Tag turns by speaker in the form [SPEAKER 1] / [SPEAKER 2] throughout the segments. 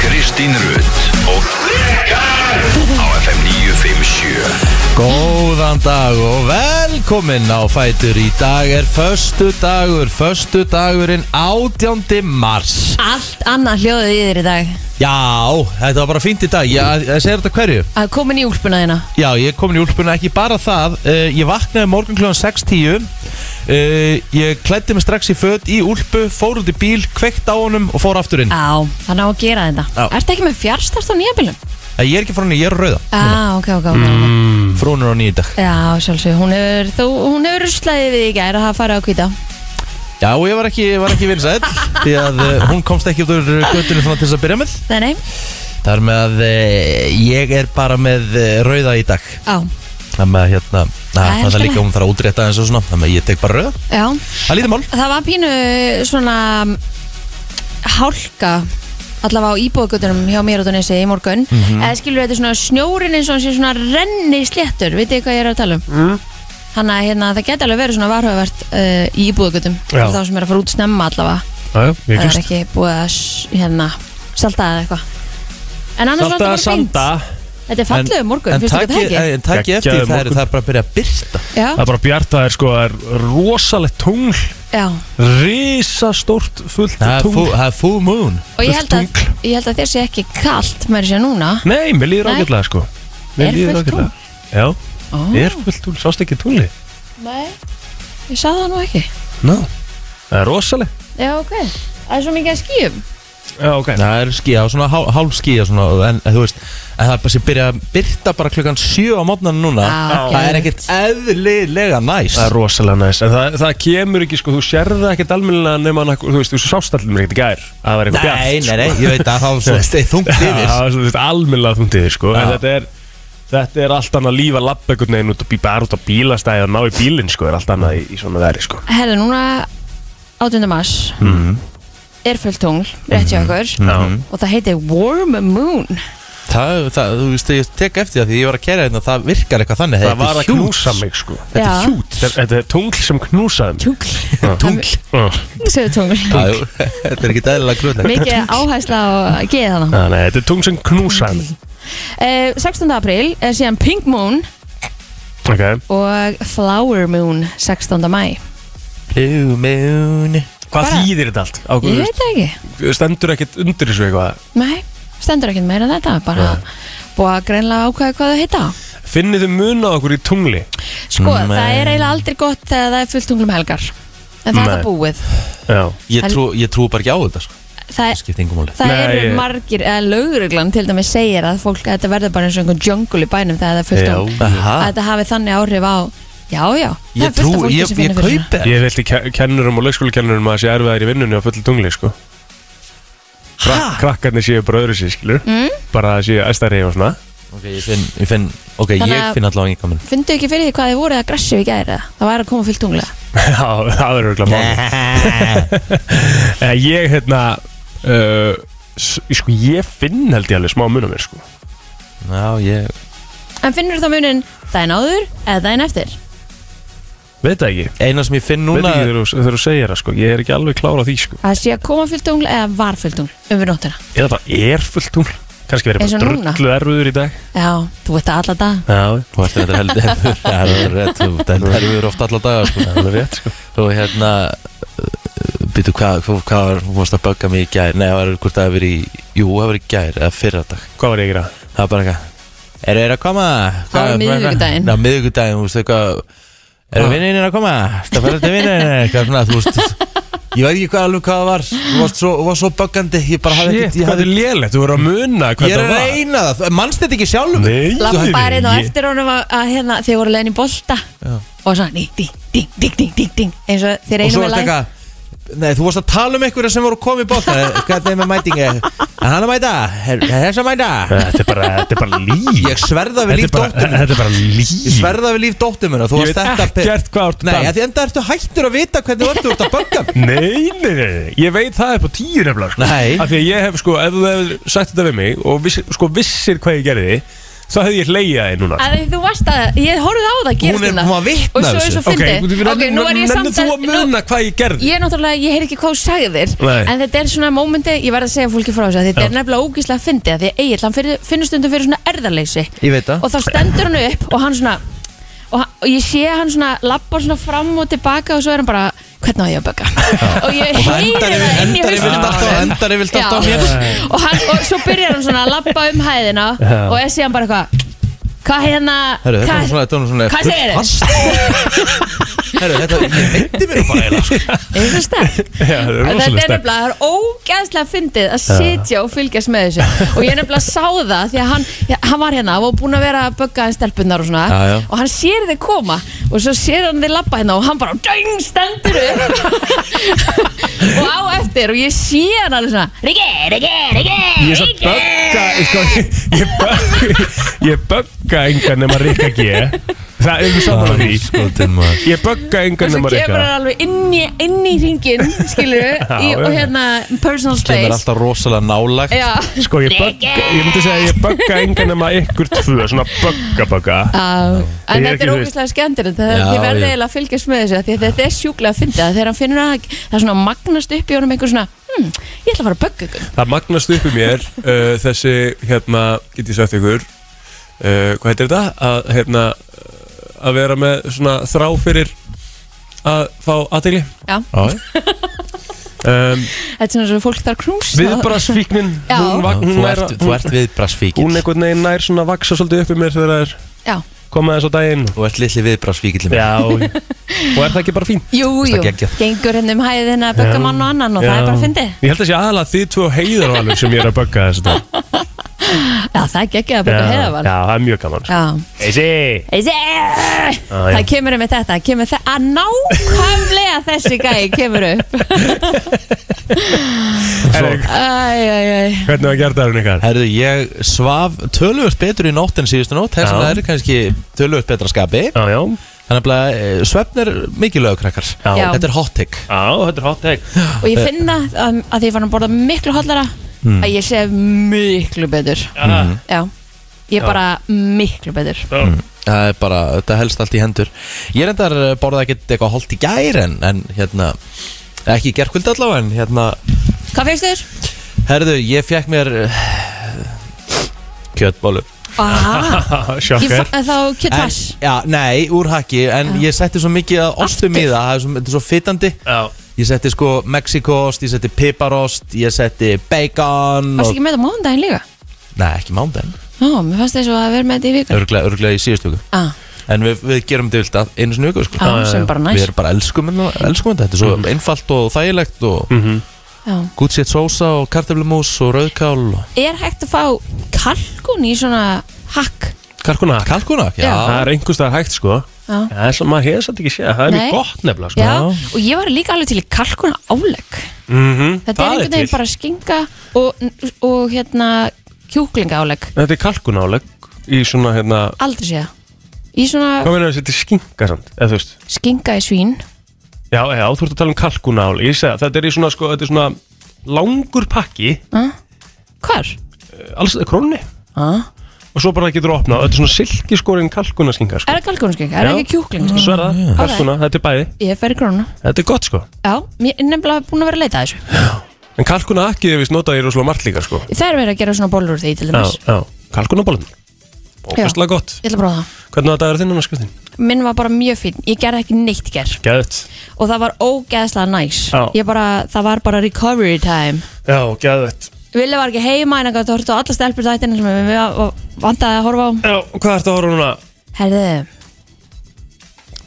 [SPEAKER 1] Kristín Rutt og Rikar á FM 957
[SPEAKER 2] Góðan dag og velkomin á Fætur Í dag er förstu dagur, förstu dagurinn 18. mars
[SPEAKER 3] Allt annað hljóðið í þér í dag
[SPEAKER 2] Já, þetta var bara fínt í dag, ég, ég segir þetta hverju
[SPEAKER 3] Að komin í úlpuna þína
[SPEAKER 2] Já, ég er komin í úlpuna, ekki bara það uh, Ég vaknaði morgun kl. 6.10 uh, Ég klæddi mig strax í föt í úlpu, fór út í bíl, kveikt á honum og fór aftur inn
[SPEAKER 3] Á, það ná að gera
[SPEAKER 2] Já.
[SPEAKER 3] þetta Ertu ekki með fjárstart á nýja bílum?
[SPEAKER 2] Æ, Eh, Ég er ekki frá henni, ég er á rauða
[SPEAKER 3] Á, ok, ok, ok
[SPEAKER 2] mm. Frúnur á nýju dag
[SPEAKER 3] Já, sjálfsög, hún hefur, þú, hún hefur ruslaðið við í gær að hafa farið á kvíta
[SPEAKER 2] Já, og ég var ekki, var ekki vinsæll Því að uh, hún komst ekki út úr göttunum þannig til þess að byrja með
[SPEAKER 3] Nei, nei,
[SPEAKER 2] Þar með að e, ég er bara með e, rauða í dag
[SPEAKER 3] á,
[SPEAKER 2] Þar með að hérna, na,
[SPEAKER 3] Það er allt
[SPEAKER 2] það er
[SPEAKER 3] í
[SPEAKER 2] líka
[SPEAKER 3] lagi.
[SPEAKER 2] hún þarf að útrétta eins og svona Þar með að ég tek bara rauða
[SPEAKER 3] já
[SPEAKER 2] Það er lítið mál
[SPEAKER 3] Það var pínu svona mm, hálka allavega á íbúðgötunum hjá mér út á nesi í morgun
[SPEAKER 4] Mhm.
[SPEAKER 3] eða skilur þetta er svona snjórin eins og hann sé svona renni sléttur, vitið þið hvað ég er að tala um
[SPEAKER 4] Mm.
[SPEAKER 3] þannig að hérna, það geti alveg verið svona varhugavert uh, í íbúðgötum
[SPEAKER 4] Já.
[SPEAKER 3] þá sem er að fara út snemma allavega
[SPEAKER 4] Jájá, ég
[SPEAKER 3] það er
[SPEAKER 4] gust
[SPEAKER 3] ekki búið að s- hérna, salta eða eitthvað en annars
[SPEAKER 4] Salta
[SPEAKER 3] var
[SPEAKER 4] að
[SPEAKER 3] þetta bara fínt
[SPEAKER 4] sanda
[SPEAKER 3] þetta er fallegur morgun,
[SPEAKER 2] en
[SPEAKER 3] finnst þið
[SPEAKER 2] taki,
[SPEAKER 3] ekki það ekki?
[SPEAKER 2] en taki eftir
[SPEAKER 4] Geggjaður
[SPEAKER 2] það er,
[SPEAKER 4] morgun.
[SPEAKER 2] það er bara að byrja að byrta
[SPEAKER 3] Já,
[SPEAKER 4] Það er bara bjart, það er sko, það er rosalegt tungl
[SPEAKER 3] já
[SPEAKER 4] Rísastórt fullt
[SPEAKER 2] Það er
[SPEAKER 4] tungl
[SPEAKER 2] full- það er full moon
[SPEAKER 3] og ég held, að,
[SPEAKER 4] Fullt tungl.
[SPEAKER 3] ég held að þér sé ekki kalt með þessi núna
[SPEAKER 4] Nei, mér líður
[SPEAKER 3] Nei.
[SPEAKER 4] ágætlega sko
[SPEAKER 3] Er
[SPEAKER 4] Mér líður
[SPEAKER 3] fullt
[SPEAKER 4] ágætlega Já,
[SPEAKER 3] Ó.
[SPEAKER 4] er fullt tungl, sást ekki tungli
[SPEAKER 3] Nei, ég sagði það nú ekki
[SPEAKER 4] Ná Það er rosalegt
[SPEAKER 3] Já, ok Það er svo mikið að skýjum
[SPEAKER 4] Já, ok
[SPEAKER 2] Það er skýja, svona hál- hálf skýja svona, en, en þú veist, en það er bara sem byrja að byrta bara klukkan 7 á mótnarnu núna
[SPEAKER 3] Já,
[SPEAKER 2] Það er
[SPEAKER 3] geðveikt.
[SPEAKER 2] ekkert eðlilega næs
[SPEAKER 4] Það er rosalega næs En það, það kemur ekki sko, þú sérði ekkert almennilega nema hann Þú veist, þú sást allir mér ekkert í gær að Það var eitthvað bjart sko.
[SPEAKER 2] Nei, nei, nei, ég veit að það var svona steið þungt
[SPEAKER 4] Já,
[SPEAKER 2] yfir
[SPEAKER 4] það er svona almennilega þúnt yfir sko En
[SPEAKER 2] Já.
[SPEAKER 4] þetta er Þetta er allt annað líf að labba einhvern veginn út og býpa út á bílastæði og ná í bílinn sko er allt annað í, í svona veri sko
[SPEAKER 3] Herðu, núna 8. mars
[SPEAKER 2] Mhm,
[SPEAKER 3] Er fullt tungl, rétt hjá okkur
[SPEAKER 4] Já.
[SPEAKER 3] Og það heitir Warm Moon
[SPEAKER 2] Það, það, þú veist, ég tek eftir það því ég var að kæra hérna, það virkar eitthvað þannig
[SPEAKER 4] Það var að
[SPEAKER 2] Þetta er
[SPEAKER 4] knúsa
[SPEAKER 2] huge.
[SPEAKER 4] mig sko
[SPEAKER 2] Þetta
[SPEAKER 3] Já.
[SPEAKER 2] er hjút
[SPEAKER 4] Þetta þetta er tungl sem knúsaði mig
[SPEAKER 3] Tungl
[SPEAKER 2] Tungl
[SPEAKER 4] Já.
[SPEAKER 3] Segðu tungl
[SPEAKER 2] Já, jú, Þetta er ekki dæðilega gröðlega
[SPEAKER 3] Mikið áhæsla á geði þannig
[SPEAKER 4] Já, Nei, þetta er tungl sem knúsaði mig
[SPEAKER 3] uh, 16. april er síðan Pink Moon
[SPEAKER 4] Ok
[SPEAKER 3] og Flower Moon 16. mæ
[SPEAKER 2] Blue moon
[SPEAKER 4] Hvað
[SPEAKER 3] Bara-
[SPEAKER 4] þýðir þetta allt?
[SPEAKER 3] Ég
[SPEAKER 4] Ágúst?
[SPEAKER 3] veit það ekki
[SPEAKER 4] Stendur ekkert undir þessu eitthvað
[SPEAKER 3] Nei, stendur ekkert meira en þetta Bara búið að greinlega ákvæða hvað það heita
[SPEAKER 4] Finnið þið mun á okkur í tungli?
[SPEAKER 3] Sko,
[SPEAKER 2] Nei.
[SPEAKER 3] það er eiginlega aldrei gott þegar það er fullt tunglum helgar En það er
[SPEAKER 4] Nei.
[SPEAKER 3] það búið
[SPEAKER 4] Já
[SPEAKER 2] Ég
[SPEAKER 3] En-
[SPEAKER 2] trú, ég trú bara ekki á þetta sko.
[SPEAKER 3] Það,
[SPEAKER 2] Það skipt engum máli
[SPEAKER 3] það
[SPEAKER 4] Nei,
[SPEAKER 3] eru
[SPEAKER 4] ég-
[SPEAKER 3] margir, eða lögreglan til dæmis segir að fólk, að þetta verður bara eins og einhver jungle í bænum þegar það er fullt
[SPEAKER 4] Já.
[SPEAKER 3] tungl
[SPEAKER 2] Aha.
[SPEAKER 3] Að þetta hafi þannig áhrif á, já, já, það
[SPEAKER 2] Ég
[SPEAKER 3] er fullt af
[SPEAKER 2] trú,
[SPEAKER 3] fólki
[SPEAKER 2] ég,
[SPEAKER 3] sem
[SPEAKER 2] ég
[SPEAKER 3] finnir fyrir
[SPEAKER 2] kaupi það
[SPEAKER 4] Ég veldi kennurum og leikskólakennurum að það sé erfiðar í vinnunni á fullu tungli, sko Krak Krakkarnir séu bara öðru sér, skilur mm? Bara að séu æstari og svona
[SPEAKER 2] Ok, ég finn, ég finn, ok,
[SPEAKER 3] Þannig
[SPEAKER 2] ég
[SPEAKER 3] að-
[SPEAKER 2] finn allavega enga minn
[SPEAKER 3] þessu. Fundu ekki fyrir því hvað þið voruð aggressiv í gæri Það væri að koma fullt tungla
[SPEAKER 4] Já, það verður örugglega mál Eh, Ég, hérna uh, s- Sko, ég finn held ég alveg smá mun á mér, sko
[SPEAKER 2] Já, ég
[SPEAKER 3] En finnur þá munin daginn áður eða daginn eftir
[SPEAKER 4] Veit það ekki
[SPEAKER 2] Eina sem ég finn
[SPEAKER 4] Veit
[SPEAKER 2] núna
[SPEAKER 4] ekki þegar þú- þegar þú segir það, sko Ég er ekki alveg klára því, sko
[SPEAKER 3] Að sé að koma fullt tungla eða var fullt tungla um við nóttina
[SPEAKER 4] Eða bara er fullt tungl Kannski verið
[SPEAKER 3] Eins og
[SPEAKER 4] bara
[SPEAKER 3] núna.
[SPEAKER 4] drullu erfiður í dag
[SPEAKER 3] Já, þú veit það alla dag
[SPEAKER 4] Já,
[SPEAKER 2] Þú ert þetta heldur Það er rétt, þú þetta er við ofta allar daga sko.
[SPEAKER 4] það er rétt sko
[SPEAKER 2] Og hérna Býtu, hvað hva, hva var, þú varst að bögga mig í gær Nei, það var hvort það hefur verið í Jú, það hefur verið í gær, eða fyrra dag
[SPEAKER 4] Hvað var ég að gera?
[SPEAKER 2] Það var bara eitthvað Eru þeir að koma?
[SPEAKER 3] Það var miðvikudaginn.
[SPEAKER 2] Já, miðvíkudaginn, þú veist eitthvað
[SPEAKER 4] Ah.
[SPEAKER 2] Eru vinninir að koma? Það fyrir til vinninir Eitthvað svona, þú veist Ég veit ekki hvað alveg hvað það var Þú varst svo, þú varst svo böggandi Ég bara hafði
[SPEAKER 4] Shit,
[SPEAKER 2] ekkert Ég
[SPEAKER 4] hvað
[SPEAKER 2] hafði
[SPEAKER 4] er lélegt, þú voru að muna hvað
[SPEAKER 2] Ég er
[SPEAKER 4] það
[SPEAKER 2] að
[SPEAKER 4] var
[SPEAKER 2] reyna það, mannst þetta ekki sjálfur
[SPEAKER 4] Nei,
[SPEAKER 3] Lappar inn á
[SPEAKER 4] ég-
[SPEAKER 3] eftir honum að, að hérna, þið voru leiðin í bolta
[SPEAKER 2] Já.
[SPEAKER 3] og svona ding, ding, ding, ding, ding, ding, ding eins og þið
[SPEAKER 2] Og
[SPEAKER 3] reynum
[SPEAKER 2] svo
[SPEAKER 3] að
[SPEAKER 2] varst
[SPEAKER 3] læg
[SPEAKER 2] eitthvað Nei, þú varst að tala um einhverja sem voru komið í bóttan Hvað er með mætingi? Er hann að mæta? Er er þess að mæta?
[SPEAKER 4] Eh, Þetta er bara, þetta er bara líf
[SPEAKER 2] Ah. Ég sverða
[SPEAKER 4] Þetta
[SPEAKER 2] við líf
[SPEAKER 4] er bara,
[SPEAKER 2] dóttur
[SPEAKER 4] þetta er bara líf
[SPEAKER 2] Ég sverða við líf dóttur minna Þú
[SPEAKER 4] Ég
[SPEAKER 2] varst
[SPEAKER 4] veit
[SPEAKER 2] þetta pe-
[SPEAKER 4] ekkert hvað ártu
[SPEAKER 2] Nei, að því enda ertu hættur að vita hvernig þú ert Þú ert að bögga mig.
[SPEAKER 4] Nei, nei, nei, nei, ég veit það upp á tíu nefnilega sko.
[SPEAKER 2] Nei.
[SPEAKER 4] Af því að ég hef sko, ef þú hefur sagt þetta við mig og viss, sko, vissir hvað ég gerði Svo hefði ég hleyið það núna
[SPEAKER 3] að þú varst að, ég horfði á það
[SPEAKER 2] Hún
[SPEAKER 3] gerist
[SPEAKER 2] er- hún var vitni
[SPEAKER 3] og svo
[SPEAKER 2] að
[SPEAKER 3] er svo
[SPEAKER 2] þessu.
[SPEAKER 3] fyndið
[SPEAKER 4] ok, nú er ég samt þú að
[SPEAKER 3] nú-
[SPEAKER 4] muna hvað ég gerði
[SPEAKER 3] Ég er náttúrulega, ég heyr ekki hvað þú sagðir
[SPEAKER 4] Nei.
[SPEAKER 3] En þetta er svona mómenti, ég verð að segja fólki frá þessu að Þetta er nefnilega ógíslega fyndið af Því að Egil, hann fyrir- finnur stundum fyrir svona erðarleysi
[SPEAKER 2] Ég veit það.
[SPEAKER 3] Og þá stendur hann upp og hann svona Og, hann, og ég sé hann svona labbar svona fram og tilbaka og svo er hann bara hvernig á ég að bögga og ég
[SPEAKER 2] Og það
[SPEAKER 3] heyri
[SPEAKER 2] endar
[SPEAKER 3] það
[SPEAKER 2] yfir-
[SPEAKER 3] inn í
[SPEAKER 2] endar
[SPEAKER 3] hausnum á
[SPEAKER 2] yfirleitt alltaf-
[SPEAKER 3] honum.
[SPEAKER 2] endar yfirleitt
[SPEAKER 3] Já.
[SPEAKER 2] alltaf á mér.
[SPEAKER 3] og, hann, og svo byrjar hann svona að labba um hæðina og ég sé hann bara eitthvað hvað hérna
[SPEAKER 2] Herru, þetta
[SPEAKER 3] hvað-
[SPEAKER 2] er svona, þetta er svona
[SPEAKER 3] hvað segirðu?
[SPEAKER 2] fullfast. Herru, þetta, ég veitir mér nú bara eiginlega sko.
[SPEAKER 3] Er það sterk?
[SPEAKER 4] Já, það er
[SPEAKER 3] Þetta er
[SPEAKER 4] rosalega
[SPEAKER 3] nefnilega, það er ógæðslega fyndið að sitja og fylgjast með þessu og ég nefnilega sá það því að hann, ja, hann var hérna og búin að vera að bögga hans stelpunnar og svona
[SPEAKER 2] Já, já.
[SPEAKER 3] og hann sér þið koma og svo sér hann þið labba hérna og hann bara döng stendur upp og á eftir og ég sé hann alveg svona Riki, Riki, Riki
[SPEAKER 4] Ég er svo bögga ég sko, Ég, bögg- ég bögga engan nema Rikka G Það er ekki saman að því
[SPEAKER 2] Skotin sko, maður.
[SPEAKER 4] Ég bögga
[SPEAKER 3] og
[SPEAKER 4] engan
[SPEAKER 3] svo
[SPEAKER 4] nema
[SPEAKER 3] kemur
[SPEAKER 4] Rikka
[SPEAKER 3] hann alveg inn í, inn í ringin skilur í,
[SPEAKER 4] Já,
[SPEAKER 3] og
[SPEAKER 4] já.
[SPEAKER 3] hérna personal
[SPEAKER 2] Kemur
[SPEAKER 3] space
[SPEAKER 2] alltaf rosalega nálagt.
[SPEAKER 3] Já,
[SPEAKER 4] Sko ég bögga Ég myndi segja að ég bögga engan nema ykkur tvö Svona bögga bögga
[SPEAKER 3] Já, en
[SPEAKER 4] Ég er
[SPEAKER 3] þetta er
[SPEAKER 4] ekki
[SPEAKER 3] ógeðslega skemmtilegt það er
[SPEAKER 2] Já,
[SPEAKER 3] því verðið
[SPEAKER 2] já.
[SPEAKER 3] eiginlega að fylgjast með þessu af því að þetta er sjúklega að fyndið að þegar hann finnur að það er svona magnast upp í honum einhver svona hm, ég ætla að fara að bögga ykkur
[SPEAKER 4] Það magnast upp í mér uh, þessi, hérna, get ég sagt ykkur uh, hvað heitir þetta? Að, hérna, að vera með svona þrá fyrir að fá aðtegli
[SPEAKER 3] Já,
[SPEAKER 2] Já,
[SPEAKER 4] um,
[SPEAKER 3] þetta er svona svo fólk þar krúms
[SPEAKER 4] Viðbrasfíknin,
[SPEAKER 3] Já.
[SPEAKER 4] hún, vak- hún,
[SPEAKER 2] þú
[SPEAKER 4] nær
[SPEAKER 2] ert,
[SPEAKER 4] að-
[SPEAKER 2] þú ert
[SPEAKER 4] hún, hún
[SPEAKER 2] viðbrasfíkil.
[SPEAKER 4] einhvern veginn nær svona að vaksa svolítið upp í mér þegar það er
[SPEAKER 3] Já,
[SPEAKER 4] komað þess á daginn
[SPEAKER 2] Þú ert litli viðbrasfíkil.
[SPEAKER 4] Já, og er það ekki bara fín?
[SPEAKER 3] jú, jú,
[SPEAKER 2] Þetta er geggjað.
[SPEAKER 3] gengur henni um hæðina að bögga mann og annan og það er bara að fyndið
[SPEAKER 4] Ég held að sé aðalega þið tvö heiðar alveg sem ég er að bögga þess að
[SPEAKER 3] Já, það er geggjað að bögga
[SPEAKER 4] Já,
[SPEAKER 3] heiðavann
[SPEAKER 4] já, það er mjög gaman sko.
[SPEAKER 3] Já,
[SPEAKER 4] Eisi!
[SPEAKER 3] Þessi,
[SPEAKER 4] já.
[SPEAKER 3] það kemur um þetta, það kemur það að nákvæmlega þessi gæi kemur upp
[SPEAKER 4] Hvernig
[SPEAKER 3] Æ, æ, æ
[SPEAKER 4] var gert það hún ykkar?
[SPEAKER 2] Herðu, ég svaf tölvöld betur í nótt en síðustu nótt, þess að
[SPEAKER 4] Já.
[SPEAKER 2] það er kannski tölvöld betra skapi.
[SPEAKER 4] Já, já,
[SPEAKER 2] Þannig að svefnir mikið lögkrakkar.
[SPEAKER 4] Já.
[SPEAKER 3] Já.
[SPEAKER 2] Þetta er hot take.
[SPEAKER 4] já, þetta er hot take
[SPEAKER 3] og ég finna að, að því ég fann að borða miklu hollara að ég sé miklu betur
[SPEAKER 4] Já,
[SPEAKER 3] já, ég er bara miklu betur
[SPEAKER 4] já
[SPEAKER 2] Eh, mm, Það er bara, þetta helst allt í hendur Ég reyndar eh, borða ekkert eitthvað holdt í gær en, en hérna, ekki í gerkvöld allavega en hérna,
[SPEAKER 3] hvað fegst þér?
[SPEAKER 2] herðu, ég fekk mér eh, kjötbólu
[SPEAKER 3] Ah, ég
[SPEAKER 4] Sjokkar
[SPEAKER 3] fa- þá
[SPEAKER 2] en,
[SPEAKER 3] kjötfass
[SPEAKER 2] Já, nei, úr haki en ég setti svo mikið að ostum í
[SPEAKER 3] Aftur?
[SPEAKER 2] það það er svo- þetta er svo fitandi Ég setti sko Mexikost, ég setti piparost ég setti bacon
[SPEAKER 3] varst ekki með það mánudaginn líka?
[SPEAKER 2] Nei, ekki mándaginn,
[SPEAKER 3] Ó, mér fannst þess að vera með þetta í viku
[SPEAKER 2] örglega, örglega í síðustu viku
[SPEAKER 3] ah,
[SPEAKER 2] En við, við gerum þetta vilt einu sinni í viku sko.
[SPEAKER 3] á, sem bara
[SPEAKER 2] Við
[SPEAKER 3] næs
[SPEAKER 2] erum bara elskum, elskum þetta, þetta er svo einfalt og þægilegt og
[SPEAKER 3] Já.
[SPEAKER 2] Good shit sósa og kartöflumús og rauðkál og
[SPEAKER 3] er hægt að fá kalkun í svona hakk?
[SPEAKER 4] Karkuna
[SPEAKER 2] kalkunak, já.
[SPEAKER 3] Já.
[SPEAKER 4] Það er einhverstað hægt sko
[SPEAKER 3] Já.
[SPEAKER 4] Það er svo, maður hefur svolítið ekki séð Það er
[SPEAKER 3] Nei.
[SPEAKER 4] mjög gott nefnilega sko
[SPEAKER 3] Já, og ég var líka alveg til í kalkuna álegg
[SPEAKER 4] Mhm.
[SPEAKER 3] þetta er
[SPEAKER 4] Það
[SPEAKER 3] einhvern veginn
[SPEAKER 4] til.
[SPEAKER 3] bara skinga og, og hérna kjúklinga álegg
[SPEAKER 4] Þetta er kalkunáleg í svona hérna
[SPEAKER 3] aldrei séð það. í svona
[SPEAKER 4] Hvað meina þessi, þetta er skinka samt Eða þú veist
[SPEAKER 3] skinga í svín
[SPEAKER 4] Já, já, þú ert að tala um kalkunáleg Ég segja, þetta er í svona sko Þetta er svona langur pakki
[SPEAKER 3] Ah. Hvar?
[SPEAKER 4] Alls, krónni
[SPEAKER 3] Ah.
[SPEAKER 4] Og svo bara getur þú opnað Þetta er svona silkiskorin kalkunaskinka
[SPEAKER 3] Er
[SPEAKER 4] sko
[SPEAKER 3] það kalkunarskeng? Er það
[SPEAKER 4] Já.
[SPEAKER 3] ekki kjúkling? sko?
[SPEAKER 4] Sverða, kalkuna, þetta er bæði
[SPEAKER 3] Ég fer í krónu
[SPEAKER 4] Þetta er gott sko
[SPEAKER 3] Já, ég er nefnilega búin að vera að leita að þessu
[SPEAKER 4] En kalkuna ekki er vist notað í rosalega margt líka sko
[SPEAKER 3] Það er verið að gera svona bólur úr því til
[SPEAKER 4] Já,
[SPEAKER 3] dæmis
[SPEAKER 4] já Kalkunabólum Ókastlega gott
[SPEAKER 3] Ég ætla að prófa það
[SPEAKER 4] Hvernig var dagur þinn annars Kristín?
[SPEAKER 3] Minn var bara mjög fín Ég gerði ekki neitt í ger
[SPEAKER 4] Gæðt
[SPEAKER 3] Og það var ógeðslega næs
[SPEAKER 4] Já.
[SPEAKER 3] Ég bara, það var bara recovery time
[SPEAKER 4] Já, gæðt
[SPEAKER 3] Vili var ekki heima en að gæta hort á alla stelpur þættina sem við vantaði að horfa á
[SPEAKER 4] Já, hvað ertu að horfa núna?
[SPEAKER 3] Herðu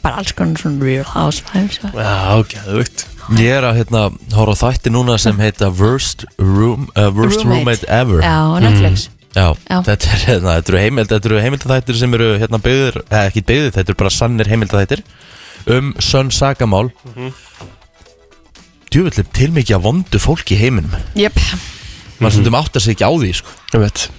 [SPEAKER 3] Bara alls konar svona real housewives og-
[SPEAKER 4] Já, gæðvögt
[SPEAKER 2] Ég er að hérna, horfa á þætti núna sem heita Worst, room, uh, worst Roommate. Ever. Mm.
[SPEAKER 3] Já, á Netflix
[SPEAKER 2] Já,
[SPEAKER 3] Já.
[SPEAKER 2] þetta er, hérna, þetta eru heimild, þetta eru heimildathættir sem eru hérna byggður, eða ekki byggður, þetta eru bara sannir heimildathættir um sönn sagamál. Mm -hmm. Djúvillum til mikið að vondu fólk í heiminum.
[SPEAKER 3] Jöp Mhm.
[SPEAKER 2] Maður stundum áttar sig ekki á því, sko.
[SPEAKER 4] Ég veit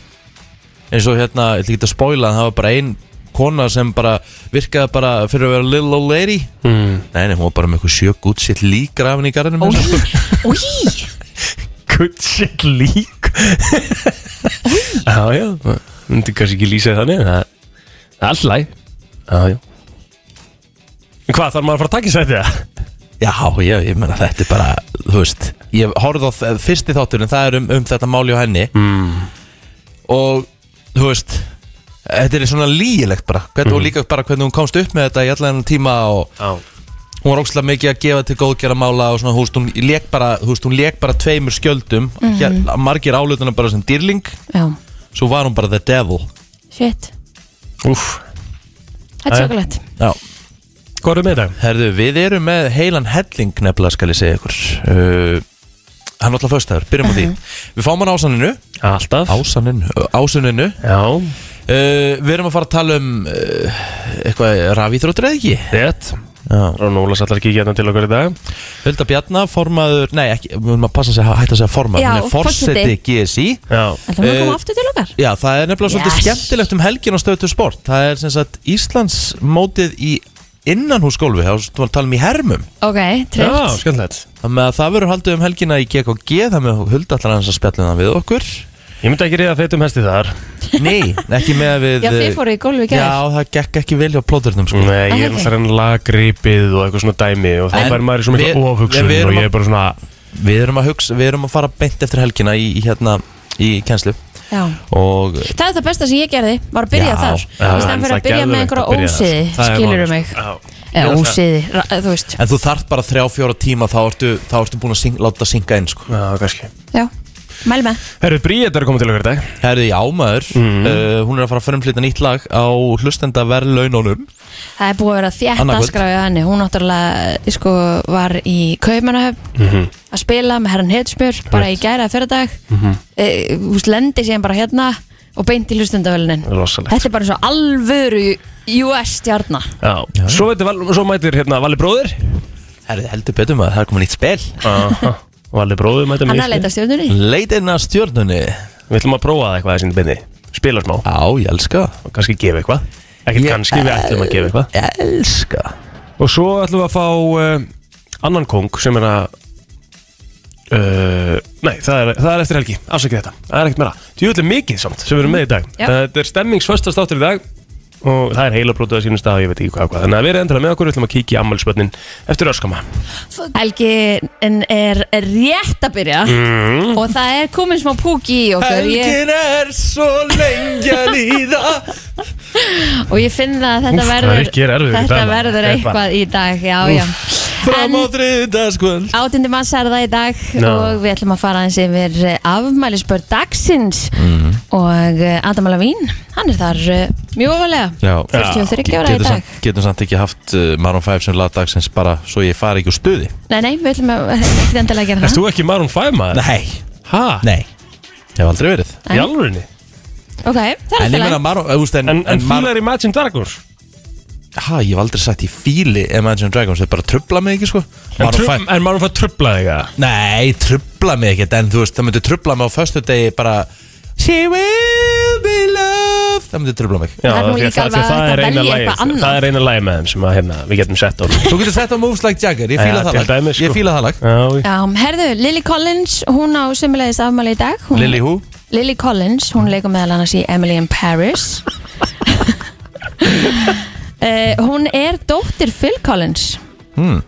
[SPEAKER 2] eins og hérna, ég ætla ekki að spoila en það var bara ein kona sem bara virkaði bara fyrir að vera little old lady
[SPEAKER 4] Hmm.
[SPEAKER 2] mm. nei, nei, hún var bara með eitthvað sjö gútsitt lík grafin í garðinum
[SPEAKER 3] Ói,
[SPEAKER 2] hérna, sko.
[SPEAKER 3] ói
[SPEAKER 4] Good shit lík Já, já myndi kannski ekki lýsa því þannig en það það er alltaf læg
[SPEAKER 2] já, já.
[SPEAKER 4] Hvað, þarf maður að fara að taka í sæti það?
[SPEAKER 2] Já, já, ég meina þetta er bara, þú veist Ég horfði á þ- fyrsti þátturinn, það er um, um þetta máli á henni mm. Og, þú veist Þetta er svona lýgilegt bara hvern, Og líka bara hvernig hún komst upp með þetta í allan þennan tíma Og
[SPEAKER 4] Mhm. Já
[SPEAKER 2] hún var ógstlega mikið að gefa til góðgerra mála Og svona, þú veist, hún lék bara, þú veist, hún lék bara tveimur skjöldum mm. hér, Margir álutuna bara sem dýrling
[SPEAKER 3] Já,
[SPEAKER 2] Svo var hún bara the devil
[SPEAKER 3] shit
[SPEAKER 4] Úff
[SPEAKER 3] Þetta er sjokulegt
[SPEAKER 2] Já
[SPEAKER 4] Hvað erum við þetta?
[SPEAKER 2] Herðu, við erum með heilan helling nefnilega skal ég segja ykkur uh, Hann er alltaf föstaður, byrjum á því Við fáum hann ásanninu
[SPEAKER 4] Mhm. Alltaf
[SPEAKER 2] Ásanninu? Ásanninu
[SPEAKER 4] Já
[SPEAKER 2] uh, Við erum að fara að tala um uh, eitthvað rafíþróttur eða ekki
[SPEAKER 4] Rétt
[SPEAKER 2] Já.
[SPEAKER 4] Rón Ólas allar ekki hérna til okkur í dag
[SPEAKER 2] Hulda Bjarnar, formaður, nei ekki, við erum að passa að segja- hætta að segja formaður
[SPEAKER 3] Já,
[SPEAKER 2] Hún er forseti
[SPEAKER 3] forseti.
[SPEAKER 2] GSI
[SPEAKER 4] Já
[SPEAKER 3] Ætlum við að
[SPEAKER 2] Eh,
[SPEAKER 3] koma aftur til okkar?
[SPEAKER 2] Já, það er nefnilega svolítið
[SPEAKER 3] Yes.
[SPEAKER 2] skemmtilegt um helgin á stöðtu sport Það er sem sagt Íslands mótið í innanhúsgólfi, þá var að tala um í hermum
[SPEAKER 3] Ok,
[SPEAKER 4] Já,
[SPEAKER 3] tryggt
[SPEAKER 4] skemmtilegt
[SPEAKER 2] Þannig að það verður haldið um helgina í GKG Það með hulda allar hans að spjalla um það við okkur
[SPEAKER 4] Ég myndi ekki reyða feitum hesti þar
[SPEAKER 2] Nei, ekki með að við
[SPEAKER 3] Já, þið fóru í gólfi í
[SPEAKER 2] Já,
[SPEAKER 3] gær
[SPEAKER 2] það gekk ekki vel hjá plóðurnum sko.
[SPEAKER 4] Nei, ég
[SPEAKER 3] Ah,
[SPEAKER 4] er
[SPEAKER 3] ok.
[SPEAKER 4] alltaf enn laggripið og eitthvað svona dæmi og þá
[SPEAKER 2] En
[SPEAKER 4] fær maður í svona
[SPEAKER 2] við-
[SPEAKER 4] eitthvað ofhugsun
[SPEAKER 2] en við erum
[SPEAKER 4] og ég
[SPEAKER 2] að-
[SPEAKER 4] er bara svona
[SPEAKER 2] Við erum að hugsa, við erum að fara beint eftir helgina í, í hérna, í kennslu
[SPEAKER 3] Já
[SPEAKER 2] Og
[SPEAKER 3] Það er það besta sem ég gerði, var að byrja
[SPEAKER 2] Já,
[SPEAKER 3] þar
[SPEAKER 2] já,
[SPEAKER 3] Í stæðan fyrir að byrja með einhverja ósiði, skilurðu mig
[SPEAKER 2] sko.
[SPEAKER 4] Já,
[SPEAKER 3] Eða ósiði, ra- eh, þú veist
[SPEAKER 2] En þú þarft bara þrjá, fjóra tíma Þá ertu, þá ertu búin að syng, láta synga inn sko.
[SPEAKER 4] Já, kannski
[SPEAKER 3] Já, mæli með
[SPEAKER 4] Herru, Bríet er að koma til okkur í dag Mhm.
[SPEAKER 2] Herði í ámaður uh, Hún er að fara að frumflýta nýtt lag Á hlustenda verðlaununum
[SPEAKER 3] Það er búið að vera þétt
[SPEAKER 2] Annað kvöld.
[SPEAKER 3] aðskrafið henni Hún náttúrulega sko, var í Kaupmannahöfn
[SPEAKER 4] Mhm.
[SPEAKER 3] að spila með herran Hetsmjör bara í gæra fyrir dag mm
[SPEAKER 4] Mhm.
[SPEAKER 3] -hmm. e, Hús lendi síðan bara hérna og beint í hlustendavölinin
[SPEAKER 4] Rosalegt
[SPEAKER 3] Þetta er bara eins og alvöru US-stjarna
[SPEAKER 4] Já, svo, veitir, Val- svo mætir hérna Valli bróðir
[SPEAKER 2] Herði heldur betur maður, það er komið nýtt spil
[SPEAKER 4] Aha, Valli bróðir mætir
[SPEAKER 3] Hann
[SPEAKER 4] mér
[SPEAKER 3] er að leita stjórnunni
[SPEAKER 2] Leitinn að stjórnunni
[SPEAKER 4] Við ætlum að prófa það eitthvað þessi byrni Spila smá
[SPEAKER 2] Á, ég elska það.
[SPEAKER 4] og kannski gefa eitthvað Ekkert
[SPEAKER 2] Ég-
[SPEAKER 4] kannski, við ætlum að gefa eitthvað
[SPEAKER 2] Ég elska það.
[SPEAKER 4] Og svo ætlum við að fá uh, annan kong sem er að uh, Nei, það er, það er eftir helgi, afsakið þetta Það er ekkert meira, djúvill er mikið samt sem við erum með í dag
[SPEAKER 3] Já.
[SPEAKER 4] Þetta er stemmingsföstastáttur í dag og það er heilabrótuð að sínum stað og ég veit ekki hvað, og hvað. Þannig að við erum endilega með okkur, við ætlum að kíkja í ammælspönnin eftir öskama
[SPEAKER 3] Helgi er, er rétt að byrja
[SPEAKER 4] Mm.
[SPEAKER 3] og það er komin smá púki í okkur ég,
[SPEAKER 2] Helgin er svo lengi að líða
[SPEAKER 3] og ég finn það að þetta
[SPEAKER 4] Úff, það er
[SPEAKER 3] verður
[SPEAKER 4] ekki erfiður í dag,
[SPEAKER 3] þetta
[SPEAKER 4] maður.
[SPEAKER 3] verður
[SPEAKER 4] Þetta er bara-
[SPEAKER 3] eitthvað í dag já, já.
[SPEAKER 2] Fram á
[SPEAKER 3] En-
[SPEAKER 2] þriðdagskvöld
[SPEAKER 3] Átundi manns er það í dag
[SPEAKER 4] Já.
[SPEAKER 3] og við ætlum að fara eins yfir eh, afmælisbörn dagsins og eh, Adam Alavín, hann er þar eh, mjög ofalega,
[SPEAKER 2] Já,
[SPEAKER 3] 43 ára í
[SPEAKER 2] Getur
[SPEAKER 3] dag
[SPEAKER 2] samt, getum samt ekki haft uh, Maroon 5 sem lagdagsins bara svo ég fari ekki úr stuði
[SPEAKER 3] Nei, nei, við ætlum að ekki endilega gera
[SPEAKER 4] Erst
[SPEAKER 3] það
[SPEAKER 4] þú ekki Maroon 5 maður?
[SPEAKER 2] Nei,
[SPEAKER 4] Ha?
[SPEAKER 2] nei Ég hef aldrei verið
[SPEAKER 4] Í alvörinni?
[SPEAKER 3] Ok, það er
[SPEAKER 2] En
[SPEAKER 3] alltaf
[SPEAKER 2] ég meina
[SPEAKER 3] leið
[SPEAKER 2] Maroon, þú veist
[SPEAKER 4] En,
[SPEAKER 2] en,
[SPEAKER 4] en
[SPEAKER 2] Maroon-
[SPEAKER 4] fílar Imagine Dragons?
[SPEAKER 2] Ha, ég hef aldrei sagt í fíli Imagine Dragons, þau bara trubla mig ekki sko
[SPEAKER 4] En,
[SPEAKER 2] Maroon
[SPEAKER 4] trub,
[SPEAKER 2] 5
[SPEAKER 4] en Maroon 5 trublaði ekki?
[SPEAKER 2] Nei, trubla mig ekkert En þú veist, það myndi trubla mig á föstu degi bara She will be loved Það myndi trubla mig
[SPEAKER 4] Já,
[SPEAKER 3] Það er nú
[SPEAKER 4] því að-
[SPEAKER 3] líka
[SPEAKER 4] því að
[SPEAKER 3] alveg
[SPEAKER 4] það
[SPEAKER 3] hægt
[SPEAKER 4] er eina
[SPEAKER 3] að velja
[SPEAKER 4] lagið-
[SPEAKER 3] eitthvað annað.
[SPEAKER 4] Það er eina lagi með þeim sem að, hérna, við getum sett á
[SPEAKER 2] Þú getur sett á Moves Like Jagger, ég fíla
[SPEAKER 4] Ja,
[SPEAKER 2] það
[SPEAKER 4] til
[SPEAKER 2] lag
[SPEAKER 4] dæmis, sko.
[SPEAKER 2] Ég fíla það lag
[SPEAKER 4] Já,
[SPEAKER 3] Já, herðu, Lily Collins, hún á sömulegis afmæli í dag hún,
[SPEAKER 2] Lily Who
[SPEAKER 3] Lily Collins, hún leikur meðal annars í Emily in Paris uh, Hún er dóttir Phil Collins
[SPEAKER 2] Hmm.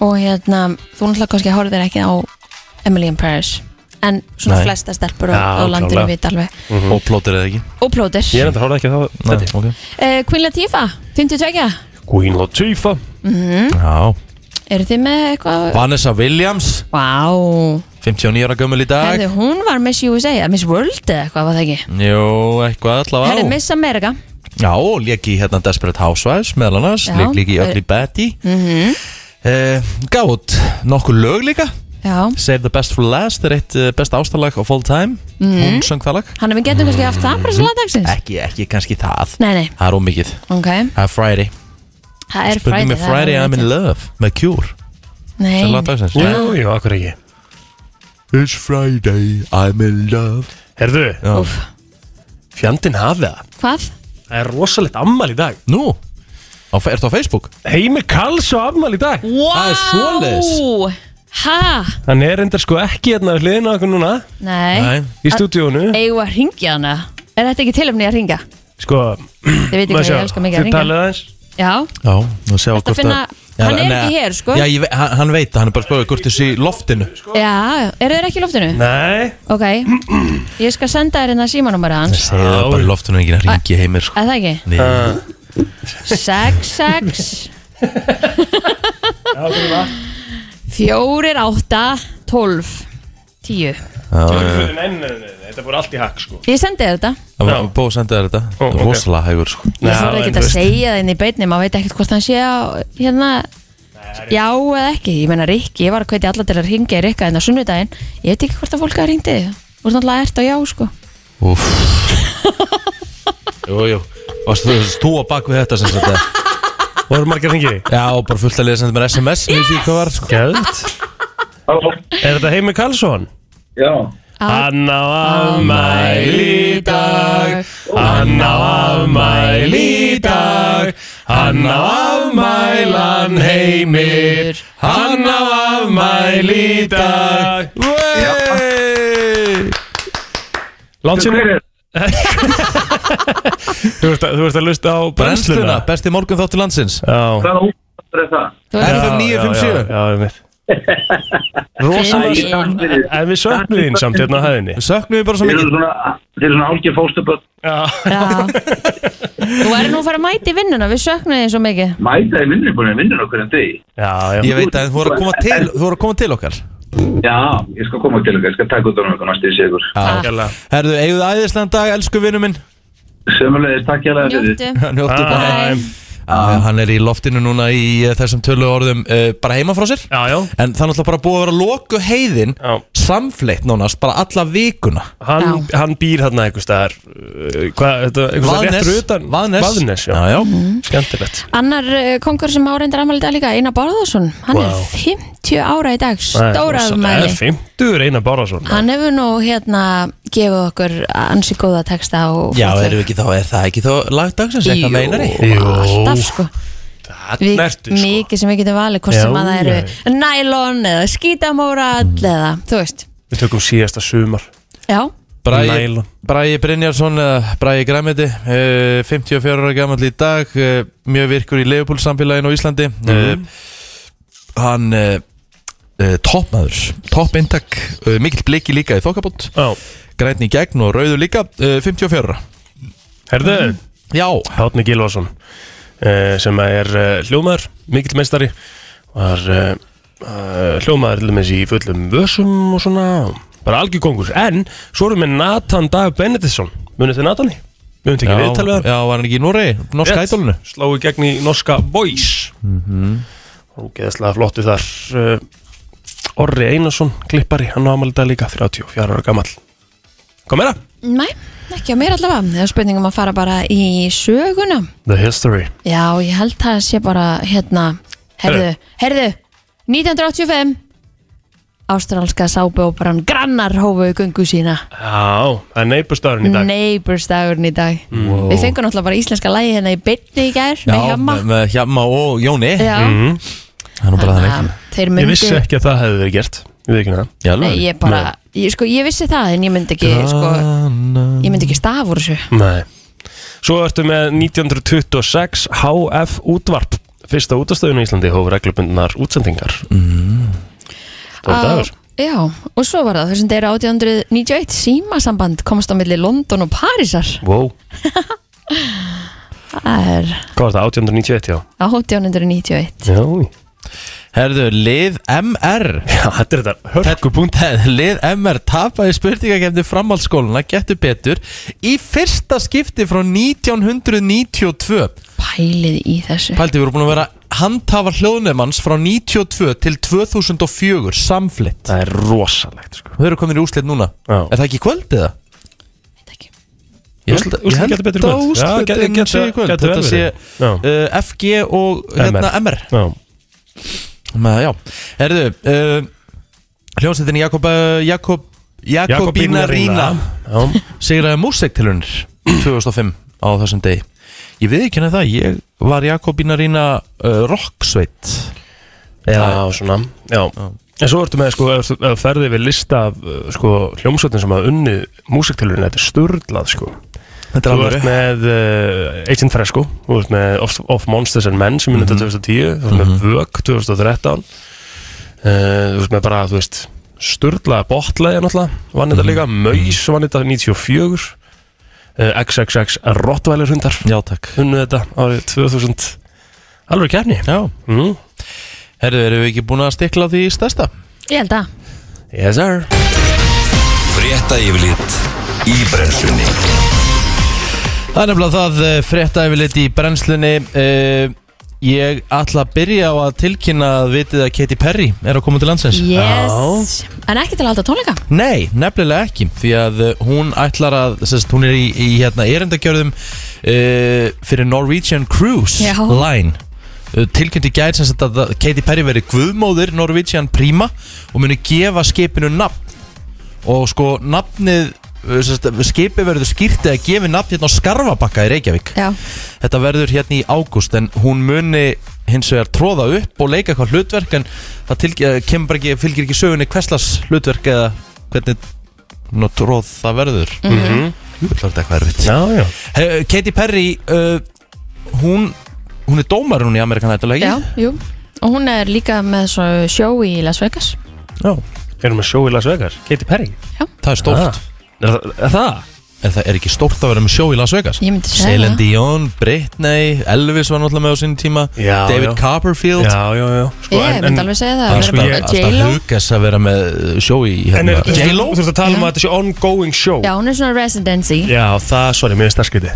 [SPEAKER 3] og hérna, þú náttúrulega kannski horfir ekki á Emily in Paris en svona
[SPEAKER 2] Nei.
[SPEAKER 3] flesta stelpur
[SPEAKER 4] Já, Mhm.
[SPEAKER 3] á, á landinu
[SPEAKER 4] klárlega.
[SPEAKER 3] vita alveg
[SPEAKER 2] Og plótir eða ekki
[SPEAKER 3] og plótir
[SPEAKER 4] Ég er enda að horfa ekki á þá
[SPEAKER 2] Nei,
[SPEAKER 4] þetta
[SPEAKER 2] ok
[SPEAKER 3] uh, Queen Latifah, 52
[SPEAKER 4] Queen Latifah
[SPEAKER 2] Já
[SPEAKER 3] eru þið með eitthvað?
[SPEAKER 2] Vanessa Williams,
[SPEAKER 3] Vá,
[SPEAKER 2] 59 ára gömul í dag
[SPEAKER 3] herðu, hún var Miss USA eða Miss World eða eitthvað var það ekki
[SPEAKER 2] Jú, eitthvað allavega
[SPEAKER 3] Herðu, Miss America
[SPEAKER 2] Já, og lék í hérna Desperate Housewives meðal annars,
[SPEAKER 3] Já. Eh.
[SPEAKER 2] lék líka í Ugly Betty mm
[SPEAKER 3] Mhm.
[SPEAKER 2] Gaf út nokkur lög líka
[SPEAKER 3] Já,
[SPEAKER 2] Save the Best for Last er eitt eh, besta ástarlag of all time Hún söng það lag Mhm.
[SPEAKER 3] hann er Mm. við getum Mhm. kannski haft það bara svo landagsins
[SPEAKER 2] Ekki, ekki kannski það
[SPEAKER 3] Nei, nei,
[SPEAKER 2] Það er ómikið
[SPEAKER 3] ok
[SPEAKER 2] Það er Friday
[SPEAKER 3] Það er
[SPEAKER 2] Spurning
[SPEAKER 3] Friday
[SPEAKER 2] með Friday I'm in love með Cure sem
[SPEAKER 3] Nei,
[SPEAKER 2] lagdagsins
[SPEAKER 4] Jú, jú, akkur ekki
[SPEAKER 2] It's Friday I'm in love
[SPEAKER 4] Herðu,
[SPEAKER 2] Já.
[SPEAKER 3] úf,
[SPEAKER 4] fjandinn hafið það
[SPEAKER 3] hvað?
[SPEAKER 4] Það er rosalegt ammal í dag
[SPEAKER 2] Nú, á, ertu á Facebook?
[SPEAKER 4] Heimir Karls á afmæli í dag
[SPEAKER 2] Það er svoleiðis.
[SPEAKER 3] Ha,
[SPEAKER 4] Hann er enda sko ekki hérna við hliðina okkur núna
[SPEAKER 3] nei
[SPEAKER 2] Nei.
[SPEAKER 4] Í stúdíónu
[SPEAKER 3] Eigum við að ringja hana Er þetta ekki tilöfni að ringa?
[SPEAKER 4] Sko,
[SPEAKER 3] Þið veitir hvað ég elska mikið að
[SPEAKER 4] Þið
[SPEAKER 3] ringa
[SPEAKER 4] talið aðeins
[SPEAKER 3] Já,
[SPEAKER 2] Já, nú sjá
[SPEAKER 3] Þetta
[SPEAKER 2] hvort
[SPEAKER 3] finna-
[SPEAKER 2] Já,
[SPEAKER 3] hann er
[SPEAKER 2] nei,
[SPEAKER 3] ekki hér, sko.
[SPEAKER 2] Já, ég, ve- hann, hann veit, það, hann er bara spöðu hvort þessi í loftinu
[SPEAKER 3] já, eru þeir ekki í loftinu?
[SPEAKER 4] Nei,
[SPEAKER 3] Ok, ég skal senda þér hérna símanúmerið hans
[SPEAKER 2] Segðu það bara í loftinu, enginn að ringi heimir sko.
[SPEAKER 3] Er það ekki?
[SPEAKER 2] Nei,
[SPEAKER 4] uh,
[SPEAKER 3] 66 Fjórir átta 12 10
[SPEAKER 2] já, já.
[SPEAKER 4] nei, nei, nei, nei, þetta voru allt í hakk sko
[SPEAKER 3] Ég sendi þér þetta
[SPEAKER 2] Það var búið að senda þér þetta
[SPEAKER 4] Ó,
[SPEAKER 2] Það er
[SPEAKER 4] ok.
[SPEAKER 2] rosalega hægur sko.
[SPEAKER 3] Ég
[SPEAKER 4] Já, en
[SPEAKER 3] þarf
[SPEAKER 4] þú
[SPEAKER 3] ekki að
[SPEAKER 4] veist.
[SPEAKER 3] segja það inn í beinni maður veit ekkert hvort hann sé á hérna Já eða ekki, ég meina Rikki, ég var að kveiti alla til að ringa í Rikka en á sunnudaginn, ég veit ekki hvort að fólk að ringdi þig, þú ert náttúrulega ert á já sko
[SPEAKER 2] Úff Jú, jú Varst þú stú á bak við þetta sem sagt eða?
[SPEAKER 4] Voru margir hringi
[SPEAKER 2] Já, og bara fullt að liða senda mér SMS Yes! Því, hvað var, sko.
[SPEAKER 4] Gæðt Er þetta Heimi Karlsson?
[SPEAKER 5] Já,
[SPEAKER 4] Hann á afmæli í dag Hann á afmæli í dag Hann á afmælan heimir Hann á afmæli í dag Látt sér Þú ert að- þú ert að lusta á brennsluna
[SPEAKER 2] Brennsluna, besti morgun þáttu landsins
[SPEAKER 4] Já,
[SPEAKER 5] hvaða útfættur er það?
[SPEAKER 3] Þú
[SPEAKER 2] Er
[SPEAKER 3] ert
[SPEAKER 2] það
[SPEAKER 4] já,
[SPEAKER 2] 957?
[SPEAKER 4] já, ég veit Rosalega
[SPEAKER 3] Finn-
[SPEAKER 4] En við söknum þín samt hérna á hæðinni
[SPEAKER 2] Söknum við bara svo
[SPEAKER 5] Þeir eru
[SPEAKER 2] mikið
[SPEAKER 5] svona, þeir eru svona hálkið fóstuböld
[SPEAKER 4] Já,
[SPEAKER 3] Já. Þú erum nú að fara að mæta í vinnuna, við söknum þig svo mikið
[SPEAKER 5] Mæta í vinnunni búin að vinnun okkur en degi
[SPEAKER 4] já,
[SPEAKER 2] Ég
[SPEAKER 4] já
[SPEAKER 2] veit að þú voru að koma til, þú voru að koma til okkar
[SPEAKER 5] Já, ég skal koma til ykkur, ég skal taka út á
[SPEAKER 6] um
[SPEAKER 5] okkur næstu í sigur
[SPEAKER 4] Takk.
[SPEAKER 2] Herðu, eigðu æðislega dag, elsku vinnu minn
[SPEAKER 5] Sömulegis, takk hjá fyrir
[SPEAKER 3] Njóttu
[SPEAKER 2] Njóttu bara
[SPEAKER 4] Æ,
[SPEAKER 2] Já, Hann er í loftinu núna í eh, þessum tölu orðum eh, bara heima frá sér
[SPEAKER 4] Já, já
[SPEAKER 2] En það er náttúrulega bara búið að vera loku heiðin
[SPEAKER 4] Já.
[SPEAKER 2] Samfleitt nánast, bara alla vikuna
[SPEAKER 4] Hann, hann býr þarna einhver staðar uh, Hvað, þetta, einhver staðar réttur utan
[SPEAKER 2] Vaðnes
[SPEAKER 4] Vaðnes, já,
[SPEAKER 2] já, já.
[SPEAKER 4] skemmtilegt
[SPEAKER 3] Annar uh, kongur sem áreindar afmæli í dag líka, Einar Bárðarsson Hann
[SPEAKER 4] Vá.
[SPEAKER 3] er 50 ára í dag, stóra
[SPEAKER 4] Það er
[SPEAKER 3] afmæli
[SPEAKER 4] 50 Einar Bárásson
[SPEAKER 3] Hann hefur nú hérna gefið okkur ansi góða texta og
[SPEAKER 2] Já,
[SPEAKER 3] fallega-
[SPEAKER 2] erum við ekki þá, er það ekki þá lagdagsins,
[SPEAKER 3] Jú,
[SPEAKER 2] eitthvað meinar ég?
[SPEAKER 3] alltaf sko
[SPEAKER 4] Hann
[SPEAKER 3] Við-
[SPEAKER 4] ertu, sko
[SPEAKER 3] Mikið sem við getum valið, hvort
[SPEAKER 4] Já,
[SPEAKER 3] sem að það eru
[SPEAKER 4] já, Mm.
[SPEAKER 3] nælon eða skítamórall eða, þú veist
[SPEAKER 4] Við tökum síðasta sumar
[SPEAKER 3] Já,
[SPEAKER 2] Bragi,
[SPEAKER 4] Nælon.
[SPEAKER 2] Bragi Brynjarsson, eh, Bragi Græmiti, eh, 54 ára gammal í dag, eh, mjög virkur í Leopold samfélaginu á Íslandi.
[SPEAKER 4] Mhm.
[SPEAKER 7] Mhm.
[SPEAKER 2] Eh, Hann eh, eh, toppmaður, topp inntak, eh, mikill bliki líka í þokkabót,
[SPEAKER 4] Já,
[SPEAKER 2] grætni í gegn og rauðu líka, eh, 54 ára.
[SPEAKER 4] herðu,
[SPEAKER 2] Mm. Já,
[SPEAKER 4] Hátni Gilvason uh, sem er uh, hljómaður, mikill meistari var uh, uh, hljómaður til dæmis í fullum vössum og svona, bara algjör kongur en svo erum við Nathan Dag Benediktsson munið þið Nathani? Við höfum
[SPEAKER 2] já,
[SPEAKER 4] tekið viðtal við hann
[SPEAKER 2] já, var hann ekki í Noregi, norska
[SPEAKER 4] Rétt.
[SPEAKER 2] ædólinu?
[SPEAKER 4] slói gegn í norska Voice mm -hmm. og geðslega flottu þar uh, Orri Einarsson klippari, hann á amalita líka 34 ára gamall Hvað meira?
[SPEAKER 3] næ, ekki á mér allavega Það er spurningum að fara bara í söguna
[SPEAKER 4] The History
[SPEAKER 3] Já, ég held það sé bara hérna, herðu, herðu 1985 Ástrálska sábjóparan Grannar hófu göngu sína
[SPEAKER 4] Já, það er neighborstarinn í dag
[SPEAKER 3] Neighbors dagurinn í dag Við fengum náttúrulega bara íslenska lægi hérna í beinni í gær með
[SPEAKER 2] Já,
[SPEAKER 3] hjamma
[SPEAKER 2] með, með Hjamma og Jóni,
[SPEAKER 3] Já,
[SPEAKER 2] það er nú bara
[SPEAKER 3] þannig
[SPEAKER 2] þannig.
[SPEAKER 3] að þeir
[SPEAKER 4] Mhm. Ég
[SPEAKER 3] myndi
[SPEAKER 4] vissi ekki að það hefði verið gert Ég veit ekki hana
[SPEAKER 2] Í alvöru?
[SPEAKER 3] Nei, ég bara, ég, sko, ég vissi það en ég myndi ekki, sko, ég myndi ekki staf úr þessu
[SPEAKER 4] Nei Svo ertu með 1926 HF útvarp Fyrsta útastöðun í Íslandi hóf reglubundnar útsendingar mm. Það var dagur
[SPEAKER 3] Já, og svo var það þessum deyra 1891 símasamband komast á milli London og Parísar
[SPEAKER 4] Wow,
[SPEAKER 3] Það er
[SPEAKER 4] hvað var það? 1891 já
[SPEAKER 3] 1891
[SPEAKER 4] Já,
[SPEAKER 2] Herðu, lið MR.
[SPEAKER 4] já þetta er þetta hörku punkt
[SPEAKER 2] Lið MR tapaði spurningakefni framhaldsskóluna Gettu betur Í fyrsta skipti frá 1992
[SPEAKER 3] Pælið í þessu
[SPEAKER 2] Pældi, við erum búin að vera handhafa hljóðnemanns frá 92 til 2004 samflitt
[SPEAKER 4] Það er rosalegt sko
[SPEAKER 2] Þau eru komin í úslit núna
[SPEAKER 4] Já.
[SPEAKER 2] Er það ekki í kvöld eða?
[SPEAKER 3] Veit ekki.
[SPEAKER 2] Ég
[SPEAKER 4] Úrslit- úrslit Getu betur í kvöld. Já,
[SPEAKER 2] úslit
[SPEAKER 4] get-
[SPEAKER 2] get,
[SPEAKER 4] get-
[SPEAKER 2] get,
[SPEAKER 4] get- getur
[SPEAKER 2] Þetta
[SPEAKER 4] vel
[SPEAKER 2] sé
[SPEAKER 4] verið. Já.
[SPEAKER 2] uh, FG og hérna MR,
[SPEAKER 4] Já,
[SPEAKER 2] Með, Já, herðu uh, Hljóðsettin Jakob, uh, Jakob, Jakobína Rína
[SPEAKER 4] Já,
[SPEAKER 2] sigraði músiktilunir 2005 á þessum degi ég við ekki henni það, ég var Jakobína Rína uh, rocksveit
[SPEAKER 4] Já, svona, já En svo ertu með, sko, ef þú- ef þú ferði við lista af, uh, sko, hljómsveitin sem hafa unnið músiktilurinn, þetta er sturlað, sko
[SPEAKER 2] Þetta er
[SPEAKER 4] Þú ert
[SPEAKER 2] alveg
[SPEAKER 4] með uh, Agent Fresco, þú ert með Of, of Monsters and Men sem
[SPEAKER 2] Mhm.
[SPEAKER 4] minna mm 2010, þú ert með Vög 2013 uh, þú ert með bara, þú veist, Sturla Botlega náttúrulega, vann
[SPEAKER 2] Mhm.
[SPEAKER 4] þetta líka Möys vann þetta 94 uh, XXX Rottweiler hundar
[SPEAKER 2] Já, takk
[SPEAKER 4] hunnu þetta árið 2000 alveg kefni
[SPEAKER 2] Já,
[SPEAKER 4] mm.
[SPEAKER 2] herðu, erum við ekki búin að stikla á því stærsta?
[SPEAKER 3] Ég held að
[SPEAKER 4] Yes sir
[SPEAKER 1] Frétta yfirlit í brennslunni
[SPEAKER 2] Það er nefnilega það eh, frétta yfirleitt í brennslunni Eh, Ég ætla að byrja á að tilkynna að vitið að Katy Perry er að koma til landsins
[SPEAKER 3] Yes En ekki til að halda tónleika
[SPEAKER 2] Nei, nefnilega ekki Því að eh, hún ætlar að sérst, Hún er í, í hérna erindagjörðum uh, Fyrir Norwegian Cruise
[SPEAKER 3] Já.
[SPEAKER 2] Line Eh, tilkynnt í gær sem sagt að að Katy Perry veri guðmóðir Norwegian Prima og muni gefa skipinu nafn og sko nafnið eh, sem sagt, skipið verður skýrt eða gefið nafn hérna á Skarfabakka í Reykjavík
[SPEAKER 3] Já
[SPEAKER 2] Þetta verður hérna í ágúst en hún muni hins vegar tróða upp og leika eitthvað hlutverk en það tilgj- eh, kemur bara ekki, fylgir ekki sögunni hverslas hlutverk eða hvernig nú, tróð það verður mm
[SPEAKER 3] Mhm.
[SPEAKER 2] -hmm. Þetta er eitthvað erfitt
[SPEAKER 4] Mhm. Já, já
[SPEAKER 2] He, Katy Perry uh, hún, hún er dómar hún í Amerikan Idol ekki?
[SPEAKER 3] Já, jú Og hún er líka með svo sjó í Las Vegas
[SPEAKER 2] Já.
[SPEAKER 4] Erum við sjó í Las Vegas? Katy Perry
[SPEAKER 2] Það er stórt
[SPEAKER 4] ah. er, er það?
[SPEAKER 2] En það er ekki stórt að vera með sjó í Las Vegas
[SPEAKER 3] Ég myndi segja
[SPEAKER 2] Celine
[SPEAKER 3] það.
[SPEAKER 2] Dion, Britney, Elvis var náttúrulega með á sinni tíma
[SPEAKER 4] Já,
[SPEAKER 2] David
[SPEAKER 4] já.
[SPEAKER 2] Copperfield
[SPEAKER 4] Já, já, já sko,
[SPEAKER 3] Ég myndi alveg segja það
[SPEAKER 2] Það er
[SPEAKER 3] Að
[SPEAKER 2] sko
[SPEAKER 3] vera
[SPEAKER 2] ég,
[SPEAKER 3] bara
[SPEAKER 2] alltaf
[SPEAKER 3] J-Lo
[SPEAKER 2] hugast að vera með uh, sjó í
[SPEAKER 4] En
[SPEAKER 2] hérna,
[SPEAKER 4] er, þú
[SPEAKER 2] J-Lo
[SPEAKER 4] þú þurft að tala um að þetta sé ongoing show
[SPEAKER 3] Já, hún er svona residency
[SPEAKER 4] Já, það, sorry, mér finnst það skrítið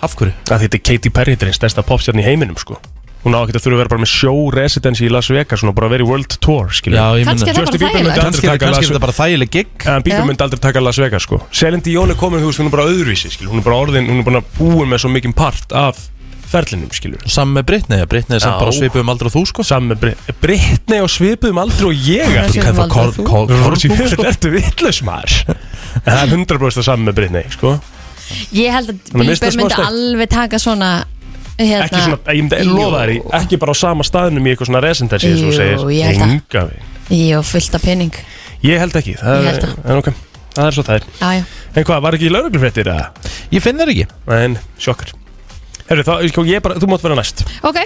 [SPEAKER 2] Af hverju?
[SPEAKER 4] að þetta er Katy Perry þetta er einn stærsta popstjarn í heiminum sko hún á ekkert að þurfa að vera bara með show residency í Las Vegas hún á bara að vera í world tour skilja
[SPEAKER 2] Já, ég
[SPEAKER 3] Kannski
[SPEAKER 2] minna
[SPEAKER 3] er það
[SPEAKER 4] Justin
[SPEAKER 3] bara
[SPEAKER 4] Bieber myndi
[SPEAKER 3] þægilegt
[SPEAKER 2] Kannski,
[SPEAKER 4] aldrei taka
[SPEAKER 2] kannski
[SPEAKER 4] Las
[SPEAKER 2] er þetta bara þægileg gig
[SPEAKER 4] en Bieber
[SPEAKER 3] Já.
[SPEAKER 4] myndi aldrei taka Las Vegas sko Selin Dion er komin þú veist hún er bara öðruvísi skilja hún er bara orðin hún er bara búin með svo mikinn part af ferlinum skilja
[SPEAKER 2] Saman með Britney, Britney er samt
[SPEAKER 4] Já.
[SPEAKER 2] bara svipið um aldrei og þú sko
[SPEAKER 4] saman með Brit- Britney og svipuðum aldrei og ég
[SPEAKER 3] Hún er
[SPEAKER 4] aldrei.
[SPEAKER 3] svipum aldrei og
[SPEAKER 2] kor-
[SPEAKER 3] þú.
[SPEAKER 2] kor-
[SPEAKER 4] Þú
[SPEAKER 2] kornbúk,
[SPEAKER 4] voru-
[SPEAKER 2] sko.
[SPEAKER 4] Ertu vitlaus maður En Það er 100% saman með Britney sko.
[SPEAKER 3] Ég held að
[SPEAKER 4] Þannig að mér finnst
[SPEAKER 3] Bieber
[SPEAKER 4] það smá
[SPEAKER 3] myndi
[SPEAKER 4] sterkt.
[SPEAKER 3] alveg taka svona hérna,
[SPEAKER 4] Ekki svona, ég myndi lofa þær í
[SPEAKER 3] Jú.
[SPEAKER 4] Ekki bara á sama staðnum í eitthvað svona residency eins og þú
[SPEAKER 3] Jú,
[SPEAKER 4] segir.
[SPEAKER 3] ég held það.
[SPEAKER 4] Enga veginn.
[SPEAKER 3] Jú, fullt af pening
[SPEAKER 4] Ég held ekki það er-
[SPEAKER 3] Ég held það.
[SPEAKER 4] En ok, það er svo það er
[SPEAKER 3] Já, já
[SPEAKER 4] En hvað, var ekki í lauruglufréttir eða?
[SPEAKER 2] Ég finn þeir ekki
[SPEAKER 4] En, sjokkar Herru, þá, sko, ég bara, þú mátt vera næst
[SPEAKER 3] Ok,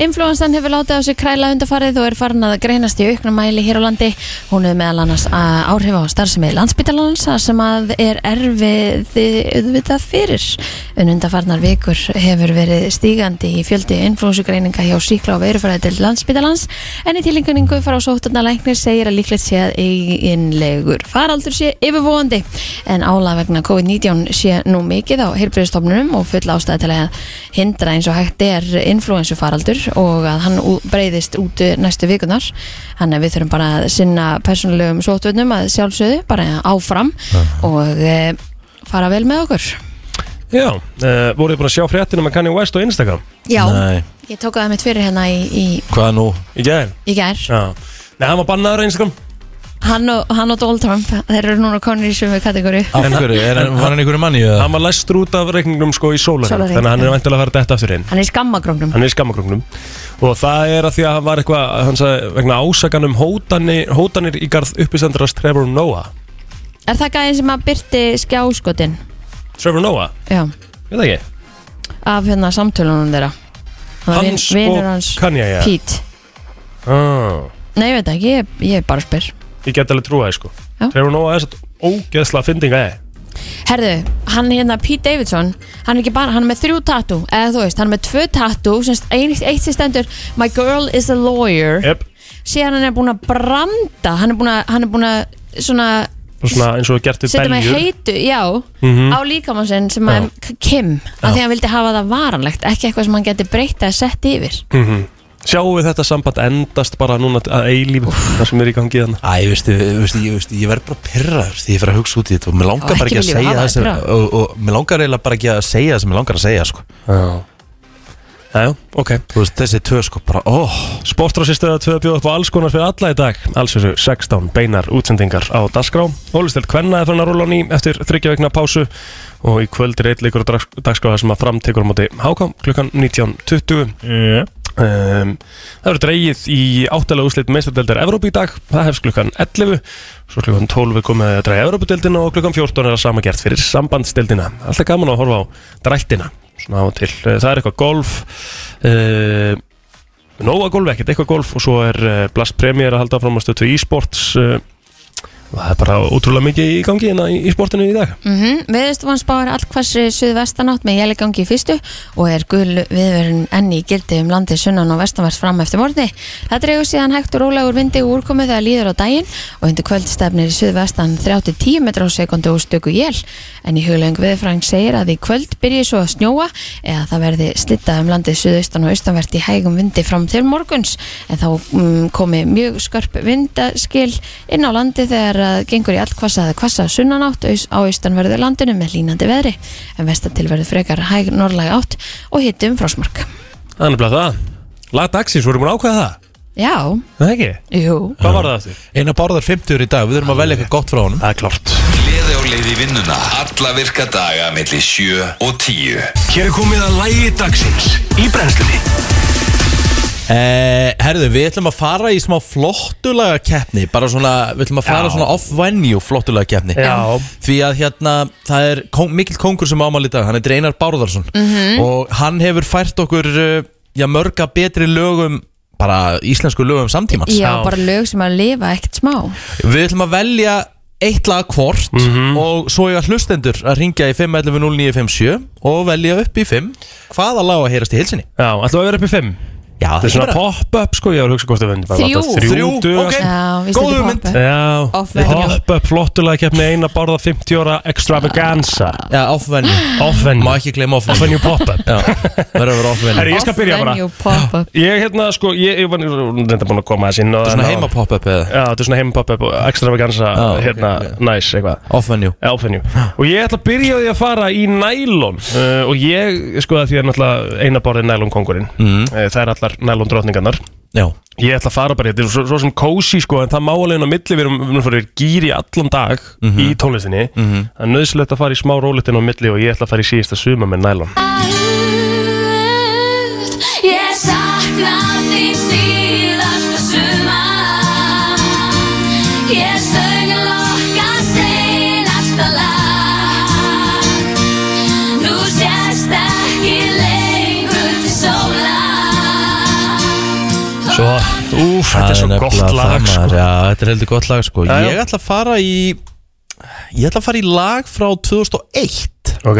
[SPEAKER 3] influensan hefur látið á sig kræla undarfarið og er farin að greinast í auknumæli hér á landi. Hún hefur meðal annars að áhrif á starfsemi landsbytalands sem að er erfið auðvitað fyrir. En undarfarnar vikur hefur verið stígandi í fjöldi influensugreininga hjá síkla og veirufræði til landsbytalans en í tilhenguningu fara á sóttarnalæknir segir að líklegt sé að eiginlegur faraldur sé yfirvóandi en ála vegna COVID-19 sé nú mikið á heilbriðstofnunum og full ástæði til að hindra eins og hægt er influensufaraldur og að hann ú- breiðist út næstu vikunar þannig að við þurfum bara að sinna persónulegum sótvögnum að sjálfsögðu bara áfram og e, fara vel með okkur
[SPEAKER 4] Já uh, Voruð þið búin að sjá fréttina með Kanye West og Instagram?
[SPEAKER 3] Já,
[SPEAKER 2] Nei,
[SPEAKER 3] ég tók að það mitt fyrir hérna í, í,
[SPEAKER 2] hvað nú?
[SPEAKER 4] Í gæðin
[SPEAKER 3] í gær
[SPEAKER 4] Já Nei, hann var bannaður á Instagram
[SPEAKER 3] hann og, hann og Donald Trump, þeir eru núna konur í sömu kategóri
[SPEAKER 2] Af hverju? Er, hann- var hann einhverju manni? eða?
[SPEAKER 4] Hann var læstur út af reikningnum sko í sólarinn
[SPEAKER 3] Sólarhring,
[SPEAKER 4] Þannig að hann
[SPEAKER 3] já.
[SPEAKER 4] er vantilega að fara detta aftur inn
[SPEAKER 3] Hann er í skammakroknum
[SPEAKER 4] Hann er í skammakrungnum Og það er að því að hann var eitthvað Hann sagði vegna ásakan um hótani, hótanir í garð uppisendrast Trevor Noah
[SPEAKER 3] Er það gæðin sem að byrti skjáskotin?
[SPEAKER 4] Trevor Noah?
[SPEAKER 3] Já,
[SPEAKER 4] Ég veit það ekki
[SPEAKER 3] af hérna samtölunum þeirra Það var
[SPEAKER 4] Hans
[SPEAKER 3] vin- vinur
[SPEAKER 4] og
[SPEAKER 3] hans
[SPEAKER 4] Kanye ja.
[SPEAKER 3] Pete
[SPEAKER 4] ah.
[SPEAKER 3] Nei, ég veit ekki, ég, ég bara spyr
[SPEAKER 4] Ég get alveg trúa það sko
[SPEAKER 3] Já.
[SPEAKER 4] Trevor Noah er satt ógeðslega fynding að
[SPEAKER 3] Herðu, hann hérna Pete Davidson Hann er ekki bara, hann er með þrjú tattoo Eða þú veist, hann er með tvö tattoo sem st- ein- Eitt sem stendur, my girl is a lawyer
[SPEAKER 4] Jep,
[SPEAKER 3] Síðan hann er búin að branda Hann er búin að, hann er búin að svona
[SPEAKER 4] og svona eins og gert við
[SPEAKER 3] Setja með
[SPEAKER 4] beljur Mhm.
[SPEAKER 3] heitu, já Á líkamann sem
[SPEAKER 4] Já.
[SPEAKER 3] að Kim Af því að hann vildi hafa það varanlegt Ekki eitthvað sem hann geti breyta að setja yfir
[SPEAKER 4] Mhm. Sjáum við þetta samband endast bara núna að eilífi Það sem er í gangi þannig
[SPEAKER 2] Æ, veistu, veistu, ég, veistu, ég verð bara pyrrar því ég fer að hugsa út í þetta og mér langar
[SPEAKER 3] Á,
[SPEAKER 2] bara ekki
[SPEAKER 3] ekki
[SPEAKER 2] að
[SPEAKER 3] viljum
[SPEAKER 2] segja
[SPEAKER 3] hafa
[SPEAKER 2] það
[SPEAKER 3] þig
[SPEAKER 2] sem
[SPEAKER 3] pirraðan.
[SPEAKER 2] og, og mér langar eiginlega bara ekki að segja það sem mér langar að segja sko.
[SPEAKER 4] Já Já, ok
[SPEAKER 2] Þú veist, þessi tvö sko bara, óh
[SPEAKER 4] Sportrásistöða 2 bjóð upp á alls konar fyrir alla í dag Alls þessu 16 beinar útsendingar á Dasgrá Ólistel Kvenna er þannig að rúla á ný eftir þryggja vegna pásu Og í kvöld er eitt leikur á dagskrá þar sem að framtekur á móti Háká klukkan 19.20 yeah. Um, það verður dreigið í áttalega úslit meistadeldar Evrópu í dag, það hefst klukkan 11 svo klukkan 12 er komið að dræja Evrópudeldina og klukkan 14 er það sama gert fyrir sambandsdeldina alltaf gaman að horfa á drættina svona á og til, Eh, það er eitthvað golf uh, nóga golf ekkert eitthvað golf og svo er uh, Blast Premier að halda áfram að stötu e-sports uh, og það er bara ótrúlega mikið í gangi hérna í, í sportinu í dag
[SPEAKER 3] Mm -hmm. Viðstofan spáir allkvassri suðvestanátt með jælegangi í fyrstu og er gul viðverun enn í gildi um landi sunnan og vestanvert fram eftir morgni. Það dreigur síðan hægt og rólega úr vindi og úrkomu þegar líður á daginn og undir kvöldstefnir í suðvestan 30-10 metra á sekundu og stöku jél. En í hugleng viðfræng segir að í kvöld byrji svo að snjóa eða það verði slitta um landið suðaustan og austanvert í hægum vindi fram til morguns en þá mm, komi mjög skörp vindaskil inn á landi þegar að gengur í allkvassa eða kvassa sunnanátt aus- á austanverðu landinu með línandi veðri en vestatil verður frekar hæg norðlæg átt og um hittum frásmark.
[SPEAKER 4] Það er nefnilega það, lag dagsins, vorum við ákveða það
[SPEAKER 3] Já,
[SPEAKER 4] Er það ekki,
[SPEAKER 3] jú,
[SPEAKER 4] hvað var það aftur?
[SPEAKER 2] Einar bárðar 50 í dag, við þurfum að velja eitthvað gott frá honum
[SPEAKER 4] Það er klart
[SPEAKER 1] Gleði á leið í vinnuna Alla virka daga millir 7 og 10
[SPEAKER 8] Hér er komið að lægi dagsins í brennslunni
[SPEAKER 2] Eh, herðu, við ætlum að fara í smá flottulega keppni Bara svona, við ætlum að fara svona off-venue flottulega keppni
[SPEAKER 4] Já.
[SPEAKER 2] Því að hérna, það er kong, mikill kongur sem ámæli í dag Hann er Dreinar Bárðarsson -hmm.
[SPEAKER 3] Mhm.
[SPEAKER 2] Og hann hefur fært okkur, eh, já, mörga betri lögum Bara íslensku lögum samtímans
[SPEAKER 3] já, bara lög sem að lifa ekkert smá.
[SPEAKER 2] Við ætlum að velja eitt lag hvort
[SPEAKER 4] Mhm.
[SPEAKER 2] Og svo ég að hlustendur að ringja í 511-0957 Og velja upp í 5 Hvaða lag á að heyrast í hilsinni?
[SPEAKER 4] Já, ætlum við að vera upp í 5
[SPEAKER 2] Já,
[SPEAKER 4] Það er svona pop-up sko, ég var að hugsa hvort það vendi
[SPEAKER 3] Þrjú.
[SPEAKER 4] Þrjú,
[SPEAKER 2] Þrjú,
[SPEAKER 4] duga, sko.
[SPEAKER 2] ok.
[SPEAKER 3] Já, við
[SPEAKER 2] Góð
[SPEAKER 3] slitum
[SPEAKER 2] hugmynd.
[SPEAKER 3] poppa.
[SPEAKER 4] Já,
[SPEAKER 3] Off-venue.
[SPEAKER 4] pop-up flottulega keppni eina borða 50 ára extravaganza
[SPEAKER 2] Já, off-venue Má
[SPEAKER 4] Off-venue
[SPEAKER 2] ekki gleyma off-venue
[SPEAKER 4] Off-venue pop-up
[SPEAKER 2] Já, verður að vera off-venue
[SPEAKER 4] Herri, ég skal byrja bara
[SPEAKER 3] Off-venue pop-up.
[SPEAKER 4] Ég hérna sko, ég, ég var reynda búin að koma þess inn á
[SPEAKER 2] Svona heima pop-up eða
[SPEAKER 4] Já, þetta er svona heima pop-up og extravaganza
[SPEAKER 2] Já, ok,
[SPEAKER 4] Hérna,
[SPEAKER 2] ok.
[SPEAKER 4] nice eitthvað
[SPEAKER 2] off-venue
[SPEAKER 4] Elfenjú Og ég ætla að byrja á því að fara í nælon uh, Og ég, sko að því er náttúrulega eina borðið nælon kongurinn mm. Það er allar nælon drottningarnar
[SPEAKER 2] Mhm. Já,
[SPEAKER 4] Ég ætla að fara bara, þetta er svo, svo sem kósi sko, en það má alveg inn á milli, við erum, við erum fyrir gýri allan dag
[SPEAKER 2] Mhm.
[SPEAKER 4] í tónlistinni, það er nöðsilegt að fara í smá rólitin á milli og ég ætla að fara í síðasta suma með nælon.
[SPEAKER 9] Ég sakna þín síðasta sumar Ég söng lokka seinasta lag Nú sést ekki lengur til sólar
[SPEAKER 4] Svo, úf, þetta er svo gott
[SPEAKER 2] nefnilega
[SPEAKER 4] lag
[SPEAKER 2] það,
[SPEAKER 4] sko.
[SPEAKER 2] maður. Já, þetta er heldur gott lag sko
[SPEAKER 4] Já, já.
[SPEAKER 2] Ég ætla að fara í Ég ætla að fara í lag frá 2001
[SPEAKER 4] Ok,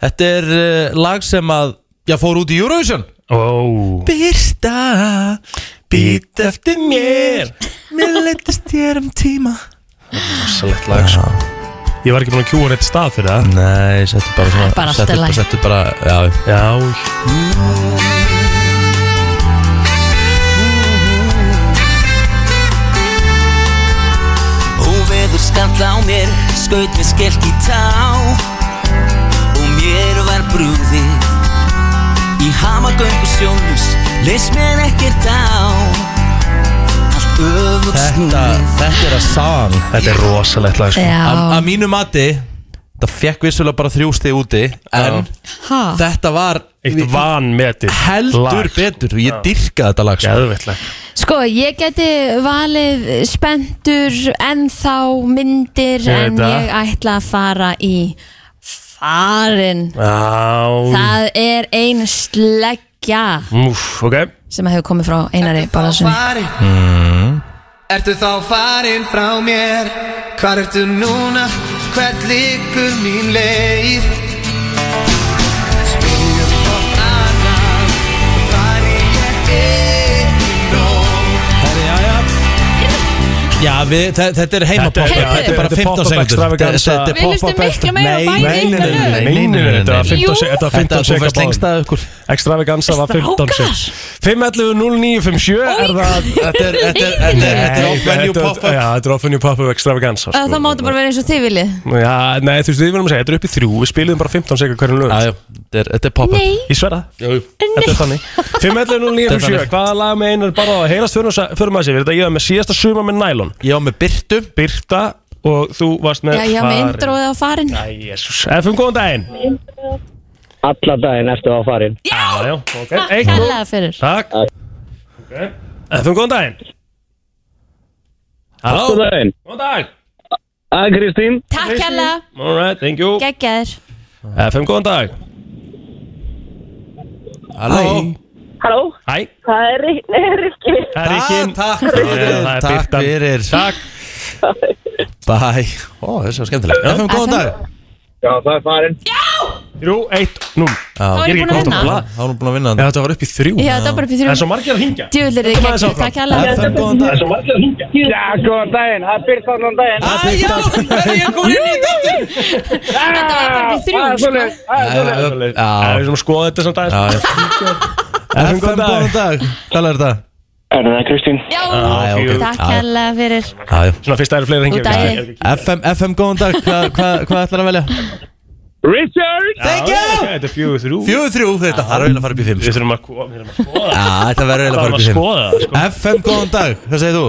[SPEAKER 2] Þetta er uh, lag sem að Já, fór út í Eurovision
[SPEAKER 4] ó,
[SPEAKER 2] Birta, být eftir mér Mér leittist þér um tíma
[SPEAKER 4] svolít lag sko. Ég var ekki búin að kjúa rétt stað fyrir það.
[SPEAKER 2] Nei, settu bara svona
[SPEAKER 3] Bara allt í
[SPEAKER 2] settu,
[SPEAKER 3] lagi.
[SPEAKER 2] settu bara, já
[SPEAKER 4] Já,
[SPEAKER 10] Óveður skall á mér, skaut með skellt í tá Og mér var brúðið Í hamagöngu sjónus, leys mér ekkert á Allt öfugt
[SPEAKER 2] Þetta,
[SPEAKER 10] snúið
[SPEAKER 2] þetta er að sang
[SPEAKER 4] þetta er rosalegt lag sko.
[SPEAKER 2] Að
[SPEAKER 3] Já,
[SPEAKER 2] að mínu mati Þetta fekk vissulega bara þrjústi úti En
[SPEAKER 3] ha,
[SPEAKER 2] þetta var
[SPEAKER 4] Eitt vanmetið
[SPEAKER 2] heldur
[SPEAKER 4] lag. sko.
[SPEAKER 2] betur og ég dyrkaði þetta lag sko.
[SPEAKER 4] Geðveikt lag.
[SPEAKER 3] sko ég geti valið spendur ennþá myndir
[SPEAKER 4] Ég
[SPEAKER 3] en
[SPEAKER 4] veit það.
[SPEAKER 3] ég ætla að fara í farin
[SPEAKER 4] Já,
[SPEAKER 3] Það er ein sleggja
[SPEAKER 4] úf, ok.
[SPEAKER 3] sem hefur komið frá Einari Bárðarssoni
[SPEAKER 11] farin
[SPEAKER 2] Mm.
[SPEAKER 11] Ertu þá farin frá mér Hvar ertu núna Hvert liggur mín leið Spyrum hvort annað Farin ég einn og
[SPEAKER 2] Já, við, þe- þetta er heima
[SPEAKER 4] Þetta er-
[SPEAKER 2] pop-up
[SPEAKER 4] já,
[SPEAKER 2] Þetta er
[SPEAKER 4] þetta
[SPEAKER 2] bara
[SPEAKER 4] er
[SPEAKER 2] 15
[SPEAKER 4] pop-up
[SPEAKER 2] sekundur
[SPEAKER 4] extravaganza.
[SPEAKER 2] Þetta
[SPEAKER 3] Við hlustum miklu meira á bæði
[SPEAKER 2] Nei, nei,
[SPEAKER 3] ykkar
[SPEAKER 2] nei,
[SPEAKER 3] lög.
[SPEAKER 2] nei,
[SPEAKER 4] Nei,
[SPEAKER 2] nei,
[SPEAKER 4] nei,
[SPEAKER 2] nei,
[SPEAKER 4] nei, þetta var
[SPEAKER 2] nei, nei.
[SPEAKER 4] 15 sek- þetta var 15
[SPEAKER 2] Þetta fórst
[SPEAKER 4] sekúndur.
[SPEAKER 2] lengst að ykkur
[SPEAKER 4] Extravaganza var 15
[SPEAKER 3] Strákar!
[SPEAKER 4] sek 511 0957 er það
[SPEAKER 2] Þetta er, þetta er, þetta er, þetta er off-venue sko. pop-up
[SPEAKER 4] Já, þetta er off-venue pop-up extravaganza
[SPEAKER 3] Það máttu bara vera eins og þið viljið
[SPEAKER 4] Já, nei, þú veist, við verðum að segja, þetta er upp í þrjú Við spilum bara 15 sekar hverjum lög
[SPEAKER 2] Já, já, þetta er- þetta er pop-up
[SPEAKER 3] Nei,
[SPEAKER 4] Ég sverða Þetta er þannig
[SPEAKER 2] Þetta er
[SPEAKER 4] 511
[SPEAKER 2] þannig.
[SPEAKER 4] Hvaða lag með einar bara á að heyrast fyrir maður fyrir maður sér Við þetta ég var með síðasta suma með nælon
[SPEAKER 2] Ég á með Byrtu
[SPEAKER 4] Birta og þú varst með
[SPEAKER 3] já, já, með
[SPEAKER 4] Farin.
[SPEAKER 3] introið á farin
[SPEAKER 4] Æ, jésús Efum, góðan daginn
[SPEAKER 12] Alla daginn ertu á farin
[SPEAKER 4] Já,
[SPEAKER 13] Ah.
[SPEAKER 4] já, ok Eitt núll.
[SPEAKER 3] Kærlega fyrir
[SPEAKER 4] Takk Ok Efum góðan daginn Halló
[SPEAKER 12] Góðan daginn.
[SPEAKER 4] Góðan dag
[SPEAKER 12] Æ, Kristín
[SPEAKER 3] Takk kærlega
[SPEAKER 4] Alright, thank you
[SPEAKER 3] Geggjaðir
[SPEAKER 4] Efum góðan dag Halló
[SPEAKER 13] Halló
[SPEAKER 4] Hæ
[SPEAKER 13] Það er Rik- nei, Rikki Ah,
[SPEAKER 4] Það er ekki
[SPEAKER 2] Takk
[SPEAKER 4] fyrir
[SPEAKER 2] Takk fyrir
[SPEAKER 4] Takk
[SPEAKER 2] Bæ Ó, þessi var skemmtileg
[SPEAKER 4] Já.
[SPEAKER 2] Efum góðan dag
[SPEAKER 4] Já, það er farin Já Þrjú, eitt, nú
[SPEAKER 2] Þá
[SPEAKER 3] er ég búin að vinna.
[SPEAKER 2] Þá er hún búin að vinna Þetta var upp í þrjú
[SPEAKER 3] Já, þetta var upp í
[SPEAKER 4] Það
[SPEAKER 3] þrjú.
[SPEAKER 4] er svo margir að hingja
[SPEAKER 3] Djúvillir þið geggjur, takk hérlega
[SPEAKER 2] FM, góðan dag
[SPEAKER 4] svo margir að hingja
[SPEAKER 12] Já, góðan daginn, það er byrst allan daginn
[SPEAKER 2] Það er byrst
[SPEAKER 3] Þetta var bara upp í
[SPEAKER 4] Það
[SPEAKER 3] þrjú sko.
[SPEAKER 2] allan daginn
[SPEAKER 4] er svona skoða þetta samt aðeins
[SPEAKER 2] FM, góðan dag Hvað er þetta?
[SPEAKER 4] Er það Kristín?
[SPEAKER 3] Já,
[SPEAKER 4] Ah,
[SPEAKER 2] já, Ah, ok.
[SPEAKER 3] takk
[SPEAKER 2] Já, já.
[SPEAKER 3] hérlega fyrir
[SPEAKER 2] Já, já
[SPEAKER 4] Svona fyrst að það eru fleiri að
[SPEAKER 3] Góð daginn.
[SPEAKER 4] hingja
[SPEAKER 2] FM, FM, góðan dag Hvað hva, hva ætlar að velja?
[SPEAKER 4] Richard
[SPEAKER 2] Thank you.
[SPEAKER 4] Þetta er fjögur þrjú
[SPEAKER 2] Fjögur þrjú Þetta þarf eiginlega að fara upp í fimm sko.
[SPEAKER 4] Við þurfum að ko- við þurfum að skoða
[SPEAKER 2] Já, þetta verður eiginlega að fara upp í
[SPEAKER 4] Þarf að
[SPEAKER 2] fimm
[SPEAKER 4] skoða það, sko.
[SPEAKER 2] FM, góðan dag Hvað segir þú?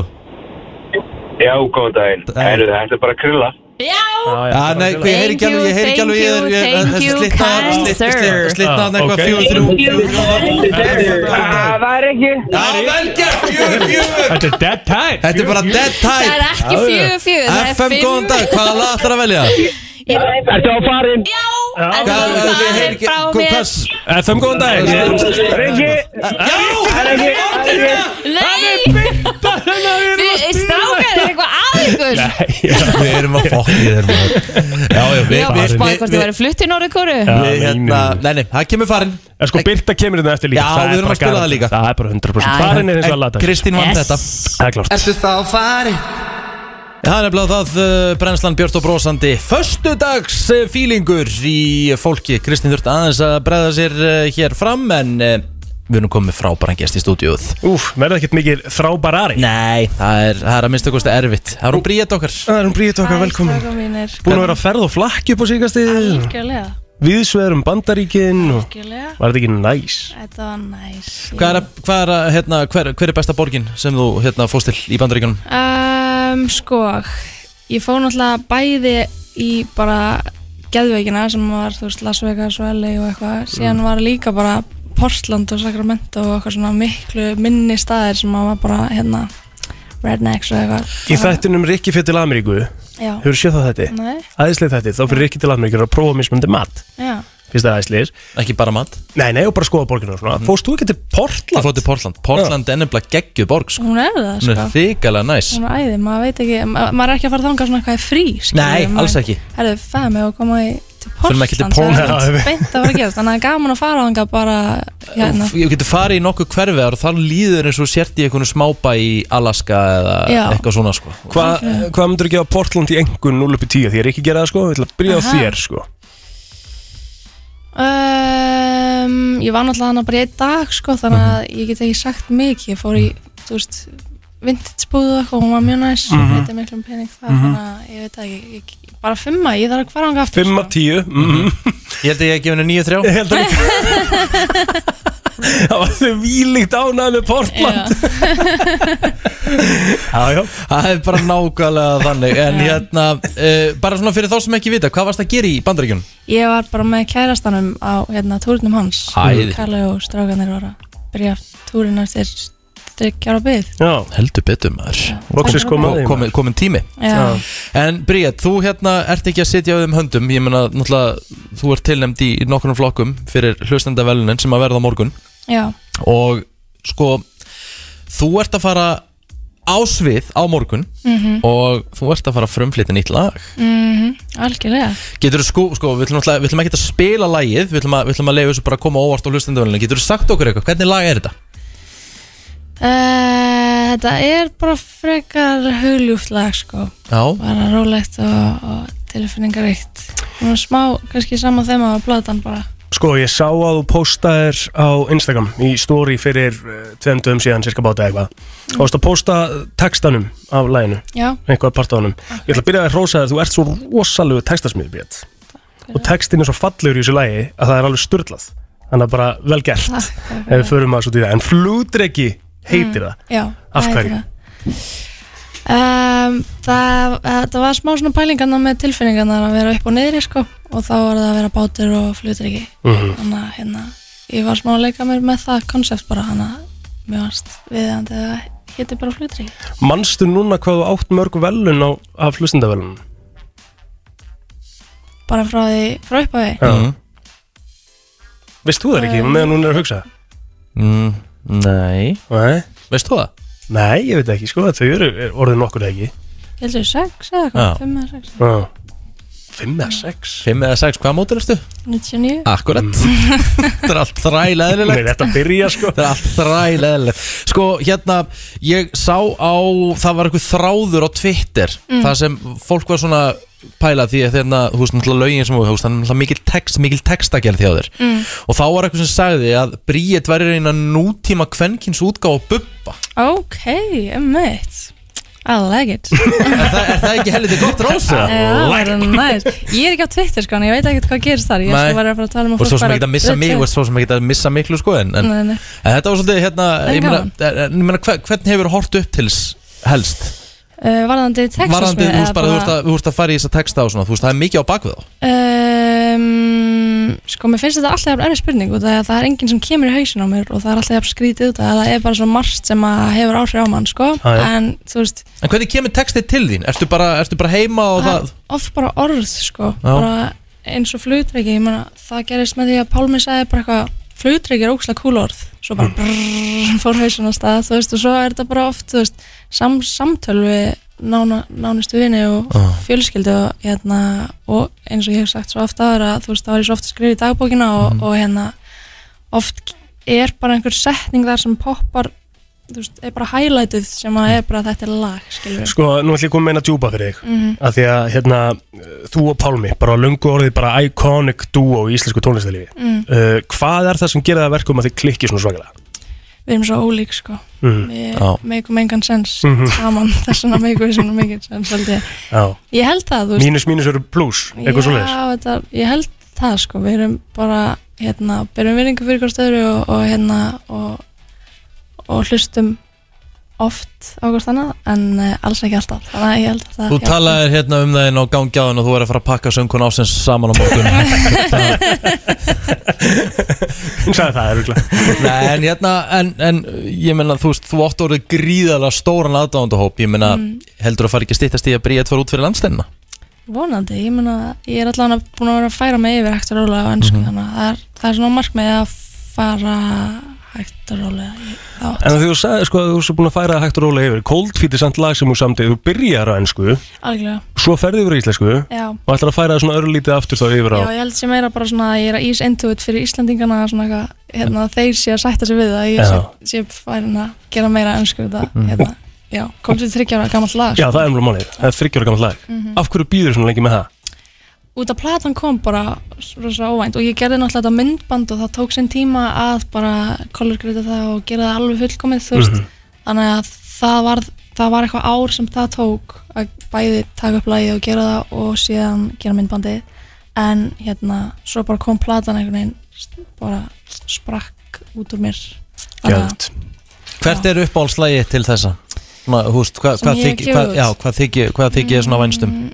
[SPEAKER 5] Já, góðan daginn. Heyrðu, þetta er bara krilla.
[SPEAKER 4] Já,
[SPEAKER 2] Já, Ah, nei, hvað, ég heyri ekki alveg, ég heyri ekki alveg í þér, ég- þessi slitna- slitna- slitna- slitna þarna eitthvað, fjögur, þrjú, fjögur, þrjú.
[SPEAKER 12] Það er ekki
[SPEAKER 2] Já, vel gert, fjögur, fjögur.
[SPEAKER 4] Þetta er dead time
[SPEAKER 2] Þetta er bara dead
[SPEAKER 3] Það er
[SPEAKER 2] time
[SPEAKER 3] ekki fjögur fjögur, það er
[SPEAKER 2] FM,
[SPEAKER 3] fimm
[SPEAKER 2] góðan dag, hvaða lag ætlar að velja?
[SPEAKER 12] Ertu á farin
[SPEAKER 3] Já,
[SPEAKER 4] Já.
[SPEAKER 3] en það
[SPEAKER 2] Hvað- ég heyri
[SPEAKER 3] er
[SPEAKER 2] ekki-
[SPEAKER 3] frá
[SPEAKER 2] hvað-
[SPEAKER 3] mér
[SPEAKER 2] hvað-
[SPEAKER 4] FM, góðan dag
[SPEAKER 2] Já,
[SPEAKER 3] Nei, við strákar er eitthvað aðeins
[SPEAKER 2] við erum að fokka í þér maður. Já, já, við
[SPEAKER 3] Já, bara
[SPEAKER 2] við-
[SPEAKER 3] spáði
[SPEAKER 2] við-
[SPEAKER 3] hvort þið væri flutt í Norðurkóru
[SPEAKER 2] Við hérna, nei, nei, það kemur farin
[SPEAKER 4] En sko Birta kemur hérna eftir líka
[SPEAKER 2] Já,
[SPEAKER 4] Það
[SPEAKER 2] við
[SPEAKER 4] er
[SPEAKER 2] erum
[SPEAKER 4] bara
[SPEAKER 2] að spila
[SPEAKER 4] garanti.
[SPEAKER 2] það líka.
[SPEAKER 4] Það er bara 100%
[SPEAKER 3] Já, já.
[SPEAKER 4] Farin er eins og að
[SPEAKER 2] En
[SPEAKER 4] lata
[SPEAKER 2] Kristín vann
[SPEAKER 3] Yes.
[SPEAKER 2] þetta
[SPEAKER 4] Það er klárt
[SPEAKER 11] Ertu þá farin?
[SPEAKER 2] Já, það er nefnilega það uh, brennslan Björst og Brósandi Föstudags uh, fílingur í fólki Kristín þurft aðeins að bregða sér uh, hér fram En uh, við erum komið frábæran gest í stúdíuð
[SPEAKER 4] Úf, verða ekkert mikið frábærari
[SPEAKER 2] Nei, það er, það er að minnstu kosti erfitt Það er hún bríðið okkar
[SPEAKER 4] Það er hún Bríðit okkar velkomin
[SPEAKER 14] mínir,
[SPEAKER 4] Búin að vera að ferð og flakki upp á síkastið
[SPEAKER 14] algjörlega,
[SPEAKER 4] Viðsveðurum um bandaríkin og...
[SPEAKER 14] algjörlega
[SPEAKER 4] Var þetta ekki næs?
[SPEAKER 14] Þetta var næs
[SPEAKER 2] Hvað er, að- hvað er, að, hérna, hver, hver er besta borgin sem þú hérna, fóst til í bandaríkjunum?
[SPEAKER 14] um, Sko, ég fór náttúrulega bæði í bara geðveikina sem var, þú veist, Las Vegas og LA og
[SPEAKER 4] Mm.
[SPEAKER 14] eitthvað, síðan var líka bara Portland og Sacramento og eitthvað svona miklu minni staðir sem að var bara hérna, rednecks og eitthvað
[SPEAKER 4] Í þættinum Rikki fyrir til Ameríku
[SPEAKER 14] Já,
[SPEAKER 4] Hefur séð það þetta?
[SPEAKER 14] Nei.
[SPEAKER 4] Æðislega þetta, þá fyrir Rikki til Ameríku að prófa mismunandi mat
[SPEAKER 14] já
[SPEAKER 4] Fyrst það æðislegir
[SPEAKER 2] Ekki bara mat Mm.
[SPEAKER 4] Nei, nei, og bara skoða borginu og svona Fórst þú ekki til
[SPEAKER 2] Ég
[SPEAKER 4] Portland?
[SPEAKER 2] fór til Portland Portland er nefnilega geggjuð borg sko.
[SPEAKER 14] Hún er það,
[SPEAKER 2] Hún
[SPEAKER 14] sko
[SPEAKER 2] er ríkalega næs
[SPEAKER 14] Hún er æði, maður veit ekki, ma maður er ekki að fara þangað svona eitthvað í frí skilur
[SPEAKER 2] Nei,
[SPEAKER 14] við, maður-
[SPEAKER 2] alls ekki.
[SPEAKER 14] Herðu, fæði mig og koma í til
[SPEAKER 2] Förum
[SPEAKER 14] Portland
[SPEAKER 2] ekki til
[SPEAKER 14] Það
[SPEAKER 4] Portland.
[SPEAKER 14] er beint að fara að gerast, þannig að það er gaman að fara þangað bara hérna
[SPEAKER 2] Ég getur farið í nokkuð hverfiðar og þá líður eins og þú sért í einhvern smábæ í Alaska eða
[SPEAKER 14] Já.
[SPEAKER 2] eitthvað svona sko.
[SPEAKER 4] Hvað
[SPEAKER 3] Mm.
[SPEAKER 4] hva myndur þú gefa Portland í engun 0 upp í 10? Því ég er ekki að gera það sko, ég ætla að byrja á
[SPEAKER 14] Aha.
[SPEAKER 4] þér sko
[SPEAKER 14] um, Ég var náttúrulega hann bara í einn dag sko, þannig að
[SPEAKER 2] Mhm.
[SPEAKER 14] ég get ekki sagt mikið Ég fór í, þú veist, vintage búðu og eitthvað, hún var mjög næs
[SPEAKER 2] Mhm.
[SPEAKER 14] mm -hmm. Þetta er miklum pening það, þannig að ég veit það ekki ég, ég, Bara fimma, ég þarf að fara þangað aftur sko.
[SPEAKER 4] 5 af 10 mm
[SPEAKER 2] Ég held að ég hef gefið henni 9-3
[SPEAKER 4] Ég held að Það var þau výlíkt ánað með Portland
[SPEAKER 14] Já,
[SPEAKER 4] Já, já
[SPEAKER 2] Það er bara nákvæmlega þannig En hérna, uh, bara svona fyrir þá sem ekki vita Hvað varst að gera í bandaríkjunum?
[SPEAKER 14] Ég var bara með kærastanum á hérna, túrnum hans
[SPEAKER 2] Æði.
[SPEAKER 14] Kalli og strákanir var að byrja túrin eftir þryggjara byggð
[SPEAKER 4] Já,
[SPEAKER 2] Heldur betur maður
[SPEAKER 4] loksins kom að því
[SPEAKER 2] Komin, komin tími
[SPEAKER 14] Já,
[SPEAKER 2] En Bríett, þú hérna ert ekki að sitja auðum höndum Ég meina, náttúrulega, þú ert tilnæmd í nokkurnum flokkum Fyrir hlustendavelunin sem að verða á morgun
[SPEAKER 14] já,
[SPEAKER 2] Og sko, þú ert að fara á svið á morgun
[SPEAKER 14] Mhm.
[SPEAKER 2] Og þú ert að fara að frumflytja nýtt lag
[SPEAKER 14] algjörlega
[SPEAKER 2] Getur þú sko, sko við ætlum, náttúrulega- við ætlum ekki að spila lagið Við ætlum að, við ætlum að leiða þessu bara að koma óvart á hlustendavölinu Getur þú sagt okkur eitthvað, hvernig lag er þetta?
[SPEAKER 14] uh, Þetta er bara frekar hugljúft lag sko
[SPEAKER 2] Já,
[SPEAKER 14] bara rólegt og, og tilfinningaríkt Nú smá, kannski sama þeim að blatan bara
[SPEAKER 4] Sko, ég sá að þú postaðir á Instagram í story fyrir uh, tveim dögum síðan, cirka báta eitthvað Þú varst að posta textanum af læginu,
[SPEAKER 14] Mhm. Já,
[SPEAKER 4] einhvað part á honum Ég ætla að byrja að hrósa þér, þú ert svo rosalegu textasmiður, Björn Og textin er svo fallegur í þessu lægi að það er alveg sturlað Þannig að bara vel gert
[SPEAKER 14] takk
[SPEAKER 4] ef við förum að svo til það En flúdreki heitir það
[SPEAKER 14] Mm. Já,
[SPEAKER 4] Af
[SPEAKER 14] það heitir
[SPEAKER 4] hverju?
[SPEAKER 14] það. Um, það, það var smá svona pælingarna með tilfinningarna að vera upp og niðri sko og þá var það að vera bátur og flutryggi
[SPEAKER 4] Mhm.
[SPEAKER 14] þannig að hérna ég var smá að leika mér með það konsept bara hann að mjög varst viðandi að það héti bara flutryggi
[SPEAKER 4] Manstu núna hvað þú átt mörg velun á, af hlustendavælunum?
[SPEAKER 14] bara frá því frá upphafi
[SPEAKER 4] Já. Veist þú það ekki, meðan hún er að hugsa?
[SPEAKER 2] mm, Nei
[SPEAKER 4] Nei
[SPEAKER 2] Veist þú það?
[SPEAKER 4] Nei, ég veit ekki, sko, þau eru er orðin nokkur eða ekki
[SPEAKER 14] ég heldur sex eða
[SPEAKER 2] Já.
[SPEAKER 14] hvað, fimm eða sex
[SPEAKER 4] Já. Fimm eða sex
[SPEAKER 2] Fimm eða sex, hvaða mótil erstu?
[SPEAKER 14] 99
[SPEAKER 2] Akkurat Þetta er allt
[SPEAKER 4] Mm.
[SPEAKER 2] þræleðilegt
[SPEAKER 4] Nei, þetta byrja sko
[SPEAKER 2] Þetta er allt þræleðilegt Sko, hérna, ég sá á Það var eitthvað þráður á Twitter
[SPEAKER 4] Mm.
[SPEAKER 2] Það sem fólk var svona pæla Því að þérna, þú veist, náttúrulega lögin sem þú veist Þannig náttúrulega mikil text, mikil textagerð hjá þér
[SPEAKER 14] Mm.
[SPEAKER 2] Og þá var eitthvað sem sagði að Bríett væri reyna nútíma kvenkins útgáfa Bubba
[SPEAKER 14] ok, emmitt I like it
[SPEAKER 2] Er það ekki helviti gott sko. rósa?
[SPEAKER 14] Já, það er næst. Eh, Ég er ekki á Twitter sko, en ég veit ekkert hvað gerist þar Ég
[SPEAKER 2] Nei.
[SPEAKER 14] er bara að fara að tala um að
[SPEAKER 2] og svo
[SPEAKER 14] fólk
[SPEAKER 2] sem
[SPEAKER 14] bara
[SPEAKER 2] ekki að missa mig
[SPEAKER 14] Twitter.
[SPEAKER 2] og svo sem ekki að missa miklu sko en, en,
[SPEAKER 14] Nei, nei.
[SPEAKER 2] en þetta var svolítið hérna
[SPEAKER 14] En
[SPEAKER 2] ég meina,
[SPEAKER 14] gaman.
[SPEAKER 2] en ég meina hver, hvernig hefur hort upp til s- helst
[SPEAKER 14] Uh, varðandi Texas eh,
[SPEAKER 2] varandi
[SPEAKER 14] með,
[SPEAKER 2] þú
[SPEAKER 14] eða
[SPEAKER 2] veist bara þú veist að, þú veist að fara í þessa texta og svona þú veist það er mikið á bakvið þá
[SPEAKER 14] Um, sko, mér finnst þetta alltaf jafn erfið spurning og það, það er enginn sem kemur í hausin á mér og það er alltaf jafn skrítið út að það er bara svo margt sem að hefur áhrif á mann, sko
[SPEAKER 2] Já, já.
[SPEAKER 14] en þú veist,
[SPEAKER 2] en hvernig kemur textið til þín ertu bara, ertu bara heima og
[SPEAKER 14] það
[SPEAKER 2] það
[SPEAKER 14] er oft bara orð, sko
[SPEAKER 2] Já.
[SPEAKER 14] bara eins og flutreiki, ég meina það gerist með því að Pálmi sagði bara eitthvað flutreiki er ókslega kúl orð svo bara brrrr, fór hausin á stað, þú veist og svo er þetta bara oft, þú veist, sam, samtöl við nána, nánustu vini og
[SPEAKER 2] Já.
[SPEAKER 14] fjölskyldu og, hérna, og eins og ég hef sagt svo oft aður að þú veist, þá er ég svo oft að skrifa í dagbókina og,
[SPEAKER 2] Mhm.
[SPEAKER 14] og hérna oft er bara einhver setning þar sem poppar þú veist, er bara highlightið sem að er bara þetta er lag, skilur við
[SPEAKER 4] Sko, nú ætlum ég að koma með eina djúpa fyrir þig
[SPEAKER 14] Mhm.
[SPEAKER 4] Af því að, hérna, þú og Pálmi bara löngu orðið bara iconic duo í íslensku tónlistalífi
[SPEAKER 14] Mm.
[SPEAKER 4] uh, Hvað er það sem gerir það að verkum að þið klikkið svona svakalega?
[SPEAKER 14] við erum svo ólík, sko
[SPEAKER 4] Mhm.
[SPEAKER 14] við
[SPEAKER 4] Já.
[SPEAKER 14] meikum engan sens
[SPEAKER 4] Mhm.
[SPEAKER 14] saman, þess vegna meikum við svona mikið sens held ég.
[SPEAKER 4] Já.
[SPEAKER 14] ég held það, þú veist
[SPEAKER 4] Mínus mínus eru plus, eitthvað svo leiðis
[SPEAKER 14] Já, þetta, ég held það sko, við erum bara hérna, berum virðingu fyrir hvort öðru og, og hérna og, og hlustum oft á hvort annað en uh, alls ekki alltaf, þannig að ég held að það
[SPEAKER 2] Þú talaðir hérna um það inn á gangjáðun og þú er að fara að pakka söngun ásins saman á morgun
[SPEAKER 4] Hún sagði það, eruglega
[SPEAKER 2] Nei, en hérna, en, en ég meina, þú veist, þú átt orðið gríðarlega stóran aðdándahóp Ég meina,
[SPEAKER 14] Mm.
[SPEAKER 2] heldur að fara ekki að stýttast í að Bríett fara út fyrir landsteinna?
[SPEAKER 14] vonandi, ég meina ég er allan að búin að vera að færa mig yfir hægt og rólega á ennsku,
[SPEAKER 2] Mhm.
[SPEAKER 14] þannig að það er, það er svona markmið að fara hægt og rólega í þá átt.
[SPEAKER 4] En þegar þú sagði, sko, að þú svo búin að færa það hægt og rólega yfir Cold Feet er samt lag sem þú samtið, þú byrjar á ennsku
[SPEAKER 14] algjörlega,
[SPEAKER 4] Svo ferði yfir í íslensku
[SPEAKER 14] Ah. já
[SPEAKER 4] Og ætlar að færa það svona örlítið aftur þá yfir á
[SPEAKER 14] Já, ég held sem meira bara svona að ég er að ís into it fyrir Íslandingana svona eitthvað, hérna, þeir sé að sætta sig við það, ég sé, sé færin að gera meira önsku það,
[SPEAKER 4] Mm.
[SPEAKER 14] hérna, já, komst við þryggja ára gammal lag, sko.
[SPEAKER 4] Já, það er umlega málið, það er 30 ára gammal lag
[SPEAKER 3] Mm.
[SPEAKER 14] Mhm.
[SPEAKER 4] Af hverju býður svona lengi með það?
[SPEAKER 14] út af platan kom bara rosa óvænt og ég gerði náttúrulega þetta myndband og það tók sinn tíma að bara kolorgreita það og gera það alveg fullkomið, þú veist,
[SPEAKER 4] Mhm.
[SPEAKER 14] þannig að það var, það var eitthvað ár sem það tók að bæði taka upp lagið og gera það og síðan gera myndbandið en hérna, svo bara kom platan einhvern veginn, st- bara sprakk út úr mér Þannig að-
[SPEAKER 2] Hvert er uppáhaldslægi til þessa? Ma, húst, hva,
[SPEAKER 14] Sem
[SPEAKER 2] hvað
[SPEAKER 14] ég hef
[SPEAKER 2] þykir hvað,
[SPEAKER 14] gefið út?
[SPEAKER 2] já, hvað þykir hvað þykir þér svona vænstum?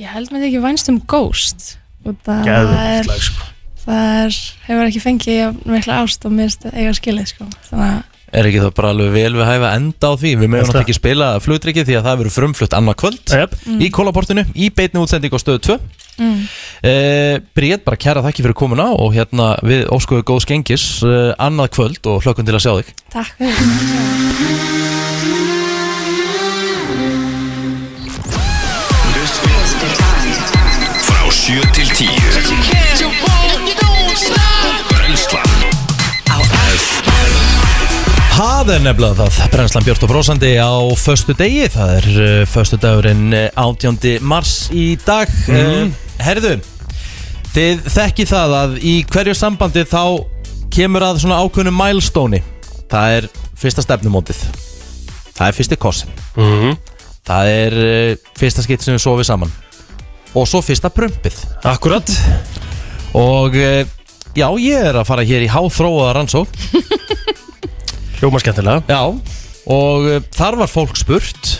[SPEAKER 14] Ég held með því ekki vænst um Ghost og það
[SPEAKER 2] Geðveikt
[SPEAKER 14] er,
[SPEAKER 2] lag, sko.
[SPEAKER 14] það er, hefur ekki fengið jafn mikla ást og mist eiga skilið sko. þannig að
[SPEAKER 2] Er ekki það bara alveg vel við hæfa að enda á því? Við mögum náttúrulega ekki spila flutrykkið því að það verður frumflutt annað kvöld
[SPEAKER 4] yep.
[SPEAKER 14] Mm.
[SPEAKER 2] í kólaportinu, í beitni útsending á stöðu 2
[SPEAKER 14] mm.
[SPEAKER 2] uh, Bríett, bara kæra þakki fyrir komuna og hérna við óskuðu góðs gengis uh, annað kvöld og hlökkum til að sjá þig
[SPEAKER 14] takk fyrir
[SPEAKER 1] Frá 7 til 10 Brenslan Á FM
[SPEAKER 2] Það er nefnilega það, brennslan Björn og Brósandi á föstu degi, það er uh, föstu dagurinn uh, 18. mars í dag mm.
[SPEAKER 4] Mhm.
[SPEAKER 2] Herðu, þið þekki það að í hverju sambandi þá kemur að svona ákveðnu milestóni Það er fyrsta stefnumótið, það er fyrsti kossin,
[SPEAKER 4] Mhm.
[SPEAKER 2] það er uh, fyrsta skitt sem við sofið saman Og svo fyrsta prumpið
[SPEAKER 4] Akkurat
[SPEAKER 2] Og uh, já, ég er að fara hér í háþróaða rannsók
[SPEAKER 4] Hljóma skemmtilega
[SPEAKER 2] Já og uh, þar var fólk spurt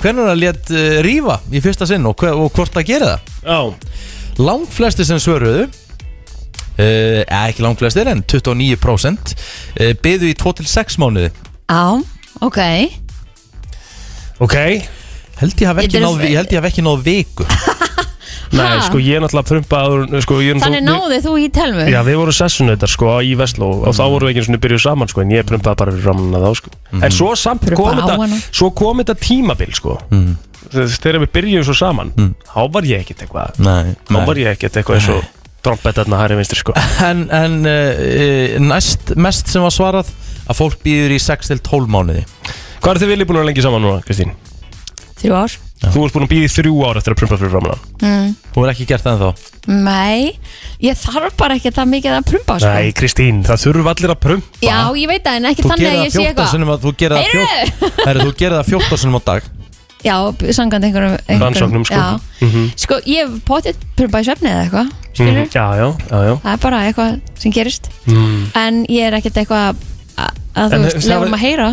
[SPEAKER 2] hvernig það létt uh, rífa í fyrsta sinn og, hve- og hvort það gerir það Já. langflesti sem svöruðu uh, ekki langflestir en 29% uh, byðu í 2-6 mánuði
[SPEAKER 3] Á, ok
[SPEAKER 4] Ok
[SPEAKER 2] Held ég hafi
[SPEAKER 3] Þetta
[SPEAKER 2] ekki
[SPEAKER 3] er-
[SPEAKER 2] náð, ég held ég hafi ekki náð viku
[SPEAKER 4] Nei, sko ég er náttúrulega prumpa áður- sko, ég er
[SPEAKER 3] Þannig
[SPEAKER 4] náttúrulega-
[SPEAKER 3] náði þú í telmu
[SPEAKER 4] Já, við vorum sessunautar sko í Vestló
[SPEAKER 2] Mm.
[SPEAKER 4] og þá vorum við ekki einu sinni byrjuð saman sko en ég prumpaði bara fyrir ramanna þá sko En
[SPEAKER 2] Mm.
[SPEAKER 4] svo samt
[SPEAKER 3] Prumpaði
[SPEAKER 4] kom
[SPEAKER 3] á
[SPEAKER 4] þetta,
[SPEAKER 3] hana.
[SPEAKER 4] svo kom þetta tímabil sko mm. Þegar við byrjuðum svo saman, þá var ég ekkert eitthvað
[SPEAKER 2] Mm. Nei,
[SPEAKER 4] Þá
[SPEAKER 2] nei.
[SPEAKER 4] var ég ekkert eitthvað eins og trombettarna hæri vinstri sko
[SPEAKER 2] En, en uh, næst mest sem var svarað að fólk býður í 6-12 mánuði
[SPEAKER 4] Hvað er þið viljið búin að vera lengi saman núna, Kristín?
[SPEAKER 3] Þrjú ár
[SPEAKER 4] Þú ert búin að býða í þrjú ár eftir að prumpa fyrir ramanna
[SPEAKER 3] mm.
[SPEAKER 2] Þú er ekki gert það ennþá
[SPEAKER 3] Nei, ég þarf bara ekki það mikið að prumpa sko.
[SPEAKER 4] Nei, Kristín, það þurfu allir að prumpa
[SPEAKER 3] Já, ég veit það en ekki
[SPEAKER 2] Þú
[SPEAKER 3] þannig
[SPEAKER 2] gerir
[SPEAKER 3] að
[SPEAKER 2] það
[SPEAKER 3] ég sé
[SPEAKER 2] 14
[SPEAKER 3] eitthvað
[SPEAKER 2] sinnum að- Þú gerir það
[SPEAKER 3] Heyrðu!
[SPEAKER 2] 14 Herri, Þú gerir það 14 sinnum á dag
[SPEAKER 3] Já, sangandi einhverjum, einhverjum
[SPEAKER 2] sko.
[SPEAKER 3] já.
[SPEAKER 4] Mhm.
[SPEAKER 3] Sko, ég hef potið prumpa í svefni eða eitthvað Skilur,
[SPEAKER 4] Mhm, Já, já, já, já
[SPEAKER 3] það er bara eitthvað sem gerist
[SPEAKER 4] Mm.
[SPEAKER 3] En ég er ekkert eitthvað að, að þú
[SPEAKER 4] En
[SPEAKER 3] veist,
[SPEAKER 4] það-
[SPEAKER 3] lefum að heyra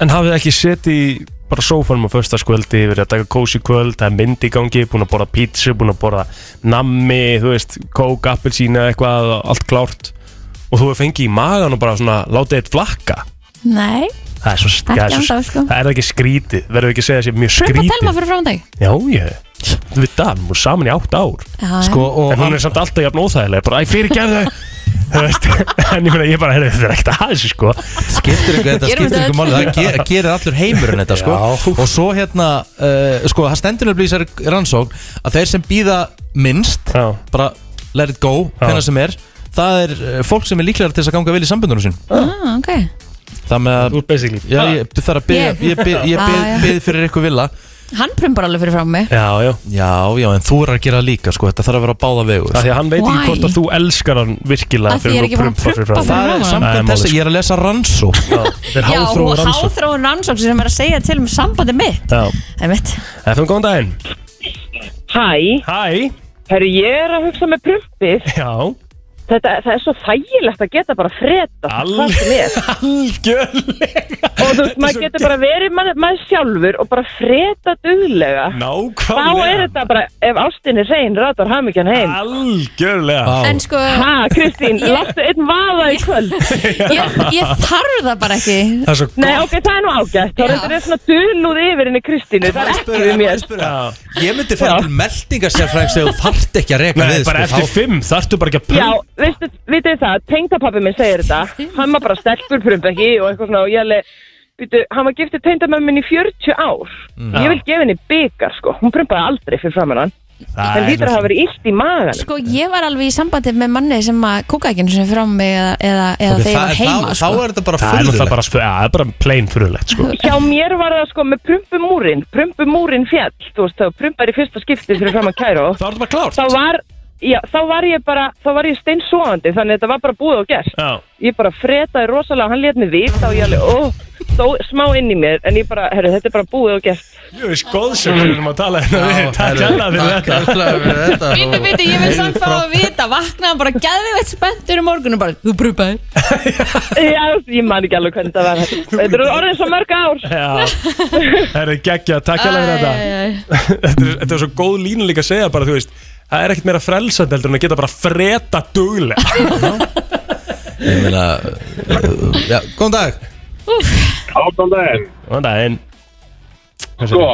[SPEAKER 4] En hafið þið ekki setið í bara sófanum á förstaskvöldi, verið að taka kósi kvöld, það er mynd í gangi, búin að borða pítsu, búin að borða nammi, þú veist, kók, appelsína, eitthvað, allt klárt og þú hefur fengið í magan og bara svona látið eitt flakka.
[SPEAKER 3] Nei,
[SPEAKER 4] Það er svo,
[SPEAKER 3] Ekki
[SPEAKER 4] það er, svo,
[SPEAKER 3] ennþá, sko.
[SPEAKER 4] það er ekki skrítið, verður ekki að segja sér mjög
[SPEAKER 3] prumpa
[SPEAKER 4] skrítið.
[SPEAKER 3] telma fyrir framdæg
[SPEAKER 4] Já, ég, þú veit það, hún er saman í átt ár.
[SPEAKER 3] Já, já.
[SPEAKER 4] sko, en hún er samt alltaf jafn óþægilega, bara, æ, fyrirgerðu, þú veist, en ég meina, ég bara, heyrðu, þetta er ekkert að þessu, sko.
[SPEAKER 2] Skiptir ykkur,
[SPEAKER 4] Gerum
[SPEAKER 2] þetta skiptir
[SPEAKER 4] þetta
[SPEAKER 2] ykkur
[SPEAKER 4] öll.
[SPEAKER 2] máli Það ge- gerir allur heimurinn þetta sko Og svo hérna, uh, sko, það stendur nefnilega í þessari rannsókn Að þeir sem býða minnst
[SPEAKER 4] Já.
[SPEAKER 2] Bara let it go, hvenær sem er Það er eh, fólk sem er líklegar til þess að ganga vel í sambundunum sín
[SPEAKER 3] ah, ok
[SPEAKER 2] Það með að Þú
[SPEAKER 4] er basically
[SPEAKER 2] Já, ég þarf að byrja
[SPEAKER 3] Ég.
[SPEAKER 2] Ég byrja
[SPEAKER 3] Ah, já.
[SPEAKER 2] byð fyrir ykkur vilja
[SPEAKER 3] Hann prumpar alveg fyrir fram mig
[SPEAKER 4] Já, já
[SPEAKER 2] Já, já, en þú er að gera líka, sko, þetta þarf að vera á báða vegur
[SPEAKER 4] Það því að hann veit ekki
[SPEAKER 3] Why?
[SPEAKER 4] hvort að þú elskar hann virkilega
[SPEAKER 3] Af því ég er ekki búin að prumpa fyrir
[SPEAKER 2] Það er
[SPEAKER 3] framan hann.
[SPEAKER 2] samkvæmt
[SPEAKER 4] sko.
[SPEAKER 2] þess að ég er að lesa rannsó
[SPEAKER 4] Það
[SPEAKER 3] Já, og háþróun rannsókn sem er að segja til um sambandi mitt Það er mitt
[SPEAKER 4] FM, góðan daginn
[SPEAKER 12] Hæ
[SPEAKER 4] Hæ
[SPEAKER 12] Herru, ég er að hugsa með prumpið
[SPEAKER 4] Já
[SPEAKER 12] Þetta, það er svo þægilegt að geta bara freda Hvað sem er
[SPEAKER 4] Algjörlega
[SPEAKER 12] Og þú veist, maður getur bara verið maður, maður sjálfur og bara freda duglega
[SPEAKER 4] Nákvæmlega.
[SPEAKER 12] Þá er þetta bara, ef ástinni reyn, ratar hamingjan heim
[SPEAKER 4] Algjörlega
[SPEAKER 12] En
[SPEAKER 3] sko
[SPEAKER 12] Ha, Kristín,
[SPEAKER 3] Ég-
[SPEAKER 12] láttu einn vaða í kvöld
[SPEAKER 3] Ég, ég þarf það bara ekki
[SPEAKER 4] Það er svo
[SPEAKER 12] Nei, ok, það er nú ágætt Það er þetta er svona dulnúð yfir henni Kristínu Það er ekki við mér
[SPEAKER 2] Ég myndi fara til meldingasérfræðing þegar þú þarft ekki að reka
[SPEAKER 4] Nei,
[SPEAKER 2] við sko,
[SPEAKER 4] bara eftir fimm þarftu bara ekki að
[SPEAKER 12] Já, veistu, vitið þið það, tengdapappi minn segir þetta Hann var bara stelpur prumbekki og eitthvað svona og ég alveg Býtu, hann var giftið tengdamömmu minn í 40 ár
[SPEAKER 4] Mm.
[SPEAKER 12] Ég vil gefa henni byggar, sko Hún prumpaði aldrei fyrir framann hann
[SPEAKER 4] Það
[SPEAKER 12] Það
[SPEAKER 4] er
[SPEAKER 12] lítur að hafa verið illt í magan
[SPEAKER 3] Sko, ég var alveg í sambandi með manni sem að kúka ekki einu sinni fram mig eða, eða, eða
[SPEAKER 4] Ok,
[SPEAKER 3] þegar ég var heima sko.
[SPEAKER 4] Það er náttúrulega bara, ja, það er bara plain furðulegt sko.
[SPEAKER 12] Hjá mér var það sko með prumpumúrin Prumpumúrin fjall, þú veist, þá prumpar í fyrsta skipti fyrir framann kæru
[SPEAKER 4] Það var þetta bara klárt
[SPEAKER 12] Þá var, já, þá var ég bara, þá var ég steinsóandi Þannig að þetta var bara búið og gert
[SPEAKER 4] Já.
[SPEAKER 12] Ég bara fretaði rosalega, hann let mig vita og ég alveg, ó, stó, smá inn í mér En ég bara, herru, þetta er bara búið og gert
[SPEAKER 4] Jú, veist góðsögur um að tala hérna við Takk hérna fyrir þetta
[SPEAKER 3] Bíti, bíti, ég vil samt fá að vita Vaknaði bara gæðveitt spenntur um morgunum bara, þú brupaði
[SPEAKER 12] Já, ég man ekki alveg hvernig þetta var Þetta eru orðin svo mörg ár
[SPEAKER 4] Já, það er geggja, takk hérna fyrir þetta þetta, er, þetta er svo góð línu líka að segja bara, þú veist Það er ekkert meira frelsand heldur en að geta bara freda duglega
[SPEAKER 2] Ég meina uh, Já, góðan dag
[SPEAKER 6] Áfram daginn
[SPEAKER 4] Góðan daginn
[SPEAKER 6] Sko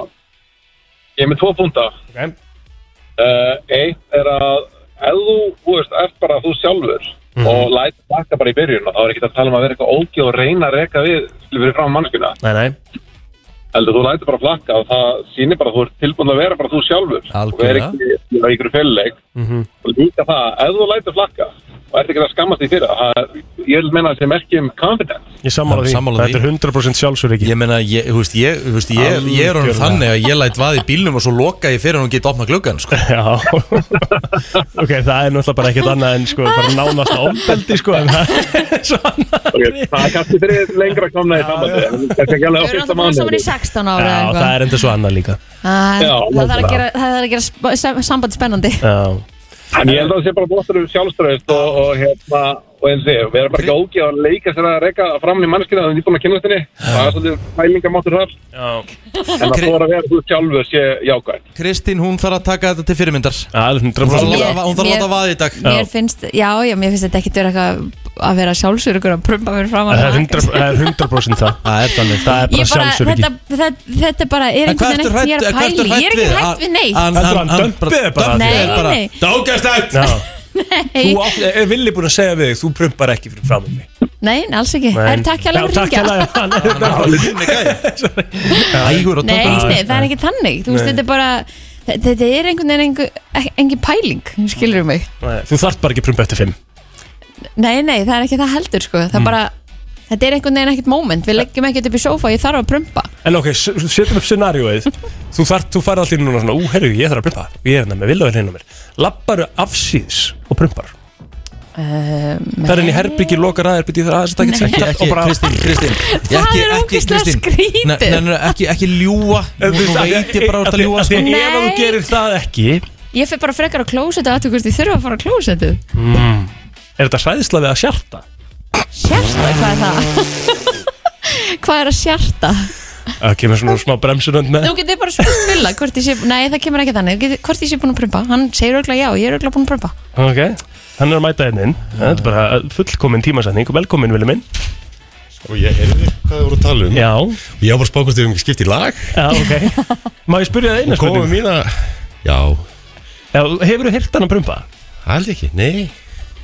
[SPEAKER 6] Ég er með tvo púnta
[SPEAKER 4] okay.
[SPEAKER 6] uh, Eitt er að Ef þú, þú veist, ert bara þú sjálfur
[SPEAKER 4] Mhm.
[SPEAKER 6] Og læt baka bara í byrjun Og þá er ekki að tala um að vera eitthvað ógi og reyna að reka við Fyrir fram mannskuna
[SPEAKER 4] Nei, nei
[SPEAKER 6] Heldur þú lætur bara flakka og það sýnir bara að þú ert tilbúin að vera bara þú sjálfur Algjörlega. Og er ekki í ykkur fjöleik
[SPEAKER 4] Mhm.
[SPEAKER 6] Og líka það, ef þú lætur flakka Og ert ekki að skammast því fyrir það, það Ég vil meina að sem ekki um confidence
[SPEAKER 4] Ég sammála því,
[SPEAKER 2] Sammála
[SPEAKER 4] þetta er 100% sjálfsveriki
[SPEAKER 2] Ég meina, ég, þú veist, ég, þú veist, ég, ég er honum
[SPEAKER 4] Algjörlega.
[SPEAKER 2] þannig að ég læt vaði í bílnum og svo loka ég fyrir hann og geta opna gluggan sko.
[SPEAKER 4] Já Ok, það er náttúrulega bara ekkert annað en sko bara nánast ofbeldi sko en það
[SPEAKER 6] okay, Það er kannski fyrir lengra komna í sambandi en Kannski ekki alveg á
[SPEAKER 3] Við erum alltaf
[SPEAKER 6] fyrsta
[SPEAKER 3] búin saman
[SPEAKER 6] mánuði
[SPEAKER 3] í 16 ára
[SPEAKER 4] Já, það er enda svo annað líka
[SPEAKER 3] Ah, Það
[SPEAKER 6] Já,
[SPEAKER 3] það þarf að
[SPEAKER 4] nákvæmlega.
[SPEAKER 3] gera, það þarf að gera sp- sem- sambandi spennandi
[SPEAKER 4] Já
[SPEAKER 6] En ég held að það sé bara bóttur um sjálfströðist og, og hérna, og eins og ég, við erum bara ekki ógið að leika sér að reyka fram í mannskina þegar við erum búin að kynnast henni. Það er svolítið fælingamáttur þar.
[SPEAKER 4] Já.
[SPEAKER 6] En það fór að vera þú sjálfur sé jákvæmt.
[SPEAKER 2] Kristín, hún þarf að taka þetta til fyrirmyndar
[SPEAKER 4] Hún
[SPEAKER 2] þarf að
[SPEAKER 3] Mér-
[SPEAKER 2] láta- hún þarf að láta
[SPEAKER 3] mér-
[SPEAKER 2] vaða í dag
[SPEAKER 3] Mér finnst, já, já, mér finnst þetta ekki vera eitthvað að vera sjálfsögur að prumpa mér fram
[SPEAKER 4] Það er 100% það er 100% það
[SPEAKER 2] Það er þannig
[SPEAKER 4] Það er bara
[SPEAKER 3] Ég bara, þetta,
[SPEAKER 4] sjálfsöryggi
[SPEAKER 3] þetta, þetta bara er
[SPEAKER 2] En hvað
[SPEAKER 3] einhvern
[SPEAKER 2] ertu
[SPEAKER 3] veginn ekki ég er að
[SPEAKER 2] hrædd- hvað ertu
[SPEAKER 3] pæli, ég er ekki
[SPEAKER 2] hrædd við?
[SPEAKER 3] hægt við
[SPEAKER 2] Hann-
[SPEAKER 3] neitt
[SPEAKER 4] Heldur hann
[SPEAKER 2] hann
[SPEAKER 4] dömpið
[SPEAKER 2] bara-
[SPEAKER 4] bara
[SPEAKER 3] Nei, nei.
[SPEAKER 4] Það er ógæstlegt
[SPEAKER 3] Nei,
[SPEAKER 4] Þú átt- er villi búin að segja við þig Þú prumpar ekki fyrir fram mig
[SPEAKER 3] nei, alls ekki,
[SPEAKER 4] Nei.
[SPEAKER 3] er takk
[SPEAKER 4] Já,
[SPEAKER 3] hérlega fyrir
[SPEAKER 4] Takk
[SPEAKER 3] hringja
[SPEAKER 4] Ægur
[SPEAKER 3] Nei, nei, það er ekki þannig, þú veist,
[SPEAKER 4] Nei.
[SPEAKER 3] þetta er bara þe- Þetta er einhvern veginn engu- e- engin pæling, skilur mig
[SPEAKER 4] Þú þarft bara ekki að prumpa eftir fimm
[SPEAKER 3] Nei, nei, það er ekki það heldur, sko
[SPEAKER 4] Mm.
[SPEAKER 3] Það bara, þetta er einhvern veginn ekkert moment Við leggjum ekkert upp í sófa, ég þarf að prumpa
[SPEAKER 4] En ok, s- setjum upp scenarióið Þú þarft, þú farið allir núna svona Ú, herru, ég þarf að prumpa Ég er hérna með vilja vel hérna mér Lapparu afsýðs og prumpar
[SPEAKER 3] Það Ehm,
[SPEAKER 4] Það er inn í herbyggi, lokar aðerbyggi Það er ekki
[SPEAKER 2] Ekki, ekki, Kristín, Kristín
[SPEAKER 3] Það er ógeðslega skrítið.
[SPEAKER 2] Nei, nei, nei, ekki, ekki ljúa Nú
[SPEAKER 4] þú veist,
[SPEAKER 2] nú
[SPEAKER 4] af því-
[SPEAKER 2] veit ég bara
[SPEAKER 4] af
[SPEAKER 2] hvort
[SPEAKER 4] því-
[SPEAKER 2] að ljúa
[SPEAKER 4] af því
[SPEAKER 2] sko.
[SPEAKER 4] ef að þú
[SPEAKER 3] Nei.
[SPEAKER 4] gerir það ekki
[SPEAKER 3] Ég fer bara frekar á klósetu aðtökur Því þurfa að fara á klósetu
[SPEAKER 4] mm, Er þetta sæðisla við að sjarta?
[SPEAKER 3] Sérsta, hvað er það? hvað er að sérta?
[SPEAKER 4] Það kemur svona smá bremsunönd með
[SPEAKER 3] Nú getur bara spurt Villa hvort ég sé Nei, það kemur ekki þannig Þú getur- Hvort ég sé búin að prumpa Hann segir örgulega já, ég er örgulega búin að prumpa
[SPEAKER 4] Ok, hann er að mæta hérna inn Það er bara fullkomin tímasetning Velkomin, Vili minn
[SPEAKER 15] Og ég heyrði hvað þið voru að tala um
[SPEAKER 4] Já
[SPEAKER 15] Og ég var bara spákvæmst um skipt í lag
[SPEAKER 4] Já, ok Má ég spyrja það eina
[SPEAKER 15] Og komum mína Já
[SPEAKER 4] Já, hefur þú heyrt hann að prumpa?
[SPEAKER 15] Allt ekki, nei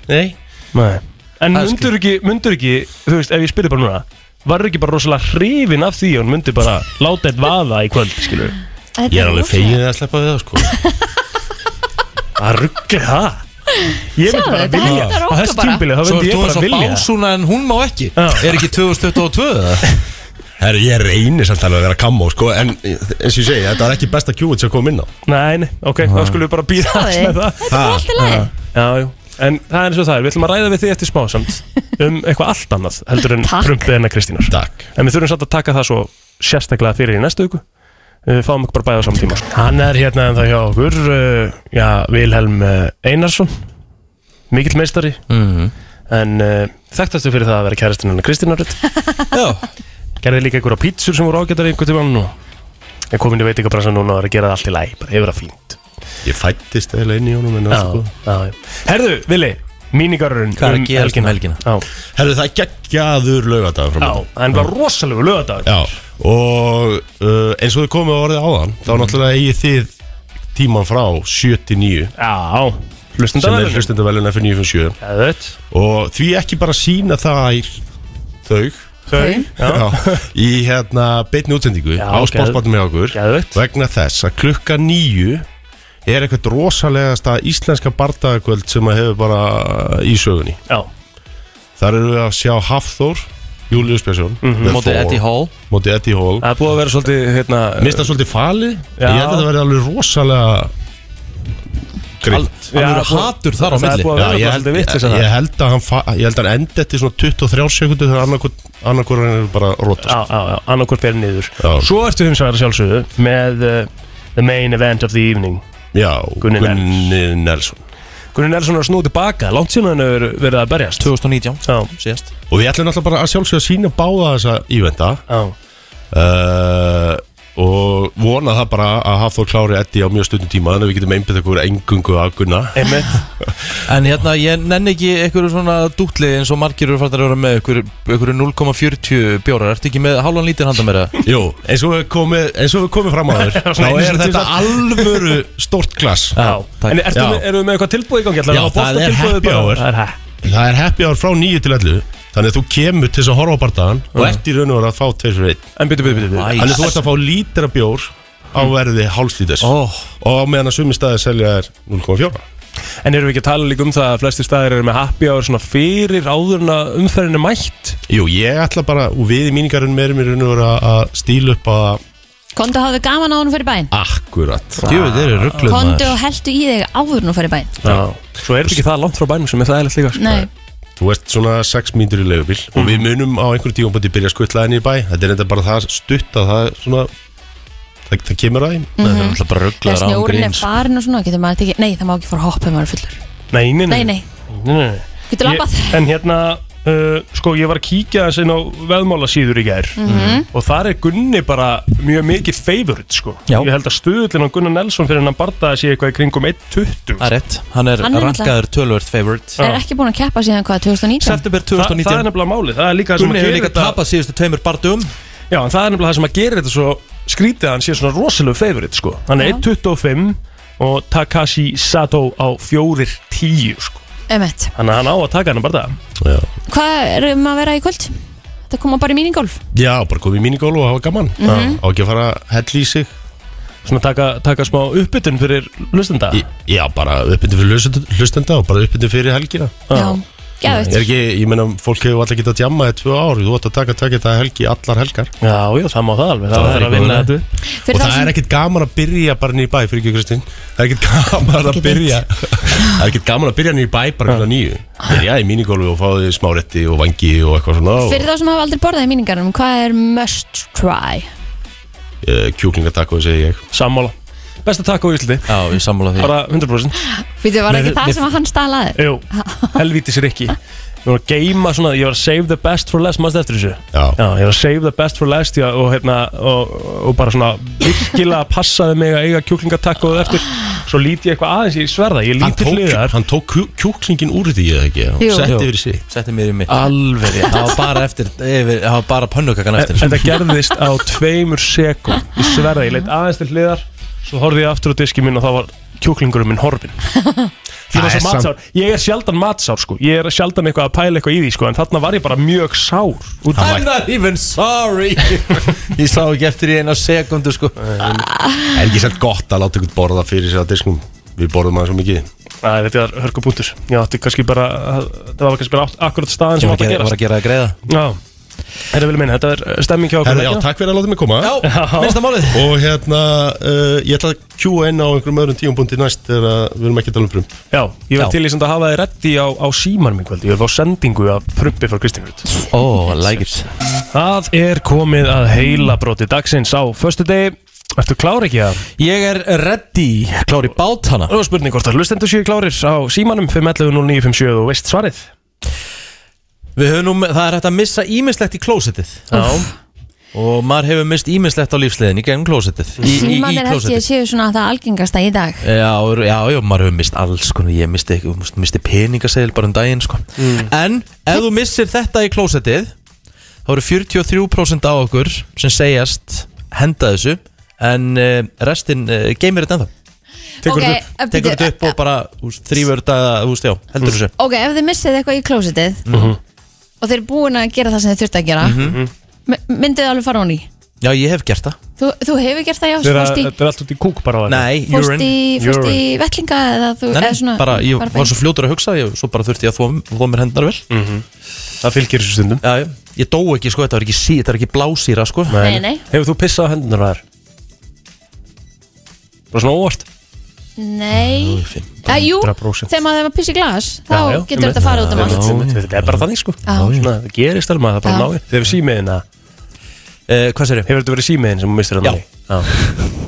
[SPEAKER 15] Nei
[SPEAKER 4] Nei En
[SPEAKER 15] Það er
[SPEAKER 4] mundur ekki, mundur ekki Þú veist, ef ég spyrja bara núna Varður ekki bara rosalega hrifin af því og Hún mundi bara láta eitt vaða í kvöld, skilur
[SPEAKER 3] Þetta er rosa.
[SPEAKER 4] fegin að sleppa við það, sko Það ruggli það Ég myndi
[SPEAKER 3] Sjáðu,
[SPEAKER 4] bara
[SPEAKER 3] þetta
[SPEAKER 4] vilja
[SPEAKER 3] hentar
[SPEAKER 4] Á
[SPEAKER 3] okkur
[SPEAKER 4] þessu
[SPEAKER 3] bara.
[SPEAKER 4] tímbili, þá
[SPEAKER 2] Svo
[SPEAKER 4] myndi
[SPEAKER 2] ert
[SPEAKER 4] ég
[SPEAKER 2] þú eins
[SPEAKER 4] bara
[SPEAKER 2] og
[SPEAKER 4] vilja það.
[SPEAKER 2] básúna en hún má ekki Er ekki 2022 eða?
[SPEAKER 15] Herru, ég reynir samt alveg að vera kammo sko, En eins og ég segi, þetta var ekki besta kjúið sem kom inn á
[SPEAKER 4] Nei, nei, ok, þá skulum við bara býða
[SPEAKER 3] Sjáðu,
[SPEAKER 4] aðeins með það
[SPEAKER 3] þetta er bara allt í lagi.
[SPEAKER 4] Já, já, já. en það er eins og það er, við ætlum að ræða við þig eftir smá samt um eitthvað allt annað heldur en
[SPEAKER 3] Takk.
[SPEAKER 4] prumpið hennar Kristínar Takk. En við þurfum samt að taka það svo sérstaklega fyrir í næstu viku Eh, Við fáum ekki bara bæða á saman tíma sko. Hann er hérna en það hjá okkur uh, Já, Vilhelm eh, Einarsson Mikill meistari
[SPEAKER 2] Mhm.
[SPEAKER 4] En uh, þekktastu fyrir það að vera kærastinn hennar Kristínar Rutt
[SPEAKER 2] Já
[SPEAKER 4] Gerði líka einhverja pítsur sem voru ágættar einhvern tímann og er komin í veitingabransan núna og er að gera það allt í læg bara hefur það fínt
[SPEAKER 15] Ég fættist eða inn í honum en sko.
[SPEAKER 4] Já, já, já. Herðu, Vili, mínigarurinn
[SPEAKER 15] Hvað er að gerast um helgina?
[SPEAKER 4] Já,
[SPEAKER 15] Herru, það er geggjaður lögadagur frá
[SPEAKER 4] já, hann var rosalegu lögadagur
[SPEAKER 15] Já, og uh, eins og þið komið á orðið áðan Þá
[SPEAKER 4] Mhm.
[SPEAKER 15] náttúrulega eigið þið tíman frá 79
[SPEAKER 4] Já,
[SPEAKER 15] hlustendavelun
[SPEAKER 4] hlustendaverðlaun.
[SPEAKER 15] Sem er hlustendavelun F957
[SPEAKER 4] Eðveit.
[SPEAKER 15] Og því ekki bara sína þær Þau
[SPEAKER 4] Þau, já.
[SPEAKER 15] Í hérna beinni útsendingu
[SPEAKER 4] Já,
[SPEAKER 15] Á
[SPEAKER 4] geð-
[SPEAKER 15] spásbarnum með okkur
[SPEAKER 4] geðveikt.
[SPEAKER 15] Vegna þess að klukka nýju Er eitthvað rosalegasta íslenska bardagakvöld Sem að hefur bara í sögunni
[SPEAKER 4] Já
[SPEAKER 15] Þar eru við að sjá Hafþór Július Björnsson
[SPEAKER 4] Mhm.
[SPEAKER 15] The
[SPEAKER 2] Móti
[SPEAKER 15] Thor,
[SPEAKER 2] Eddie Hall.
[SPEAKER 15] Móti Eddie Hall
[SPEAKER 4] Það er búið að vera svolítið hérna
[SPEAKER 15] Mista svolítið falið
[SPEAKER 4] Já.
[SPEAKER 15] Ég held að það verði alveg rosalega Grind
[SPEAKER 4] Al- alvöru Já, hatur þar á það er milli. búið að vera bara
[SPEAKER 15] ég, held,
[SPEAKER 4] svolítið
[SPEAKER 15] ég,
[SPEAKER 4] vitleysa þar.
[SPEAKER 15] ég, held að hann fa- ég held að hann endi eftir svona 23 sekundu Þegar annarkor hann er bara rótast
[SPEAKER 4] Já, já, já, annarkvort fyrir niður Svo ertu hins vegar að sjálfsögðu með uh, the main event of the evening
[SPEAKER 15] Já,
[SPEAKER 4] Gunni
[SPEAKER 15] Gunni Nelson
[SPEAKER 4] Gunni Nelson er að snúti baka, langt síðan hann hefur verið að berjast
[SPEAKER 2] 2019,
[SPEAKER 4] já.
[SPEAKER 2] síðast
[SPEAKER 15] Og við ætlum alltaf bara að sjálfsögja sína báða þessa ívenda uh, Og vona það bara að Hafþór klári Eddi á mjög stundum tíma Þannig að við getum einbytt okkur engungu að Gunna
[SPEAKER 4] Einmitt
[SPEAKER 2] En hérna, ég nenni ekki einhverju svona dútli eins og margir eru farnar að vera með einhverju- einhverju 0,40 bjórar Ertu ekki með hálfan lítinn handa mér það?
[SPEAKER 15] Jú, eins og við komið, eins og við komið fram að þér Þá
[SPEAKER 2] Svona einu
[SPEAKER 15] er
[SPEAKER 2] sinni
[SPEAKER 15] þetta
[SPEAKER 2] til
[SPEAKER 15] alvöru stórt glass
[SPEAKER 4] Já, En ertu,
[SPEAKER 15] Já.
[SPEAKER 4] með- eru við með eitthvað tilbúið í gangi?
[SPEAKER 15] Já, það er happy hour Það er happy hour frá 9 til 11 Þannig að þú kemur til þess að horfa á bardagan Og ert í raun og vera að fá tveir fyrir einn
[SPEAKER 4] Mm. En byrju, byrju, byrju
[SPEAKER 2] Nice.
[SPEAKER 15] Þannig að þú ert að fá lítra bjór Á
[SPEAKER 4] Mm.
[SPEAKER 15] verði hálslíters
[SPEAKER 2] oh.
[SPEAKER 15] Og á meðan að sumi staði selja er 0,4
[SPEAKER 4] En erum við ekki að tala líka um það að flesti staðir eru með happy hour svona fyrir áður en að umferðin er mætt?
[SPEAKER 15] Jú, ég ætla bara Og við í míningarunum erum í raun og vera að stíla upp að
[SPEAKER 3] Kondu hafðu gaman á honum fyrir bæinn
[SPEAKER 15] Akkurat
[SPEAKER 2] Jú, þeir eru ruggluð
[SPEAKER 3] Kondu og heldu í þig áður nú fyrir bæinn
[SPEAKER 4] Já, svo er þetta ekki það langt frá bænum sem er það eða líka sko.
[SPEAKER 3] Nei,
[SPEAKER 15] Þú ert svona 6 mínútur í leifubíl
[SPEAKER 4] Mhm.
[SPEAKER 15] og við munum á einhverjum tíum búin að byrja að skuttla henni í bæ Þetta er enda bara það stutt að það er svona Það það, það kemur að þeim
[SPEAKER 3] Mhm. Nei, það er náttúrulega
[SPEAKER 15] bara
[SPEAKER 3] Þegar snjórinn er farin og svona getur maður tekið, nei það má ekki fara að hoppa ef maður er fullur
[SPEAKER 4] Nei, nei,
[SPEAKER 3] Nei, nei.
[SPEAKER 4] nei, nei. Ég-
[SPEAKER 3] Getur labbað.
[SPEAKER 4] En hérna, uh, sko, ég var að kíkja þess inn á veðmálasíður í gær
[SPEAKER 3] Mhm.
[SPEAKER 4] Og þar er Gunni bara mjög mikið favorite, sko Já. Ég held að stöðullin á Gunnar Nelson fyrir hann bardaði sé eitthvað í kringum 1.20 Það
[SPEAKER 2] er rétt, hann er
[SPEAKER 3] Hann er náttúrulega- rankaður
[SPEAKER 2] tölvöld favorite
[SPEAKER 3] Er ekki búin að keppa síðan hvað, 2019?
[SPEAKER 2] September
[SPEAKER 4] Það-
[SPEAKER 2] 2019
[SPEAKER 4] það er nefnilega málið, það er líka það sem
[SPEAKER 2] Gunni
[SPEAKER 4] að
[SPEAKER 2] hefur
[SPEAKER 4] gera
[SPEAKER 2] líka
[SPEAKER 4] þetta-
[SPEAKER 2] tapað síðustu tveimur barndum
[SPEAKER 4] Já, en það er nefnilega það sem að gera þetta svo skrítið að hann sé svona rosalega favorite, sko Hann er 1.25 og Takashi Sato á 4.10, sko
[SPEAKER 3] Emmett
[SPEAKER 4] Þannig að hann á að taka hann bara
[SPEAKER 15] Já,
[SPEAKER 3] Hvað er um að vera í kvöld? Þetta koma bara í míningolf
[SPEAKER 15] Já bara komið í minigólu og hafa gaman mm
[SPEAKER 3] Mhm.
[SPEAKER 15] Á ekki að fara að hella í sig
[SPEAKER 4] Svona taka, taka smá uppbytun fyrir hlustenda
[SPEAKER 15] Já, bara uppbytun fyrir hlustenda- hlustenda og bara uppbytun fyrir helgina
[SPEAKER 3] Já,
[SPEAKER 15] Er
[SPEAKER 3] geðvægt
[SPEAKER 15] ekki, ég meina, fólk hefur alltaf getað djamað í tvö ár, þú ætti að taka taka þetta helgi allar helgar
[SPEAKER 4] Já, já, það má það alveg, það
[SPEAKER 15] er
[SPEAKER 4] verður að
[SPEAKER 15] ekki
[SPEAKER 4] vinna
[SPEAKER 15] góð
[SPEAKER 4] þetta.
[SPEAKER 15] Og það er ekkit gaman að byrja bara niður í bæ, fyrir ekki Kristín Það er ekkit gaman að byrja Það er ekkit gaman að byrja niður í bæ bara hérna nýju Byrja í mínigólfi og fá þig smáretti og vangi og eitthvað svona
[SPEAKER 3] Fyrir þá sem hafa aldrei borðað í míningarum, hvað er must try?
[SPEAKER 15] eh, Kjúklingatakko, segi ég
[SPEAKER 4] Sammála Besta taco í Íslandi
[SPEAKER 2] Já, ég sammála því
[SPEAKER 4] Bara 100%
[SPEAKER 3] Fyrir var
[SPEAKER 4] Nei, þið-
[SPEAKER 3] ekki það
[SPEAKER 4] þið-
[SPEAKER 3] sem að hann stalaði?
[SPEAKER 4] Jú, helvítis er ekki Ég var að geima svona, ég var að save the best for last Mást eftir þessu
[SPEAKER 15] Já.
[SPEAKER 4] ég var að save the best for last já, og, hérna, og, og bara svona virkilega passaði mig að eiga kjúklingatakko eftir Svo líti ég eitthvað aðeins, ég sverða, ég
[SPEAKER 15] Hann
[SPEAKER 4] líti
[SPEAKER 15] tók,
[SPEAKER 4] hliðar
[SPEAKER 15] hann tók kjú- kjúklingin úr því, eða ekki
[SPEAKER 4] Jú.
[SPEAKER 15] Og setti
[SPEAKER 4] Jú.
[SPEAKER 15] yfir sig
[SPEAKER 2] Setti mér í mig
[SPEAKER 4] Alveg rétt.
[SPEAKER 2] Það var bara eftir, yfir, það var bara pönnukakan
[SPEAKER 4] En,
[SPEAKER 2] eftir
[SPEAKER 4] en það gerðist á tveimur sekund Ég sverða, ég leitt aðeins til hliðar Svo horfði ég aftur á diski minn og þá var kjúklingurinn minn horfin Ég,
[SPEAKER 15] Það
[SPEAKER 4] er
[SPEAKER 15] er
[SPEAKER 4] matsár, ég er sjaldan matsár sko Ég er sjaldan eitthvað að pæla eitthvað í því sko En þarna var ég bara mjög sár út af-
[SPEAKER 2] I'm not even sorry Ég sá ekki eftir í eina sekundu sko
[SPEAKER 15] Er ekki sætt gott að láta ykkur borða fyrir sér að disknum Við borðum aðeins svo mikið
[SPEAKER 4] Æ, þetta er hörkupunktur Ég átti kannski bara Það var kannski bara átt- akkurat staðan sem
[SPEAKER 2] Ég var
[SPEAKER 4] átti að
[SPEAKER 2] að-
[SPEAKER 4] gera
[SPEAKER 2] var að gera það greiða
[SPEAKER 4] Já Herra vil minn, þetta er uh, stemming hjá okkur
[SPEAKER 15] Herra, já, takk fyrir að láta mig koma
[SPEAKER 4] Já, minnsta
[SPEAKER 2] málið
[SPEAKER 15] Og hérna, uh, ég ætla að kjúa inn á einhverjum öðrum tíumpunkti næst Þegar að við erum ekki að tala um frum
[SPEAKER 4] Já, Ég
[SPEAKER 15] Já.
[SPEAKER 4] var til í samt að hafa þið reddi á, á símanum í kvöld Ég var á sendingu af prumpi frá Kristín Rut
[SPEAKER 2] Oh, I like it
[SPEAKER 4] Það er komið að heila broti dagsins á Föstu degi, ertu klár ekki að?
[SPEAKER 2] Ég er ready, klár í bátana
[SPEAKER 4] Og spurning hvort að hlustendur séu klárir á símanum 511-0957 og veist svarið
[SPEAKER 2] Við höfum nú, það er hægt að missa ímislegt í klósettið
[SPEAKER 4] Já
[SPEAKER 2] Og maður hefur mist ímislegt á lífsleiðin í gegnum klósettið Í, í, í
[SPEAKER 3] Síman er held ég
[SPEAKER 2] klósettið
[SPEAKER 3] séu svona það algengasta í dag
[SPEAKER 2] Já, já, já, maður hefur mist alls konar Ég misti, ekki- misti- misti peningasegil bara um daginn sko.
[SPEAKER 4] Mm.
[SPEAKER 2] En ef þú missir þetta í klósettið Þá eru 43% á okkur sem segjast henda þessu En uh, restin uh, geymir þetta ennþá
[SPEAKER 3] Ok,
[SPEAKER 2] Tekur þetta
[SPEAKER 4] eh,
[SPEAKER 2] upp,
[SPEAKER 3] en
[SPEAKER 2] tekur
[SPEAKER 3] bíddu,
[SPEAKER 2] þetta upp og bara þrýfur þetta, þú veist, já, heldur þessu
[SPEAKER 3] Ok, ef þið missið eitthvað í klósitið
[SPEAKER 4] Mm-hmm.
[SPEAKER 2] Mhm.
[SPEAKER 3] og þeir eru búin að gera það sem þið þurft að gera mm
[SPEAKER 2] Mhm.
[SPEAKER 3] myndið þið alveg fara hún í
[SPEAKER 2] Já, ég hef gert það
[SPEAKER 3] Þú, þú hefur gert það já,
[SPEAKER 2] Þeirra-
[SPEAKER 3] fórst í,
[SPEAKER 4] Þetta er allt út í kúk bara
[SPEAKER 2] Nei,
[SPEAKER 3] fórst í, fórst í
[SPEAKER 2] urine.
[SPEAKER 3] vettlinga eða þú
[SPEAKER 2] Nei,
[SPEAKER 3] eða
[SPEAKER 2] nei, bara, ég var
[SPEAKER 3] fæn.
[SPEAKER 2] svo fljótur að hugsa ég, Svo bara þurfti ég að þvó, þvó mér hendnar vel
[SPEAKER 4] Mhm. Það fylgir þessu stundum
[SPEAKER 2] Já, já. ég dó ekki, sko, þetta var ekki, sí, þetta var ekki blásýra, sko
[SPEAKER 3] Nei, nei.
[SPEAKER 4] Hefur þú pissað á hendunar þar? Bara svona óvart
[SPEAKER 3] Nei, að, jú,
[SPEAKER 4] 100%.
[SPEAKER 3] þegar maður er að pissa í glas þá getur þetta að fara út um allt
[SPEAKER 4] Þetta er bara þannig sko
[SPEAKER 3] Já.
[SPEAKER 4] Svona, Það gerist alveg, það er bara
[SPEAKER 3] Já.
[SPEAKER 4] náði Þegar símiðin að
[SPEAKER 2] Eh, hvað sér ég?
[SPEAKER 4] Hefur þetta verið símiðin sem hún mistur hann Já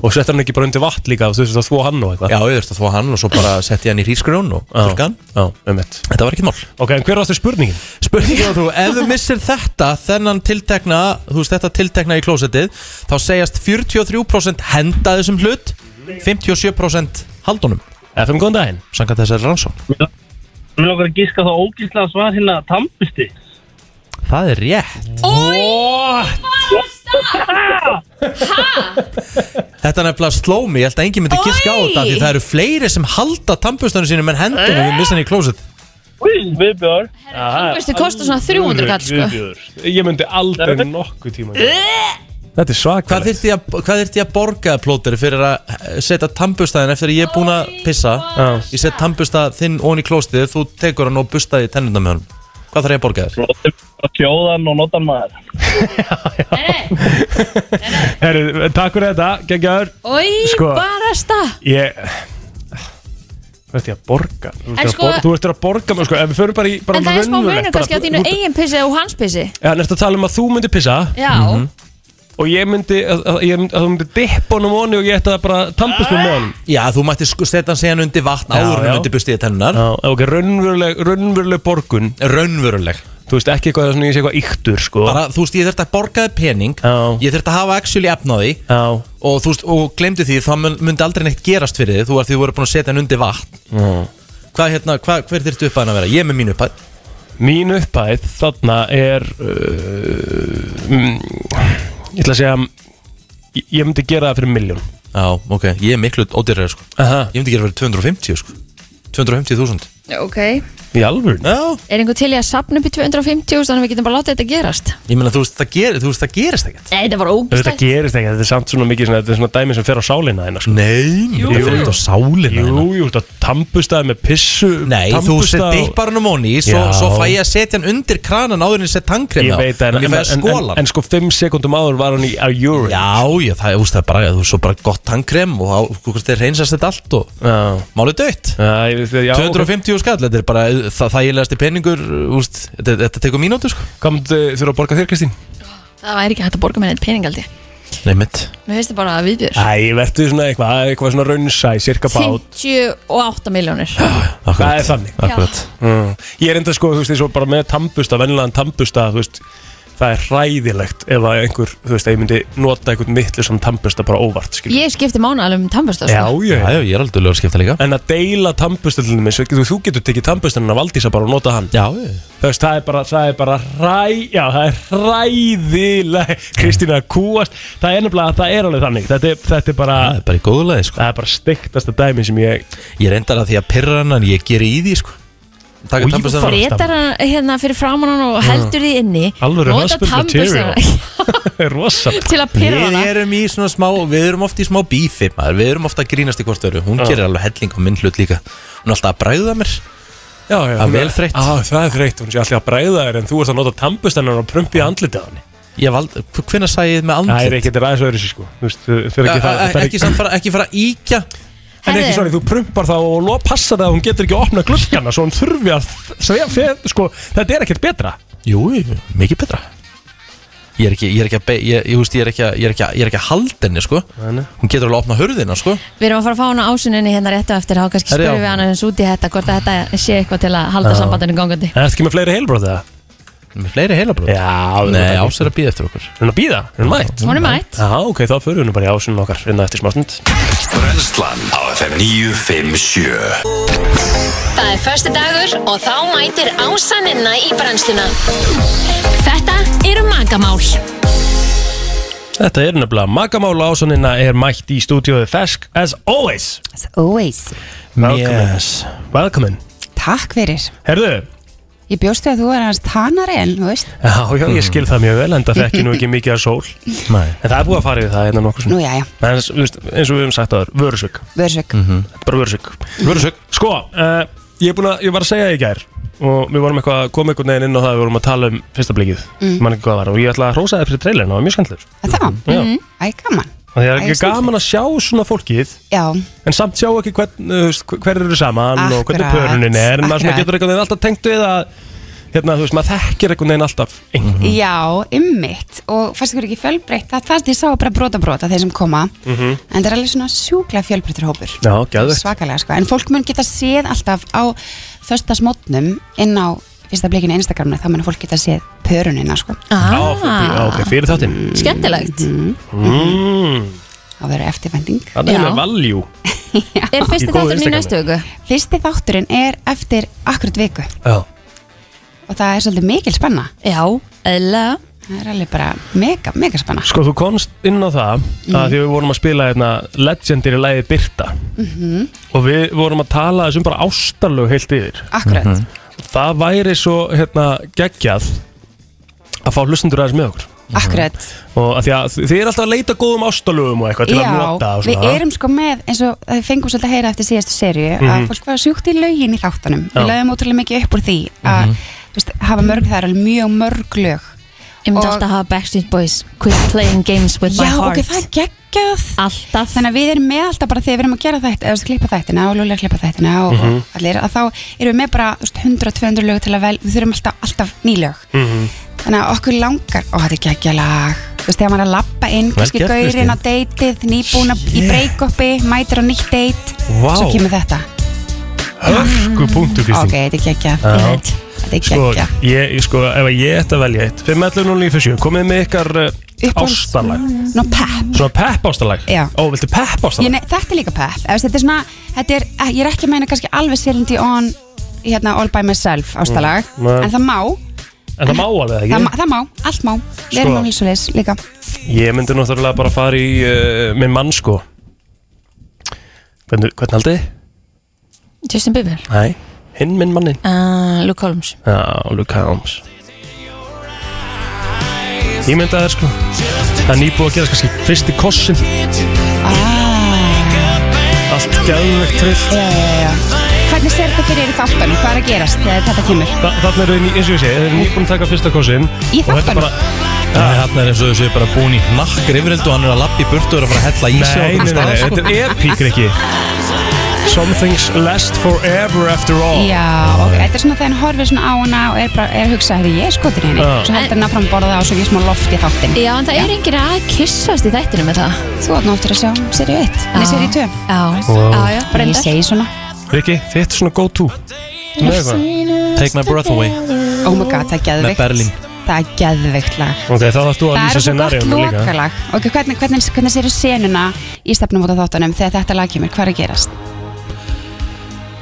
[SPEAKER 4] Og settar hann ekki bara undir vatn líka og Þú þurfti að þvó hann og eitthvað
[SPEAKER 2] Já, ég þurfti að þvó hann og svo bara sett ég hann í hrísgrjón og þurrka hann
[SPEAKER 4] Já, um mitt
[SPEAKER 2] Þetta var ekkert mál
[SPEAKER 4] Ok, en hver var þetta spurningin?
[SPEAKER 2] Spurningin var þú, ef þú missir þetta þennan tiltekna, þú veist þetta tiltekna í klósettið þá segjast 43% henda þessum hlut 57% haldunum
[SPEAKER 4] FM, góðan daginn
[SPEAKER 2] Sangat þessari rannsókn
[SPEAKER 16] Mér lókar að gíska það ógíslega svar hérna tampusti
[SPEAKER 2] Það er rétt Þetta er nefnilega sló mig, ég held að enginn myndi giska á
[SPEAKER 16] Oj!
[SPEAKER 2] þetta Því það eru fleiri sem halda tampustunum sínum en hendunum við missa hann í klósett
[SPEAKER 4] Viðbjör
[SPEAKER 3] Eh? Tannbursti kostar svona 300 kall, sko.
[SPEAKER 4] Ég myndi aldrei nokkuð tíma Þetta er svak
[SPEAKER 2] Hvað þyrfti ég, að- hvað þyrfti ég að borga plótur fyrir að eh, setja tampustæðin eftir að ég er búin að pissa Ég set tampustæð þinn ón í klóstið þú tekur hann og bustaði tennundan með honum Hvað þarf ég að borga þér?
[SPEAKER 16] Sjóðan og notan maður
[SPEAKER 4] Herru, takk fyrir þetta, geggjaður
[SPEAKER 3] Oj,
[SPEAKER 4] Sko,
[SPEAKER 3] barasta
[SPEAKER 4] Ég Hvað ert ég að borga? Þú ert að
[SPEAKER 3] sko-
[SPEAKER 4] borga- Þú ert að borga mér sko Ef við förum bara í bara
[SPEAKER 3] En það er smá
[SPEAKER 4] raunverulegt,
[SPEAKER 3] munur
[SPEAKER 4] bara-
[SPEAKER 3] kannski á
[SPEAKER 4] þú-
[SPEAKER 3] þínu
[SPEAKER 4] þú-
[SPEAKER 3] eigin pissi og hans pissi
[SPEAKER 4] Já, næstu að tala um að þú myndir pissa
[SPEAKER 3] Já,
[SPEAKER 4] og ég myndi að, að, ég myndi, að þú myndi dippa honum voni og ég ætti að bara tampast með honum
[SPEAKER 2] Já, þú mætti sko setja hann síðan undir vatn
[SPEAKER 4] Já,
[SPEAKER 2] áður
[SPEAKER 4] já.
[SPEAKER 2] en undir bustið tennar
[SPEAKER 4] Já, ok, raunveruleg, raunveruleg borgun
[SPEAKER 2] Raunveruleg
[SPEAKER 4] Þú veist ekki eitthvað svona ég sé eitthvað yktur sko
[SPEAKER 2] bara, þú veist, ég þurfti að borga þig pening
[SPEAKER 4] Já.
[SPEAKER 2] ég þurfti að hafa actually efn á því
[SPEAKER 4] Já.
[SPEAKER 2] og þú veist, og glemdi því þá mun, myndi aldrei neitt gerast fyrir þig þú var því þú voru búin að setja hann undir vatn
[SPEAKER 4] Já.
[SPEAKER 2] hvað, hérna, hvað, hver þurfti upphæðan að vera? Ég er með mín upphæð
[SPEAKER 4] Mín upphæð þarna er uh, mm, Ég ætla að segja ég- Ég myndi gera það fyrir miljón
[SPEAKER 2] Já, ok, ég er miklu ódýrari sko
[SPEAKER 4] Aha.
[SPEAKER 2] Ég myndi gera fyrir 250 sko 250.000
[SPEAKER 3] Ok,
[SPEAKER 4] Í alvöru?
[SPEAKER 2] Já
[SPEAKER 3] er einhver til í að sapna upp í 250 þannig að við getum bara látið þetta gerast
[SPEAKER 2] Ég meina, þú veist, það, ger, þú veist, það gerist ekkert
[SPEAKER 3] Nei, þetta var
[SPEAKER 4] Þetta
[SPEAKER 3] ógstætt
[SPEAKER 4] gerist ekki, þetta er samt svona mikið svona, Þetta er svona dæmi sem fer á sálina þeina sko.
[SPEAKER 2] Nei,
[SPEAKER 4] jú,
[SPEAKER 2] þetta fer ekkert á sálina
[SPEAKER 4] Jú, jú, þetta tampustaði með pissu
[SPEAKER 2] Nei, þú set dippar hann um honi svo,
[SPEAKER 4] Já.
[SPEAKER 2] svo fæ ég að setja hann undir kranan áður en ég set tankrem
[SPEAKER 4] Ég veit
[SPEAKER 2] en
[SPEAKER 4] það, en,
[SPEAKER 2] Ég fæ
[SPEAKER 4] en,
[SPEAKER 2] að
[SPEAKER 4] en,
[SPEAKER 2] skóla
[SPEAKER 4] en sko 5 sekundum áður var hann í að júri
[SPEAKER 2] Já, já, það þú veist, það er bara, þú veist, svo bara gott tankrem og þá, þú veist, það reynsast þetta allt og málið dött
[SPEAKER 4] já,
[SPEAKER 2] 250 skall, þetta er bara það þægilegasti peningur, þú veist, þetta, þetta tekur mínútu, sko
[SPEAKER 4] Hvað myndi þurfa að borga þér, Kristín?
[SPEAKER 3] Það væri ekki hægt að borga með neitt peningaldi
[SPEAKER 2] Nei, mitt
[SPEAKER 3] Mér finnst það bara að viðbjör
[SPEAKER 4] Æ, verður svona eitthvað, eitthvað svona raunsæ, cirka bát
[SPEAKER 3] 58 miljónir
[SPEAKER 4] Það er þannig
[SPEAKER 3] Akkurat.
[SPEAKER 4] mm. Ég er enda sko, þú veist, eins og bara með tampusta vennilegan tampusta, þú veist það er hræðilegt ef að einhver þú veist, að ég myndi nota einhvern mittlu sem tampusta bara óvart, skil
[SPEAKER 3] Ég skipti mánuðalum um tannbörsta
[SPEAKER 4] Já,
[SPEAKER 3] sko.
[SPEAKER 4] já,
[SPEAKER 2] já, ég er aldrei lögur skipta líka
[SPEAKER 4] En að deila tampustöldunum eins og þú, þú getur tekið tampustaninn af Valdísa bara og nota hann
[SPEAKER 2] Já, ég
[SPEAKER 4] Þú veist, það er bara, það er bara ræ, já, það er hræðileg Kristína að kúast Það er nefnilega, það er alveg þannig Þetta er, þetta er bara Það
[SPEAKER 2] er bara í góðulegi, sko
[SPEAKER 4] Það er bara steiktasta dæmi sem ég
[SPEAKER 2] Ég reyndar að því að pirra hann en ég geri í því, sko Taka tannburstan
[SPEAKER 3] Bretar hann hérna fyrir framan hann og heldur því inni
[SPEAKER 2] Alvöru
[SPEAKER 3] Nota
[SPEAKER 2] husband
[SPEAKER 3] tannburstan
[SPEAKER 2] material.
[SPEAKER 4] Rosa
[SPEAKER 3] Til að pirra hana.
[SPEAKER 2] Við erum í svona smá, við erum oft í smá bífi maður. Við erum oft að grínast í hvort öru Hún
[SPEAKER 4] Já.
[SPEAKER 2] gerir alveg helling á minn hlut líka Hún er alltaf að bræða mér
[SPEAKER 4] Já, já,
[SPEAKER 2] Það er
[SPEAKER 4] hún
[SPEAKER 2] vel þreytt.
[SPEAKER 4] Já, það er þreytt, hún sé alltaf að bræða þér en þú ert að nota tampustannar og prumpi í andlitið á henni
[SPEAKER 2] Ég vald, hvenær sagði ég með andlit?
[SPEAKER 4] Það er ekki, þetta er aðeins öðru sér sko Þú veist, þau
[SPEAKER 2] Æ,
[SPEAKER 4] eru ekki það
[SPEAKER 2] æ,
[SPEAKER 4] það er
[SPEAKER 2] Ekki samt fara, ekki fara að íkja
[SPEAKER 4] En ekki sorry, þú prumpar þá og lo- passar það að hún getur ekki að opna gluggana svo hún þurfi að segja fyrir, sko, þetta er ekkert betra
[SPEAKER 2] Jú, mikið betra Ég er ekki, ég er ekki að, be, ég, ég, veist, ég er ekki að, ég er ekki að, ég er ekki að halda henni, sko Hún getur alveg að opna hurðina, sko
[SPEAKER 3] Við erum að fara að fá hana ásuninni hérna rétt á eftir þá kannski
[SPEAKER 2] Herri,
[SPEAKER 3] spurðum
[SPEAKER 2] já.
[SPEAKER 3] við hana eins út í þetta hvort að þetta sé eitthvað til að halda
[SPEAKER 2] Já.
[SPEAKER 3] sambandinu gangandi
[SPEAKER 4] Er þetta ekki með fleiri heilbróð það?
[SPEAKER 2] Með fleiri heilabróð?
[SPEAKER 4] Já
[SPEAKER 2] Nei, Ás er að býða eftir okkur
[SPEAKER 4] Hún er að býða? Hún er mætt?
[SPEAKER 3] Hún er mætt.
[SPEAKER 4] Já, ok, þá förum við nú bara í ásunum okkar innan eftir smástund
[SPEAKER 1] Brennslan á FM 957
[SPEAKER 17] Það er förstu dagur og þá mætir ásaninna í brennsluna. Þetta eru magamál.
[SPEAKER 4] Þetta er nefnilega magamála ásunina er mætt í stúdíóðu Fesk as always
[SPEAKER 18] As always
[SPEAKER 4] Velkomin Velkomin
[SPEAKER 18] Takk fyrir
[SPEAKER 4] Herðu
[SPEAKER 18] Ég bjóstu að þú er hans tanari en, þú veist
[SPEAKER 4] Já, já, ég skil það mjög vel en það fekk ég nú ekki mikið að sól
[SPEAKER 2] Nei.
[SPEAKER 4] En það er búið að fara við það hérna nokkur
[SPEAKER 18] Nú, jæja.
[SPEAKER 4] En þú veist, eins og við höfum sagt aður, vörusök
[SPEAKER 18] Vörusök
[SPEAKER 4] Bara vörusök Vörusök Sko, uh, ég, er búinn að, ég var að segja það í gær Og við vorum eitthvað að koma einhvern veginn inn á það Við vorum að tala um fyrsta blikið
[SPEAKER 18] Mm.
[SPEAKER 4] mm. Man ekki hvað það var Og ég ætla að hrósa það fyrir trailerinn og það var mjög skemmtilegur
[SPEAKER 18] Það,
[SPEAKER 4] Já.
[SPEAKER 3] Mhm.
[SPEAKER 18] mm. æ, gaman
[SPEAKER 4] Og Það er
[SPEAKER 18] Æ,
[SPEAKER 4] ekki
[SPEAKER 18] skemmtilegt.
[SPEAKER 4] gaman að sjá svona fólkið
[SPEAKER 18] Já,
[SPEAKER 4] En samt sjá ekki hvern, þú veist, hver eru saman Og hvernig
[SPEAKER 18] Akkurat,
[SPEAKER 4] pörunin er En maður svona
[SPEAKER 18] akkurat.
[SPEAKER 4] getur einhvern veginn alltaf tengt við að Hérna, þú veist, maður þekkir einhvern veginn alltaf einhvern.
[SPEAKER 18] já, ymmitt Og fannst ykkur ekki fjölbreytt Það þarst ég sá bara brota brota þeir sem koma
[SPEAKER 4] Mhm.
[SPEAKER 18] En það er alveg svona sjúklega fjölbreyttur hópur
[SPEAKER 4] Já, geðveikt.
[SPEAKER 18] Svakalega, sko En fólk mun geta séð alltaf á Föstasmótnum inn á Fyrsta blikinu Instagramna Þá mun fólk geta séð pörunina, sko
[SPEAKER 4] Já, ok, fyrir þáttinn
[SPEAKER 3] Ah, Skemmtilegt
[SPEAKER 18] Mhm.
[SPEAKER 4] mm.
[SPEAKER 18] Það verður eftirvending
[SPEAKER 4] Það er með valjú
[SPEAKER 3] Er fyrsti þátturinn
[SPEAKER 18] Í góðu
[SPEAKER 3] í
[SPEAKER 18] Instagrami.
[SPEAKER 3] næstu viku?
[SPEAKER 18] Fyrsti þátturinn er eftir akkurat viku
[SPEAKER 4] Já.
[SPEAKER 18] Og það er svolítið mikil spenna
[SPEAKER 3] Já, eðlilega
[SPEAKER 18] Það er alveg bara mega, mega Mm. spenna
[SPEAKER 4] Sko þú komst inn á það að því við vorum að spila hérna, legendary lægi Birta
[SPEAKER 18] Mhm.
[SPEAKER 4] og við vorum að tala þessum bara ástarlög heilt yfir Mhm.
[SPEAKER 18] Akkurat mm
[SPEAKER 4] Það væri svo hérna, geggjað að fá hlustendur aðeins með okkur
[SPEAKER 18] Akkurat
[SPEAKER 4] og að því að þið er alltaf að leita góðum ástarlögum og eitthvað til að nota
[SPEAKER 18] Já,
[SPEAKER 4] og
[SPEAKER 18] við
[SPEAKER 4] svona.
[SPEAKER 18] erum sko með eins og það fengum svolítið að heyra eftir síðastu serju að
[SPEAKER 4] Mhm.
[SPEAKER 18] fólk var sjúkt í lögin í þáttunum
[SPEAKER 4] Já.
[SPEAKER 18] Við lögum ótrúlega mikið upp úr því að
[SPEAKER 4] Mhm.
[SPEAKER 18] þú veist, hafa mörg það er alveg mjög mörg lög
[SPEAKER 3] Ég myndi alltaf hafa Backstreet Boys Quit playing games with my
[SPEAKER 18] Já,
[SPEAKER 3] heart
[SPEAKER 18] ok, það er geggjað
[SPEAKER 3] Alltaf
[SPEAKER 18] Þannig að við erum með alltaf bara þegar við erum að gera þetta eða þú veist, klippa þættina og lúlega klippa þættina og,
[SPEAKER 4] Mhm.
[SPEAKER 18] og allir, að þá erum við með bara þú veist, 100-200 lög til að vel, við þurfum alltaf, alltaf nýlög
[SPEAKER 4] Mhm.
[SPEAKER 18] þannig að okkur langar ó þetta er geggja lag þú veist þegar maður er að lappa inn
[SPEAKER 2] Vel
[SPEAKER 18] kannski
[SPEAKER 2] gert, Kristín.
[SPEAKER 18] gaurinn á deytið nýbúna í breykoppi mætir á nýtt deyt
[SPEAKER 4] Vá.
[SPEAKER 18] svo kemur þetta
[SPEAKER 4] Hörgu punktu, Kristín
[SPEAKER 18] ok þetta er geggja
[SPEAKER 4] Já.
[SPEAKER 18] Ég veit. þetta er
[SPEAKER 4] Sko,
[SPEAKER 18] geggja
[SPEAKER 4] ég, ég- sko, ef að ég ætti að velja eitt 511 og 957, komið með ykkar uh, ástalag
[SPEAKER 18] Ná, pepp.
[SPEAKER 4] Svona pepp ástalag
[SPEAKER 18] Já.
[SPEAKER 4] Ó, viltu pepp
[SPEAKER 18] Ég
[SPEAKER 4] ástalag?
[SPEAKER 18] nei, þetta er líka pepp Ef þetta er svona, þetta er, ég er ekki að meina kannski alveg Serendi on hérna, all by myself ástalag
[SPEAKER 4] Mm, nei.
[SPEAKER 18] en það má,
[SPEAKER 4] En það má alveg ekki Sko.
[SPEAKER 18] það, má- það má, allt má við erum á hilsuleis líka
[SPEAKER 4] Ég myndi náttúrulega bara fara í uh, minn mann, sko Hvernig, hvernig haldið? þið?
[SPEAKER 3] Justin Bieber
[SPEAKER 4] Nei, hinn minn mannin
[SPEAKER 3] uh, Luke Holmes
[SPEAKER 4] Já, Luke Holmes Ég myndi að það, sko Það er nýbúið að gera kannski fyrsti kossin Allt gæðvegt trillt
[SPEAKER 18] Ah. Já, já, já Hvernig sér þetta fyrir í þáttunum? Hvað er að gerast þegar þetta kemur?
[SPEAKER 4] Þa- Þarna eru þið, eins og ég segi, þið eru nýbúin að taka fyrsta kossin
[SPEAKER 18] Í
[SPEAKER 4] og þetta er bara-
[SPEAKER 2] Þarna er eins og þessu bara búin í nakkar yfirildu og hann er að lappa í burtu og er að fara að hella í sko. sig
[SPEAKER 4] Nei, nei, nei, nei, þetta er epík, Rikki Something's last forever after all
[SPEAKER 18] Já, ok, þetta er svona þegar hann horfir svona á hana og er, bara, er að hugsa að ég er skotin í henni
[SPEAKER 4] Já.
[SPEAKER 18] Svo heldur hann áfram að borða það og svo ekki smá loft í þáttin
[SPEAKER 3] Já, en það er enginn að kyssast í þættinu með það
[SPEAKER 18] Þú átt náttur að sjá serið 1 Nei, serið 2
[SPEAKER 3] Já,
[SPEAKER 4] Wow.
[SPEAKER 3] já, já,
[SPEAKER 18] Ég
[SPEAKER 3] breyndar
[SPEAKER 18] segi svona
[SPEAKER 4] Rikki, þitt svona go to Með eitthvað
[SPEAKER 2] Take my breath away
[SPEAKER 18] Oh my god, það er
[SPEAKER 2] Með Berlín.
[SPEAKER 18] geðvikt Það er geðvikt lag
[SPEAKER 4] Ok, þá þarfst þú að
[SPEAKER 18] Það
[SPEAKER 4] lýsa
[SPEAKER 18] er svo gott
[SPEAKER 4] scenariónu líka
[SPEAKER 18] lokalag Ok, hvernig, hvernig, hvernig sér senuna í stefnum út af þáttunum þegar þetta lag kemur, hvað er að gerast?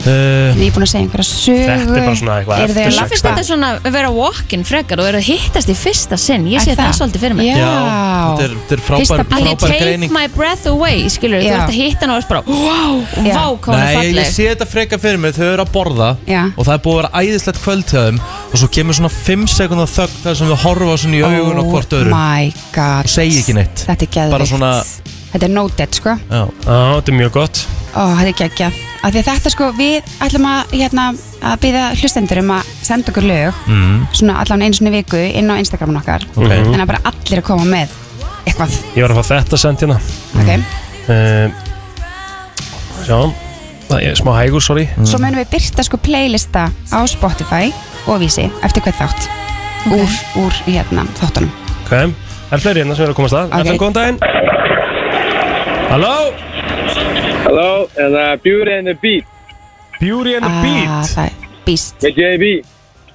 [SPEAKER 2] Uh,
[SPEAKER 7] eh,
[SPEAKER 18] Við erum búin að segja einhverja sögu
[SPEAKER 4] Þetta er bara svona eitthvað
[SPEAKER 18] Eru þau
[SPEAKER 4] eftir
[SPEAKER 18] að
[SPEAKER 3] Mér finnst
[SPEAKER 18] lappa?
[SPEAKER 3] þetta svona að vera walk-in frekar og eru að hittast í fyrsta sinn Ég sé
[SPEAKER 18] Er það?
[SPEAKER 3] það svolítið fyrir mig
[SPEAKER 18] Já. Já,
[SPEAKER 2] þetta er, þetta er frábær,
[SPEAKER 3] Að ég
[SPEAKER 2] frábær
[SPEAKER 3] take
[SPEAKER 2] greining
[SPEAKER 3] my breath away, skilur, þú
[SPEAKER 18] Já.
[SPEAKER 3] ert að hitta hann og þú ert bara Wow, vá, hvað hann er
[SPEAKER 2] Nei, ég
[SPEAKER 3] falleg
[SPEAKER 2] sé þetta freka fyrir mig, þau eru að borða
[SPEAKER 18] Já.
[SPEAKER 2] og það er búið að vera æðislegt kvöld hjá þeim og svo kemur svona 5 sekundar þögn þar sem þau horfa svona í augun og hvort öðru
[SPEAKER 18] Oh my god
[SPEAKER 2] og segja ekki neitt
[SPEAKER 18] Þetta er geðvikt
[SPEAKER 2] Bara svona-
[SPEAKER 18] Þetta er noted, sko
[SPEAKER 2] Já,
[SPEAKER 4] þetta er mjög gott
[SPEAKER 18] Ó, þetta er geggjað Af því að þetta sko, við ætlum að, hérna, að býða hlustendur um að senda okkur lög
[SPEAKER 4] Mm.
[SPEAKER 18] Svona allan einu sinni í viku inn á Instagramin okkar
[SPEAKER 4] Ok. Mm-hmm.
[SPEAKER 18] Þannig að bara allir að koma með eitthvað
[SPEAKER 4] Ég var að fá þetta sent hérna
[SPEAKER 18] Ok.
[SPEAKER 4] um, Sjá Það er smá hægur, sorry
[SPEAKER 18] Svo munum við byrta sko playlista á Spotify og Vísi eftir hvert þátt úr, úr hérna þáttunum
[SPEAKER 4] Ok, það er fleiri hérna sem eru að komast að
[SPEAKER 18] Ok.
[SPEAKER 4] okay. FM, góðan daginn Halló
[SPEAKER 19] Halló, en það er Beauty and the Beat
[SPEAKER 4] Beauty and the
[SPEAKER 18] ah,
[SPEAKER 4] Beat
[SPEAKER 18] Það er Beast
[SPEAKER 19] með JB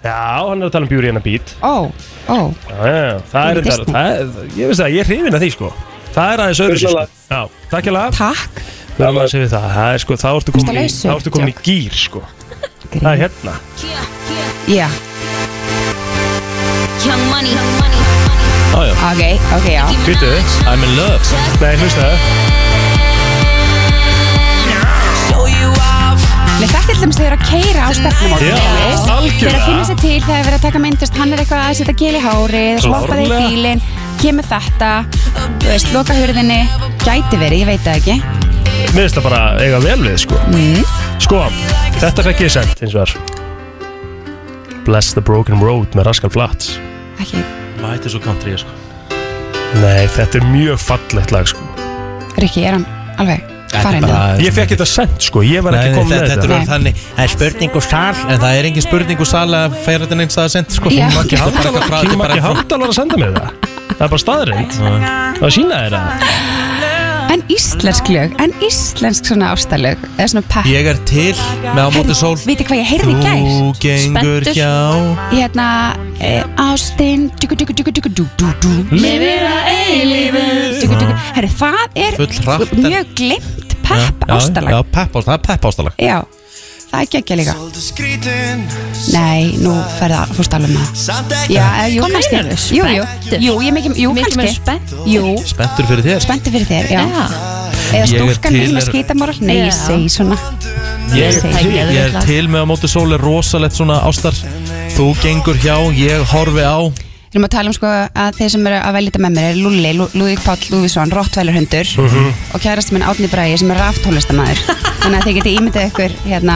[SPEAKER 4] Já, hann er að tala um Beauty and the Beat
[SPEAKER 18] Ó, ó,
[SPEAKER 4] Já, já, það er
[SPEAKER 18] Fyrir
[SPEAKER 4] þetta,
[SPEAKER 18] Disney.
[SPEAKER 4] það er, ég veist það, ég er hrifin að því sko Það er aðeins öðru sko.
[SPEAKER 18] Furðulega.
[SPEAKER 4] Já, takk ég lag
[SPEAKER 18] Takk
[SPEAKER 4] Við erum að segja það, það er sko, þá ertu komin í,
[SPEAKER 18] Ertu
[SPEAKER 4] þá
[SPEAKER 18] lausur?
[SPEAKER 4] ertu komin í gýr sko Það er hérna
[SPEAKER 18] já
[SPEAKER 9] Young money,
[SPEAKER 2] Jájá
[SPEAKER 18] Ok, ok, já
[SPEAKER 4] Býtu
[SPEAKER 2] I'm in love
[SPEAKER 4] Nei, hlusta
[SPEAKER 18] Nei, þetta er þeim sem þeir eru að keira á stefnum
[SPEAKER 4] Já, algjörlega.
[SPEAKER 18] Þeir eru að finna sér til, það er verið að taka myndist Hann er eitthvað að setja gil í hárið Hoppa þeir í
[SPEAKER 4] Klárlega.
[SPEAKER 18] bílinn, kemur þetta Þú veist, loka hurðinni Gæti verið, ég veit það ekki
[SPEAKER 4] Mér finnst það bara eiga vel við sko
[SPEAKER 3] Mm.
[SPEAKER 4] Sko, þetta fekk ég sent eins og þar Bless the broken road með Rascal Flats
[SPEAKER 18] Ekki,
[SPEAKER 2] Mæti svo country, sko
[SPEAKER 4] Nei, þetta er mjög fallegt lag sko
[SPEAKER 18] Rikki, er hann alveg
[SPEAKER 2] Þetta er
[SPEAKER 18] farinn?
[SPEAKER 2] bara-
[SPEAKER 4] Ég fekk þetta sent sko, ég var
[SPEAKER 2] Nei,
[SPEAKER 4] ekki
[SPEAKER 2] nei,
[SPEAKER 4] komin með
[SPEAKER 2] þetta,
[SPEAKER 4] þetta
[SPEAKER 2] þetta er þannig, það er spurning og sal en það er engin spurning og sal að færa þetta neins að senda sko
[SPEAKER 18] Já.
[SPEAKER 2] Maggi Hall- bara eitthvað frá- þetta er
[SPEAKER 4] Kingum
[SPEAKER 2] bara
[SPEAKER 4] ekki
[SPEAKER 2] frá-
[SPEAKER 4] hafndal var að senda mér það Það er bara staðrind Það sína þér það
[SPEAKER 18] En íslensk lög, en íslensk svona ástalög Eða svona pepp
[SPEAKER 2] Ég er til með á móti sól
[SPEAKER 18] Viti hvað ég heyrði í gær?
[SPEAKER 2] Þú gengur
[SPEAKER 18] Spenntur.
[SPEAKER 2] hjá
[SPEAKER 18] Hérna, e, ástin Duggu, duggu, duggu, duggu, dú, dú, dú
[SPEAKER 9] Lifir að eilífu.
[SPEAKER 18] Duggu, duggu Herri, það er
[SPEAKER 2] Full hratt.
[SPEAKER 18] mjög glimt pepp
[SPEAKER 2] Já,
[SPEAKER 18] ástalag
[SPEAKER 2] Já, pepp ástalag, það er pepp ástalag
[SPEAKER 18] Já, það er geggja líka Nei, nú ferða fórst alveg með það Já, eða, jú,
[SPEAKER 3] Hvað
[SPEAKER 18] kannski
[SPEAKER 3] meinarðu?
[SPEAKER 18] Jú, jú,
[SPEAKER 3] Spenntur?
[SPEAKER 18] jú, ég er mikið, jú,
[SPEAKER 3] Mikið meira
[SPEAKER 18] kannski
[SPEAKER 3] spennt?
[SPEAKER 18] Jú,
[SPEAKER 2] Spenntur fyrir þér
[SPEAKER 18] spennti fyrir þér, já Eða
[SPEAKER 2] Ég er
[SPEAKER 18] stúlkan
[SPEAKER 2] til
[SPEAKER 18] mín með
[SPEAKER 2] er-
[SPEAKER 18] skítamorall Nei,
[SPEAKER 3] Já.
[SPEAKER 18] ég segi svona
[SPEAKER 2] Ég er
[SPEAKER 18] Ég
[SPEAKER 2] til,
[SPEAKER 18] segi-
[SPEAKER 2] ég er til með á móti sól er rosalegt svona ástar Þú gengur hjá, ég horfi á
[SPEAKER 18] Við erum að tala um sko að þeir sem eru að velja þetta með mér er Lulli, Lú- Lúðvík Páll Lúðvíksson, Rottvælarhundur
[SPEAKER 4] Mhm.
[SPEAKER 18] og kærasti minn Átni Bræði sem er raftónlistamæður þannig að þið geti ímyndið ykkur hérna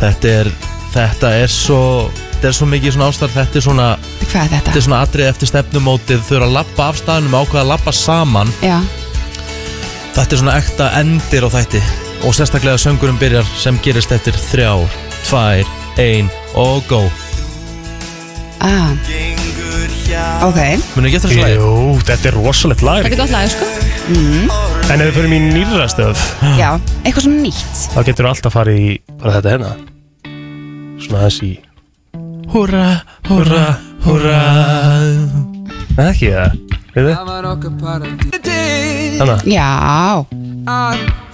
[SPEAKER 2] Þetta er, þetta er svo Þetta er svo mikið svona ástar, þetta er svona
[SPEAKER 18] Hvað er þetta?
[SPEAKER 2] Þetta er svona atrið eftir stefnumótið Þau eru að lappa af staðnum og ákveða að lappa saman
[SPEAKER 18] Já,
[SPEAKER 2] Þetta er svona ekta endir á þætti Og sérstaklega söngurinn byrjar sem gerist eftir þrjár, tvær, ein og go
[SPEAKER 18] ah. Ok
[SPEAKER 4] Munu ekki eftir þessu lagi? Jú, þetta er rosalegt lag
[SPEAKER 3] Þetta er gott lag, sko
[SPEAKER 18] mm.
[SPEAKER 4] En ef við förum í nýra stöf
[SPEAKER 18] Já, eitthvað svona nýtt
[SPEAKER 4] Þá getur við alltaf farið í bara þetta hérna Svona aðeins í
[SPEAKER 2] Húra,
[SPEAKER 4] húra, húra Nei, ekki það Við þið? Hanna
[SPEAKER 18] Já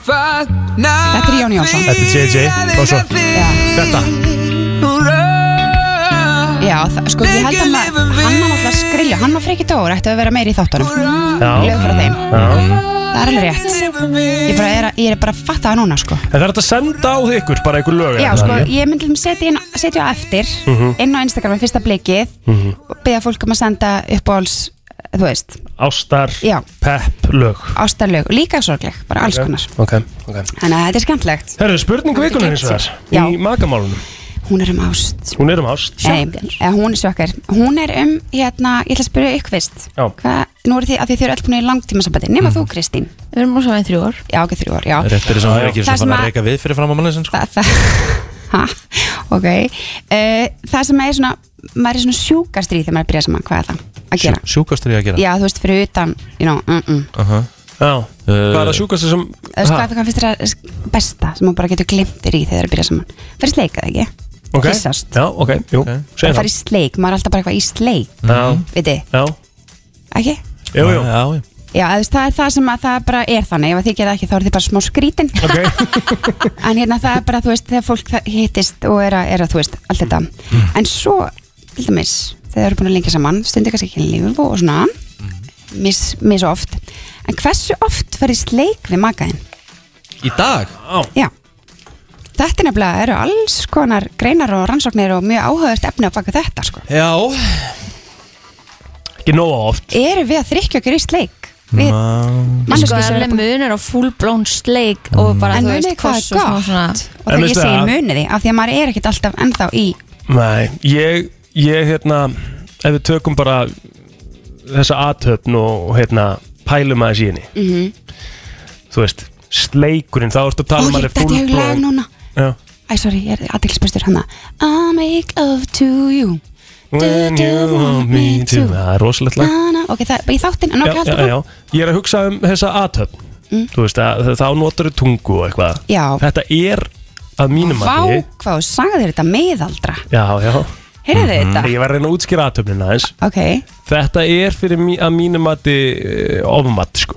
[SPEAKER 18] Þetta er Jón Jónsson
[SPEAKER 4] Þetta er JJ Og svo Þetta
[SPEAKER 18] Já, það- sko ég held að maður Hann var náttúrulega skrilja, hann var frekki dór Ætti að vera meiri í þáttunum Lög frá þeim
[SPEAKER 4] Já
[SPEAKER 18] Það er alveg rétt Ég, bara er, að- ég er bara að fatta það núna sko
[SPEAKER 4] En það er hægt að senda á þig ykkur bara ykkur lög
[SPEAKER 18] Já,
[SPEAKER 4] eða
[SPEAKER 18] sko,
[SPEAKER 4] það,
[SPEAKER 18] ég myndi um setja, inn, setja á eftir
[SPEAKER 4] Mhm.
[SPEAKER 18] Inn á Instagram í fyrsta blikið
[SPEAKER 4] Mhm.
[SPEAKER 18] Og beða fólk um að senda uppáhalds Þú veist,
[SPEAKER 4] Ástar
[SPEAKER 18] Já.
[SPEAKER 4] Pepp Lög
[SPEAKER 18] ástarlög Líka sorgleg, bara alls konar
[SPEAKER 4] Ok, ok
[SPEAKER 18] Þannig að þetta er skemmtlegt
[SPEAKER 4] Herðu, spurning
[SPEAKER 18] Þetta
[SPEAKER 4] vikunum
[SPEAKER 18] gegn
[SPEAKER 4] eins og
[SPEAKER 18] sér.
[SPEAKER 4] það Í magamálunum
[SPEAKER 18] Hún er um ást
[SPEAKER 4] Hún er um ást
[SPEAKER 18] Nei, eða hún er sjokkar Hún er um, hérna, ég ætla að spyrja ykkur fyrst
[SPEAKER 4] Já.
[SPEAKER 18] Hvað, nú eru þið, af því þið eru öll búin í langtímasambandi Nema þú, Kristín
[SPEAKER 3] Við erum á saman þrjú ár
[SPEAKER 18] Já, ok, þrjú ár, já
[SPEAKER 2] Mm. Rétt er þess að hún er ekki
[SPEAKER 18] Það
[SPEAKER 2] svona
[SPEAKER 18] sem
[SPEAKER 2] fann að
[SPEAKER 18] að,
[SPEAKER 2] reyka við fyrir fram á manninsinn sko.
[SPEAKER 18] það, það, ha, ok uh, Það sem er svona, maður er svona sjúkastri þegar maður er að byrja saman Hvað er það að gera?
[SPEAKER 2] Sjúkastur ég að gera
[SPEAKER 18] Já, þú veist, fyrir utan, you know, mm -mm.
[SPEAKER 2] Aha. Uh,
[SPEAKER 4] Já Hvað er að sjúkast þessum
[SPEAKER 18] Þú veist, Eh, sko, Hvað, hvað finnst þér að besta sem maður bara getur glimtir í þegar þið eru að byrja saman? Fyrir sleik, eða ekki?
[SPEAKER 4] Ok
[SPEAKER 18] Kyssast.
[SPEAKER 4] Já, ok, jú
[SPEAKER 18] Bara
[SPEAKER 4] Segðu
[SPEAKER 18] fara í sleik, maður er alltaf bara eitthvað í sleik
[SPEAKER 4] það
[SPEAKER 18] Viti,
[SPEAKER 4] Já Já
[SPEAKER 18] ekki?
[SPEAKER 4] Jú, jú
[SPEAKER 2] Já, já
[SPEAKER 18] Já, þú veist, það er það sem að það bara er þannig ef að þið geta ekki þá er þið bara smá skrítin en hérna það er bara, þú veist, þegar fólk það hittist og er að, er að þú veist, allt þetta en svo, til dæmis þegar þið eru búin að lengja saman, stundir kannski ekki líf og svona, mis, mis oft en hversu oft verið sleik við makaðinn?
[SPEAKER 2] Í dag?
[SPEAKER 18] Já Þetta er nefnilega, eru alls konar greinar og rannsóknir og mjög áhugavert efni á baka þetta, sko.
[SPEAKER 2] Já
[SPEAKER 4] Ekki nóga oft
[SPEAKER 18] Eru við að þrykja okkur í sleik? Við,
[SPEAKER 3] En
[SPEAKER 18] Manneskjur
[SPEAKER 3] sko, það
[SPEAKER 18] sem
[SPEAKER 3] er
[SPEAKER 18] eru
[SPEAKER 3] alveg munur á full blown sleik og bara,
[SPEAKER 18] En
[SPEAKER 3] þú
[SPEAKER 18] munið
[SPEAKER 3] veist,
[SPEAKER 18] þið hvað
[SPEAKER 3] koss
[SPEAKER 18] er
[SPEAKER 3] og smá
[SPEAKER 18] gott?
[SPEAKER 3] svona
[SPEAKER 18] og
[SPEAKER 4] Mm. En
[SPEAKER 18] þegar ég
[SPEAKER 4] veistu
[SPEAKER 18] segi
[SPEAKER 4] það-
[SPEAKER 18] munið því, af því að maður er ekkert alltaf ennþá í
[SPEAKER 4] Nei, ég, ég hérna ef við tökum bara þessa aðtöfn og hérna pælum aðeins í henni,
[SPEAKER 18] mm
[SPEAKER 3] Mhm.
[SPEAKER 18] -hmm.
[SPEAKER 4] þú veist sleikurinn, þá ertu að tala um að það
[SPEAKER 18] Ó, ég
[SPEAKER 4] er
[SPEAKER 18] dætti í hug lag
[SPEAKER 4] fullblóð
[SPEAKER 18] núna
[SPEAKER 4] Já.
[SPEAKER 18] Æ, sorry, ég er aðtilsbæstur hana I make love to you
[SPEAKER 4] When you want me to Það er rosalegt lag
[SPEAKER 18] na, na. Ok, það er bara í þáttinn Ah, En
[SPEAKER 4] Já,
[SPEAKER 18] ok,
[SPEAKER 4] já,
[SPEAKER 18] alltaf
[SPEAKER 4] já. Ég er að hugsa um þessa aðtöfn
[SPEAKER 18] Mm.
[SPEAKER 4] þú veist, að, þá notar þau tungu og eitthvað
[SPEAKER 18] Já.
[SPEAKER 4] Þetta er að mínum
[SPEAKER 18] Vá,
[SPEAKER 4] að því
[SPEAKER 18] hvað þú sagði þér þetta meðaldra
[SPEAKER 4] Já, já Mm.
[SPEAKER 18] Heyrðu þið þetta?
[SPEAKER 4] Ég var að reyna að útskýra aðtöfnina aðeins
[SPEAKER 18] Ok,
[SPEAKER 4] Þetta er fyrir mí, að mínum að því ofmat, sko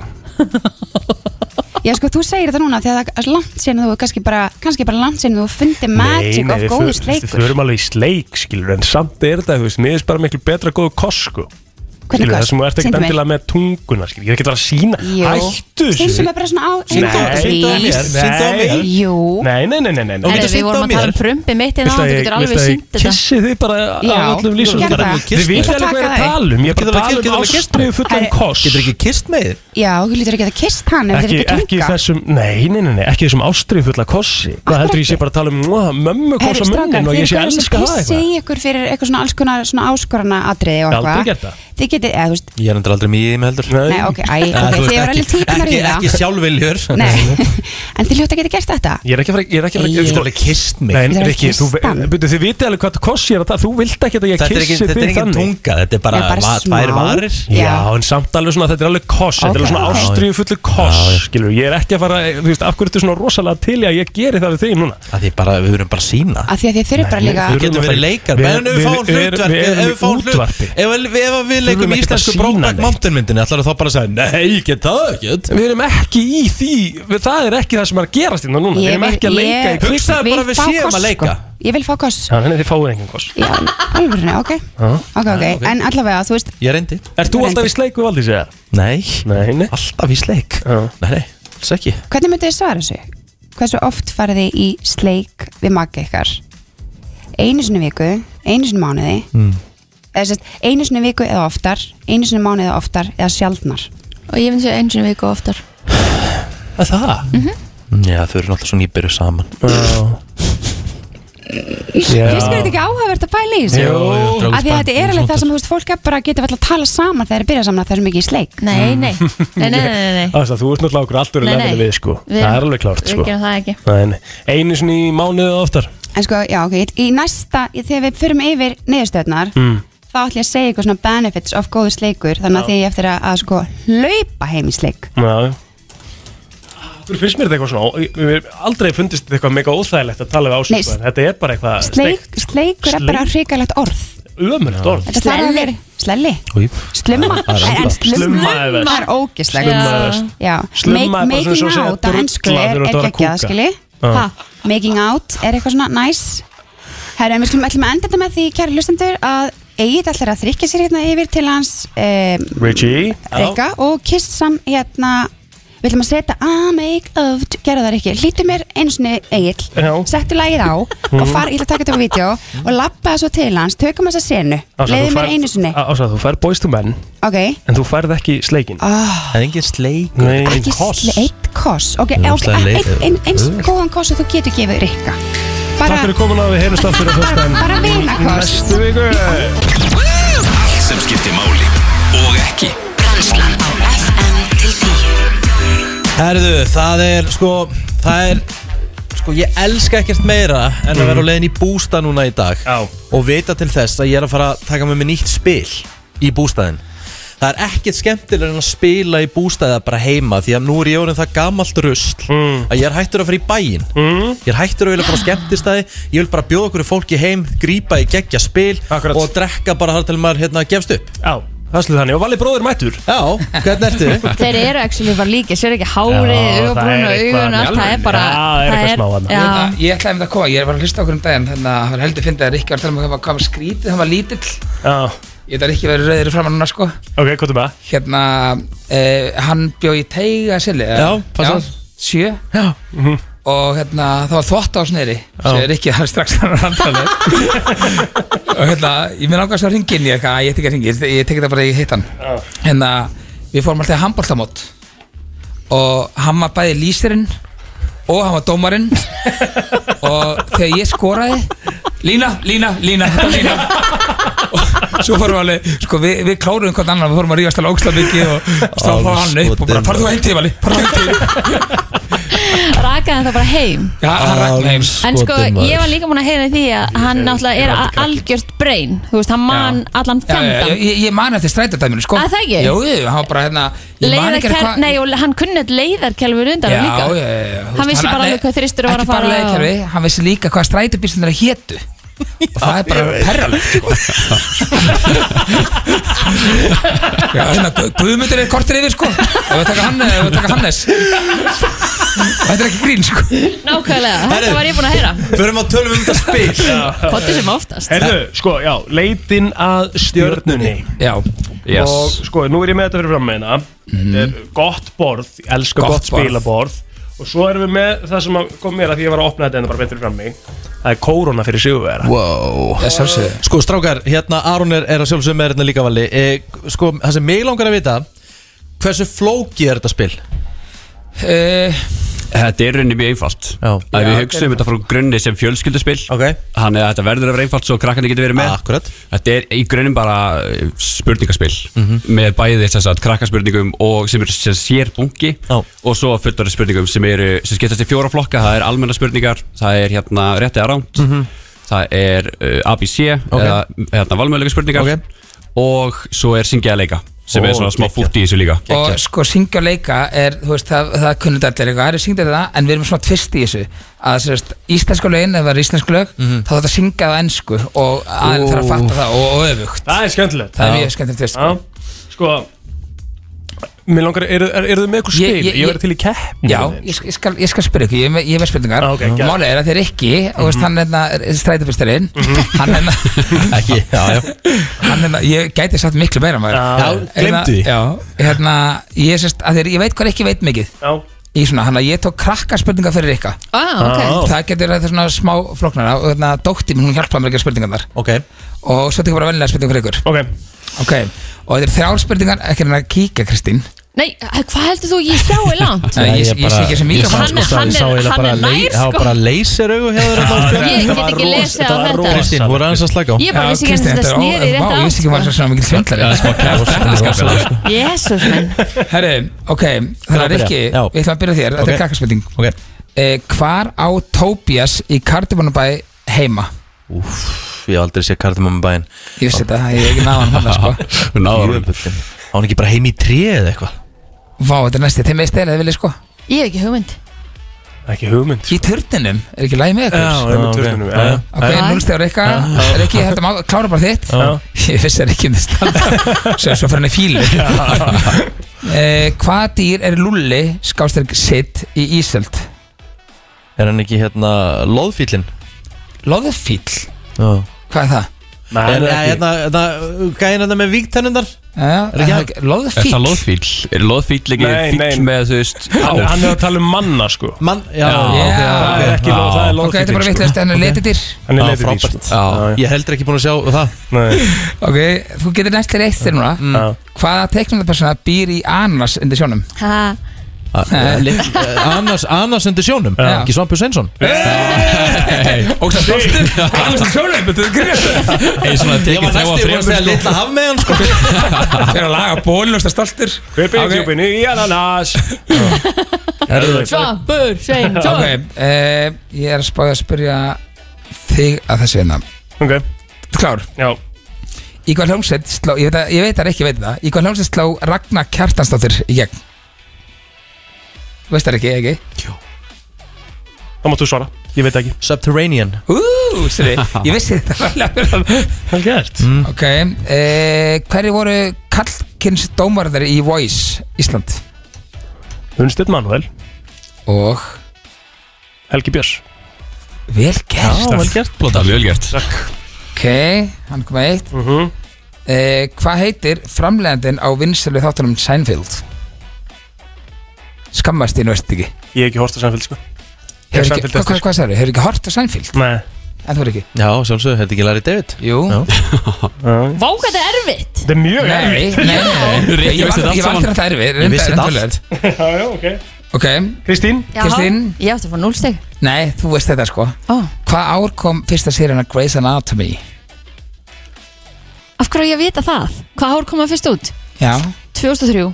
[SPEAKER 18] já sko, þú segir þetta núna Því að það er langt sinn þú kannski bara, kannski bara langt sinn þú fundi magic of
[SPEAKER 4] við
[SPEAKER 18] góðu
[SPEAKER 4] förum-
[SPEAKER 18] sleikur
[SPEAKER 4] Við förum alveg í sleik, skilur, en samt er þetta, þú veist, mér er bara miklu betra góðu koss, sko Skilur,
[SPEAKER 18] koss?
[SPEAKER 4] það sem þú ert ekkert
[SPEAKER 18] Sýndu mér.
[SPEAKER 4] endilega með tunguna, skilur, ég er ekkert að vera að sína Hættu
[SPEAKER 18] þessu Sýndu mig bara svona á
[SPEAKER 4] Nei, sýndu á mér,
[SPEAKER 18] Sýndu á mér.
[SPEAKER 4] nei.
[SPEAKER 18] Jú
[SPEAKER 4] Nei, nei, nei, nei, nei, nei.
[SPEAKER 3] Herri, við vorum að tala um prumpi mitt en
[SPEAKER 4] Viltu
[SPEAKER 3] þú
[SPEAKER 4] að ég- viltu
[SPEAKER 3] getur
[SPEAKER 4] að
[SPEAKER 3] alveg
[SPEAKER 4] ég
[SPEAKER 3] sínt þetta
[SPEAKER 4] kissi þig bara á
[SPEAKER 3] Já,
[SPEAKER 4] öllum lýsum?
[SPEAKER 3] gerðu
[SPEAKER 4] Bara-
[SPEAKER 3] það.
[SPEAKER 4] Þið vitið
[SPEAKER 3] Ég ætla
[SPEAKER 4] alveg
[SPEAKER 3] að
[SPEAKER 4] hvað ég er
[SPEAKER 3] taka
[SPEAKER 4] að tala um, ég er bara
[SPEAKER 2] Getur
[SPEAKER 4] að
[SPEAKER 2] alveg-
[SPEAKER 4] tala
[SPEAKER 2] getur
[SPEAKER 4] um
[SPEAKER 2] alveg kysst
[SPEAKER 4] ástriðu fullan
[SPEAKER 18] Herri.
[SPEAKER 4] koss
[SPEAKER 2] Getur ekki kist með þið?
[SPEAKER 18] Já, þú lítur ekki að kist hann ef þið
[SPEAKER 4] Ekki,
[SPEAKER 18] er ekki
[SPEAKER 4] ekki
[SPEAKER 18] tunga
[SPEAKER 4] þessum, nei, nei, nei, nei, ekki þessum ástriðu fulla kossi Hvað heldur ég sé bara að tala um "Mwah, mömmu koss á munnin og ég sé
[SPEAKER 18] sem
[SPEAKER 4] elska það eitthvað
[SPEAKER 18] pissi í ykkur fyrir eitthvað svona alls konar svona áskorana atriði og
[SPEAKER 2] Ég hef aldrei
[SPEAKER 18] eitthvað
[SPEAKER 2] gert það.
[SPEAKER 18] Þið getið, eða þú veist,
[SPEAKER 2] Ég er endur aldrei mjög í mig heldur
[SPEAKER 18] Nei, ok, æ,
[SPEAKER 2] Eða,
[SPEAKER 18] ok, þið
[SPEAKER 2] þú veist,
[SPEAKER 18] eru
[SPEAKER 2] ekki-
[SPEAKER 18] alveg típunar í
[SPEAKER 2] ekki-
[SPEAKER 18] það.
[SPEAKER 2] Ekki sjálfviljur
[SPEAKER 18] en þið hljótt að geta gert þetta
[SPEAKER 4] Ég er ekki að fara Ég er ekki að fara
[SPEAKER 2] Ég er alveg kist mig
[SPEAKER 4] Nei,
[SPEAKER 18] Þú þarf að
[SPEAKER 4] Rikki, þú,
[SPEAKER 18] kyssa hann.
[SPEAKER 4] byrju, þið vitið alveg hvað koss ég er að það Þú vilt ekki að ég
[SPEAKER 2] Þetta er ekki-
[SPEAKER 4] kissi
[SPEAKER 2] þetta er
[SPEAKER 4] þig
[SPEAKER 2] engin tunga, þetta er bara Nei, bara va- tvær smá. varir.
[SPEAKER 4] Já,
[SPEAKER 2] Já.
[SPEAKER 4] en samt alveg svona, þetta er alveg koss Þetta
[SPEAKER 2] Ok,
[SPEAKER 4] er alveg svona
[SPEAKER 2] ok.
[SPEAKER 4] ástriðu fullu koss Skilur, ég er ekki að fara, þú veist, af hverju þetta er svona rosalega til í að ég geri það við þig núna
[SPEAKER 2] Að því bara, við erum bara sína
[SPEAKER 18] Af því að þið þurfum bara líka
[SPEAKER 2] Við getum verið leikar, um menn ef við fáum hlutverk Ef við fáum hlutverk Ef ef- ef við leikum
[SPEAKER 4] Þurfum ekkert að
[SPEAKER 2] íslensku
[SPEAKER 4] sýna
[SPEAKER 2] Brokeback
[SPEAKER 4] neitt.
[SPEAKER 2] Mountain myndinni Ætlar þá bara að segja, nei, ég get það ekkert
[SPEAKER 4] Við erum ekki í því, við, það er ekki það sem er að gerast hérna núna Við
[SPEAKER 18] Ég
[SPEAKER 4] erum
[SPEAKER 18] vil-
[SPEAKER 4] ekki að leika
[SPEAKER 18] ég-
[SPEAKER 4] í kvik
[SPEAKER 2] Hugsaðu
[SPEAKER 18] vil
[SPEAKER 2] bara að við
[SPEAKER 18] fá
[SPEAKER 2] séum
[SPEAKER 18] koss,
[SPEAKER 2] að leika.
[SPEAKER 18] sko. Ég vil fá koss
[SPEAKER 4] Já, þannig að þið fáið engin koss
[SPEAKER 18] Já, alveg, ok, ok, ok
[SPEAKER 4] Já, ok.
[SPEAKER 18] En allavega, þú veist,
[SPEAKER 2] Ég reyndi
[SPEAKER 4] Ert þú alltaf í sleik við Valdís eða?
[SPEAKER 2] Nei,
[SPEAKER 4] Nei, nei
[SPEAKER 2] alltaf í sleik Nei, nei, alls ekki
[SPEAKER 18] hvernig myndið þið svara þessu? Hversu oft farið þið í sleik við maka ykkar? Einu sinni í viku, einu sinni í mánuði
[SPEAKER 2] Mm.
[SPEAKER 18] eða sérst, einu sinni í viku eða oftar einu sinni í mánuði eða oftar eða sjaldnar
[SPEAKER 3] og ég finnst ég einu sinni í viku og oftar
[SPEAKER 4] Að það?
[SPEAKER 2] Já, þau eru náttúrulega svo nýbyrju saman
[SPEAKER 4] Já.
[SPEAKER 18] Finnst mér þetta ekki áhugavert að pæla í þessu?
[SPEAKER 2] Jú, jú, drágu
[SPEAKER 18] Af því að þetta
[SPEAKER 2] spennt,
[SPEAKER 18] er alveg það
[SPEAKER 2] svolítið.
[SPEAKER 18] sem þú veist, fólk er bara getur alltaf að tala saman þegar þeir byrja saman að það er mikið í sleik
[SPEAKER 3] Nei, nei, nei, nei, nei, nei.
[SPEAKER 4] Ásta, þú ert náttúrulega okkur allt verið
[SPEAKER 3] Nei, nei.
[SPEAKER 4] lefnir við sko
[SPEAKER 3] Við-
[SPEAKER 4] Það er alveg klárt
[SPEAKER 3] Við
[SPEAKER 4] sko
[SPEAKER 3] gerum það ekki
[SPEAKER 4] Nei, nei. Einu sinni í mánuðið oftar
[SPEAKER 18] En sko, já, ok, í næsta, í- þegar við förum yfir niðurstöðnar
[SPEAKER 4] mm.
[SPEAKER 18] þá ætlum ég að segja eitthvað svona benefits of góður sleikur þannig að því ég eftir að, að sko hlaupa heim í sleik
[SPEAKER 4] Mm, Já Þú finnst mér þetta eitthvað svona Mér hef aldrei fundist þetta eitthvað mega óþægilegt að tala við
[SPEAKER 18] Nei,
[SPEAKER 4] ásins Þetta er bara eitthvað
[SPEAKER 18] sleik, sleikur er
[SPEAKER 4] Sleik.
[SPEAKER 18] bara hrikalegt orð
[SPEAKER 4] Ömulegt orð
[SPEAKER 18] Þetta þarf að vera Slelli Slumma
[SPEAKER 4] Það er
[SPEAKER 18] En
[SPEAKER 4] enda.
[SPEAKER 18] slumma
[SPEAKER 4] Slumma er verst.
[SPEAKER 18] var ógislega
[SPEAKER 4] Slumma er verst. Slumma er bara svona eins
[SPEAKER 18] Making
[SPEAKER 4] og sé að
[SPEAKER 18] out á
[SPEAKER 4] drulla
[SPEAKER 18] ennsku er
[SPEAKER 4] þegar þú ert að vera að
[SPEAKER 18] ekki ekki að
[SPEAKER 4] kúka.
[SPEAKER 18] skilji
[SPEAKER 4] Já.
[SPEAKER 18] Ha, Making out er eitthvað svona nice Herra, en við skulum ætlum að enda þetta með því kæri lustendur að Egið ætlar að þrykja sér hérna yfir til hans um,
[SPEAKER 4] Richie
[SPEAKER 18] Rikka og kiss sam hérna Við ætlum að setja a make of Gerða það ekki, hlýtu mér einu sinni Egil
[SPEAKER 4] Já.
[SPEAKER 18] Settu lagið á
[SPEAKER 4] Mhm.
[SPEAKER 18] Og far, ég ætla að taka þetta á vídeo Og lappa svo til hans, tökum þessa senu
[SPEAKER 4] Ása,
[SPEAKER 18] Leiðu
[SPEAKER 4] þú
[SPEAKER 18] mér
[SPEAKER 4] færð-
[SPEAKER 18] einu sinni
[SPEAKER 4] Á- Ása, þú færð boys to men
[SPEAKER 18] Ok
[SPEAKER 4] En þú færð ekki sleikin
[SPEAKER 18] oh.
[SPEAKER 4] Það er engin sleikur Nei,
[SPEAKER 18] ekki sle- eitt koss ok,
[SPEAKER 4] Það er
[SPEAKER 18] ok,
[SPEAKER 4] ógeðslega
[SPEAKER 18] einn-
[SPEAKER 4] leiðilegt.
[SPEAKER 18] einn- eins góðan koss og þú getur gefið Rikka
[SPEAKER 4] Takk fyrir komin á við heyrjumst aftur á föstudaginn.
[SPEAKER 18] bara vina koss
[SPEAKER 4] Næstu viku
[SPEAKER 1] Allt sem skiptir máli og ekki
[SPEAKER 20] Herðu, það er sko Það er Sko ég elska ekkert meira En að
[SPEAKER 4] Mhm.
[SPEAKER 20] vera á leiðin í bústa núna í dag Já. Og vita til þess að ég er að fara að taka með mig nýtt spil Í bústaðin Það er ekkert skemmtilega en að spila í bústaði Bara heima því að nú er ég orðin það gamalt rusl
[SPEAKER 4] Mm.
[SPEAKER 20] Að ég er hættur að fara í bæinn mm. Ég er hættur að vilja fara á skemmtistæði Ég vil bara bjóða okkur fólki heim Grípa í geggja spil Akkurat. Og drekka bara þar til maður hérna gefst upp
[SPEAKER 4] Já, það slið þannig Og Valli bróðir mættur
[SPEAKER 20] Já, hvernig ertu?
[SPEAKER 3] Þeir eru actually bara líka, sér ekki hárið,
[SPEAKER 20] Já, það
[SPEAKER 3] augabrún
[SPEAKER 20] er
[SPEAKER 3] og
[SPEAKER 20] eitthvað
[SPEAKER 3] augun og allt, það er bara
[SPEAKER 21] Ég ætla-
[SPEAKER 3] Já,
[SPEAKER 21] Ég ætlaði einmitt að koma, ég var að hlusta okkur um daginn þannig að það var heldur fyndið að Rikki var að tala um hvað var- hvað var skrítið, hann var lítill Ég ætla að Rikki verið rauður fram að núna sko
[SPEAKER 4] Ok, hvað er það?
[SPEAKER 21] Hérna, eh, hann bjó í teiga sili
[SPEAKER 20] Já, passar.
[SPEAKER 21] Sjö Já Og hérna, það var þvott á sneri
[SPEAKER 20] Já.
[SPEAKER 21] Segir Rikki, hann er strax hann að handla Og hérna, ég mér langast að ringin í eitthvað, ég ætti ekki að ringi, ég tekið það bara að ég hitt hann Hérna, við fórum alltaf handbóltamót Og hann var bæði lýsirinn og hann var dómarinn og þegar ég skoraði Lína, Lína, Lína, þetta er Lína og svo fórum við alveg sko við, við kláruðum hvort annan við fórum að rífast alveg ógsta mikið og og þá fórum hann upp og bara farðu þú heim til Vali farðu heim til
[SPEAKER 3] rakaði það bara heim
[SPEAKER 21] já, hann rækna heim
[SPEAKER 3] En sko, ég var líka múin að heyra í því að hann náttúrulega er a- algjört brain Þú veist, hann man allan
[SPEAKER 21] Já, já, já,
[SPEAKER 3] fjandan
[SPEAKER 21] ég, ég man eftir strætadæminu sko
[SPEAKER 3] Að Ah, það ekki?
[SPEAKER 21] Jú, jú, hann var bara hérna ég man ekki
[SPEAKER 3] Leiðarkel,
[SPEAKER 21] hvað-
[SPEAKER 3] nei, og hann kunni öll leiðarkelfur undan
[SPEAKER 21] Já,
[SPEAKER 3] líka
[SPEAKER 21] já, já, já,
[SPEAKER 3] Hann
[SPEAKER 21] þú veist,
[SPEAKER 3] vissi
[SPEAKER 21] hann-
[SPEAKER 3] bara
[SPEAKER 21] nei,
[SPEAKER 3] alveg hvað þristur var
[SPEAKER 21] ekki
[SPEAKER 3] að fara
[SPEAKER 21] bara
[SPEAKER 3] og-
[SPEAKER 21] leiðkerfi, hann vissi líka hvað strætóbílstunar hétu og það er bara perralegt sko. Já, hérna, Gu- Guðmundur er kortir yfir sko ef við taka hann, ef við taka Hannes þetta er ekki grín sko
[SPEAKER 3] Nákvæmlega,
[SPEAKER 21] Herri.
[SPEAKER 3] þetta var ég búin að heyra
[SPEAKER 20] Förum að tölum um þetta spil
[SPEAKER 3] Kottu sem oftast
[SPEAKER 4] Herðu, sko, já, leitin að stjörnunni
[SPEAKER 21] Já
[SPEAKER 4] yes. Og sko, nú er ég með þetta fyrir fram með hérna
[SPEAKER 21] Mhm.
[SPEAKER 4] Þetta er gott borð, ég elska
[SPEAKER 20] Gott
[SPEAKER 4] gott,
[SPEAKER 20] borð.
[SPEAKER 4] spilaborð Og svo erum við með það sem að kom mér að því ég var að opna þetta en það bara beint fyrir fram mig Það er kóróna fyrir sigurvera
[SPEAKER 20] Wow Sko strákar, hérna Aron er, er að sjálfsögum með hérna líka vali e, Sko, það sem mig langar að vita Hversu flóki er þetta spil?
[SPEAKER 21] Uh,
[SPEAKER 22] Þetta er rauninni mjög einfalt
[SPEAKER 20] Eh, Já,
[SPEAKER 22] að Við
[SPEAKER 20] þetta er
[SPEAKER 22] hugsaum þetta frá grunni sem fjölskylduspill
[SPEAKER 20] okay.
[SPEAKER 22] Þannig að þetta verður að vera einfalt svo krakkandi getur verið með
[SPEAKER 20] Akkurat.
[SPEAKER 22] Þetta er í grunnum bara eh, spurningaspill
[SPEAKER 20] Mhm.
[SPEAKER 22] með bæði þess að krakkaspurningum og sem er sem sér bungi Já. og svo fullari spurningum sem, eru, sem skiptast í fjóra flokka Það er almenna spurningar, það er hérna rétti að ránt
[SPEAKER 20] Mhm.
[SPEAKER 22] Það er uh, ABC
[SPEAKER 20] Ok.
[SPEAKER 22] eða hérna, valmöðlega spurningar og svo er syngja að leika sem er
[SPEAKER 21] Ó,
[SPEAKER 22] svona smá
[SPEAKER 21] geggjað.
[SPEAKER 22] fútt í þessu líka
[SPEAKER 21] og sko syngja og leika er, þú veist, það, það kunnur allir eitthvað, það er syngja þetta en við erum svona tvist í þessu að sérst, íslensku lögin, ef það er íslensku lög þá þarf það að syngja það ennsku og aðeins þarf að fatta það og, og öfugt
[SPEAKER 4] Það er skemmtilegt
[SPEAKER 21] það er
[SPEAKER 4] Já.
[SPEAKER 21] mjög skemmtilegt tvist
[SPEAKER 4] Já, sko Mér langar, eru er, er þið með eitthvað spil? Ég, verður til í keppni
[SPEAKER 21] Já, ég, sk- ég, skal, ég skal spyrja ykkur, ég er með, ég er með spurningar ah,
[SPEAKER 4] ok,
[SPEAKER 21] Málið er að þeir ekki, þú veist, hann er strætabistarinn Hann er hérna-
[SPEAKER 20] Ekki, já, já
[SPEAKER 21] Hann er, hérna, ég gæti sagt miklu meira maður
[SPEAKER 20] Já,
[SPEAKER 21] Hérna-
[SPEAKER 20] gleymdu því.
[SPEAKER 21] Já, hérna, ég, sérst, að þeir, ég veit hvað ekki veit mikið
[SPEAKER 4] Já
[SPEAKER 21] Í svona, hann að ég tók krakka spurningar fyrir ykka
[SPEAKER 3] Ah, ok.
[SPEAKER 21] Það getur þetta svona smá flóknara Og hérna, dótti minn, hún hjálpaði mér ekki að spurningarnar
[SPEAKER 20] Ok
[SPEAKER 21] Og svo tekur bara venlega spurningar fyrir ykkur
[SPEAKER 4] Ok
[SPEAKER 21] Ok, og þetta er þrjár spurningar, ekki hann að kíkja Kristín
[SPEAKER 3] Nei, eh, hvað heldur þú, ég sjái langt
[SPEAKER 21] Nei, ég- ég sé ekki þessi míkrofón,
[SPEAKER 3] Hann er- hann er- hann er nær
[SPEAKER 20] Það var
[SPEAKER 3] sko
[SPEAKER 20] bara leysir augu hjá þér
[SPEAKER 21] Já,
[SPEAKER 20] hérna á spil.
[SPEAKER 21] Ég get
[SPEAKER 20] Þetta var
[SPEAKER 3] ekki
[SPEAKER 20] ros-
[SPEAKER 3] lesið á
[SPEAKER 20] var
[SPEAKER 3] þetta.
[SPEAKER 20] ros- Kristín, þú er aðeins að slaka á
[SPEAKER 3] Ég bara vissi ekki einu sinni að þetta sneri í rétta
[SPEAKER 21] Vá, ég vissi ekki maður svona mikið svindlari Þetta er skapsala
[SPEAKER 3] Jésús minn
[SPEAKER 21] Herri, ok, þannig að að byrja? Rikki, Já. við ætlum að byrja á þér, þetta
[SPEAKER 20] Ok.
[SPEAKER 21] er krakkarspurning
[SPEAKER 20] okay.
[SPEAKER 21] eh, Hvar á Tobias í Kardimanabæ heima?
[SPEAKER 20] Úff,
[SPEAKER 2] Ég hef aldrei séð kardamömmu bæinn
[SPEAKER 21] Ég vissi þetta, ég hef ekki náð hann hann sko.
[SPEAKER 2] Náður hann Á hann ekki bara heim í tré eða eitthvað
[SPEAKER 21] Vá, þetta er næsti, þeim veist þeirra, þið vilja sko
[SPEAKER 3] Ég hef ekki hugmynd
[SPEAKER 4] Ekki hugmynd
[SPEAKER 21] Í turninum, er ekki læg með ykkur?
[SPEAKER 4] Já, ég er með turninum, já, já.
[SPEAKER 21] Ok,
[SPEAKER 4] Já.
[SPEAKER 21] núlstjáður eitthvað,
[SPEAKER 4] Já.
[SPEAKER 21] er ekki, heldum að klára bara þitt
[SPEAKER 4] Já.
[SPEAKER 21] Ég vissi það ekki um þess Svo svo fyrir hann í fílu Eh, Hvaða dýr er lulli, skástrík sitt í Ísöld?
[SPEAKER 2] Er hann ekki hérna loðfýllin?
[SPEAKER 21] Loðfýll?
[SPEAKER 2] Já
[SPEAKER 21] Hvað er það?
[SPEAKER 2] Nei,
[SPEAKER 20] En
[SPEAKER 2] það er ekki.
[SPEAKER 20] hérna, hérna, gæðin hérna með víktennundar
[SPEAKER 21] Er það ekki- loðfíll?
[SPEAKER 22] Er það loðfíll? Er loðfíll ekki
[SPEAKER 4] Nei,
[SPEAKER 22] fíll
[SPEAKER 4] nei.
[SPEAKER 22] með þú veist
[SPEAKER 4] Hann, hann er að tala um manna sko
[SPEAKER 20] Mann,
[SPEAKER 21] já, ok,
[SPEAKER 4] Það
[SPEAKER 21] ok.
[SPEAKER 4] er ekki loð, það er sko.
[SPEAKER 21] Ok,
[SPEAKER 4] loð
[SPEAKER 21] þetta er bara vitlaust, en hann er letidýr.
[SPEAKER 4] Hann er
[SPEAKER 21] Já,
[SPEAKER 4] letidýr
[SPEAKER 21] frábært.
[SPEAKER 4] sko. Já,
[SPEAKER 2] Ég heldur ekki búin að sjá það
[SPEAKER 21] Ok, þú getur næst til eitt þér núna
[SPEAKER 4] Mm.
[SPEAKER 21] Hvaða teiknumdapersona býr í ananas undir sjónum?
[SPEAKER 3] Ha,
[SPEAKER 2] Annars, annars undir sjónum
[SPEAKER 21] Já.
[SPEAKER 2] Ekki Svampur Sveinsson
[SPEAKER 21] Og það stoltur Ananas undir sjónum, betur þú grefst
[SPEAKER 2] Ég svona tekið þrjá að þrjá, sko.
[SPEAKER 20] hafmegan sko
[SPEAKER 21] Fyrir að laga bólin og það stoltur
[SPEAKER 4] Hver byrja djúpinu í ananas
[SPEAKER 3] Svampur, Sveinsson
[SPEAKER 21] Ok, eh, ég er að spáði að spyrja þig að þessu hérna
[SPEAKER 4] Ok
[SPEAKER 21] Klár?
[SPEAKER 4] Já
[SPEAKER 21] Í hvað hljómsveit sló, ég veit að, ég veit að ekki veit það Í hvað hljómsveit sló Ragnar Kjartansdóttir í gegn? Þú Veist það ekki, ekki?
[SPEAKER 4] Það máttu svara, ég veit ekki
[SPEAKER 2] Subterranean
[SPEAKER 21] Ú, sorry, ég vissi þetta
[SPEAKER 4] Vel gert
[SPEAKER 22] Mm.
[SPEAKER 21] Ok, eh, hverju voru kallkynns dómarðar í Voice Ísland?
[SPEAKER 4] Unnstedt Manuel
[SPEAKER 21] Og
[SPEAKER 4] Helgi Björns
[SPEAKER 21] Vel gert
[SPEAKER 4] Já, vel gert,
[SPEAKER 21] Blóta
[SPEAKER 22] Vel gert
[SPEAKER 21] Ok, hann kom að eitt
[SPEAKER 4] Mhm.
[SPEAKER 21] eh, Hvað heitir framlegandinn á vinsölu þáttunum Seinfeld? Skammast þín, veist ekki
[SPEAKER 4] Ég hef ekki horst á Sænfjöld sko
[SPEAKER 21] Hefur ekki, hvað, hvað, hvað sagði, hefur ekki hort á Seinfeld?
[SPEAKER 4] Nei
[SPEAKER 21] En þú er ekki
[SPEAKER 2] Já, sjálfsög, heldur ekki Larry David
[SPEAKER 21] Jú
[SPEAKER 4] Þetta
[SPEAKER 3] Vá, hvað þetta er erfitt
[SPEAKER 4] er mjög
[SPEAKER 21] Nei,
[SPEAKER 4] erfitt.
[SPEAKER 21] nei, nei, nei. Ég var- ég var aldrei að það erfið
[SPEAKER 4] Ég vissi þetta allt Já, já, ok
[SPEAKER 21] Ok,
[SPEAKER 4] Kristín
[SPEAKER 3] Já,
[SPEAKER 21] Kristín?
[SPEAKER 3] Ég átti að fá núlsteg
[SPEAKER 21] nei, þú veist þetta sko
[SPEAKER 3] Ó.
[SPEAKER 21] Hvað ár kom fyrsta serían að Grey's Anatomy?
[SPEAKER 3] Af hverju á ég að vita það? Hvað ár koma fyrst út?
[SPEAKER 21] Já
[SPEAKER 3] 2003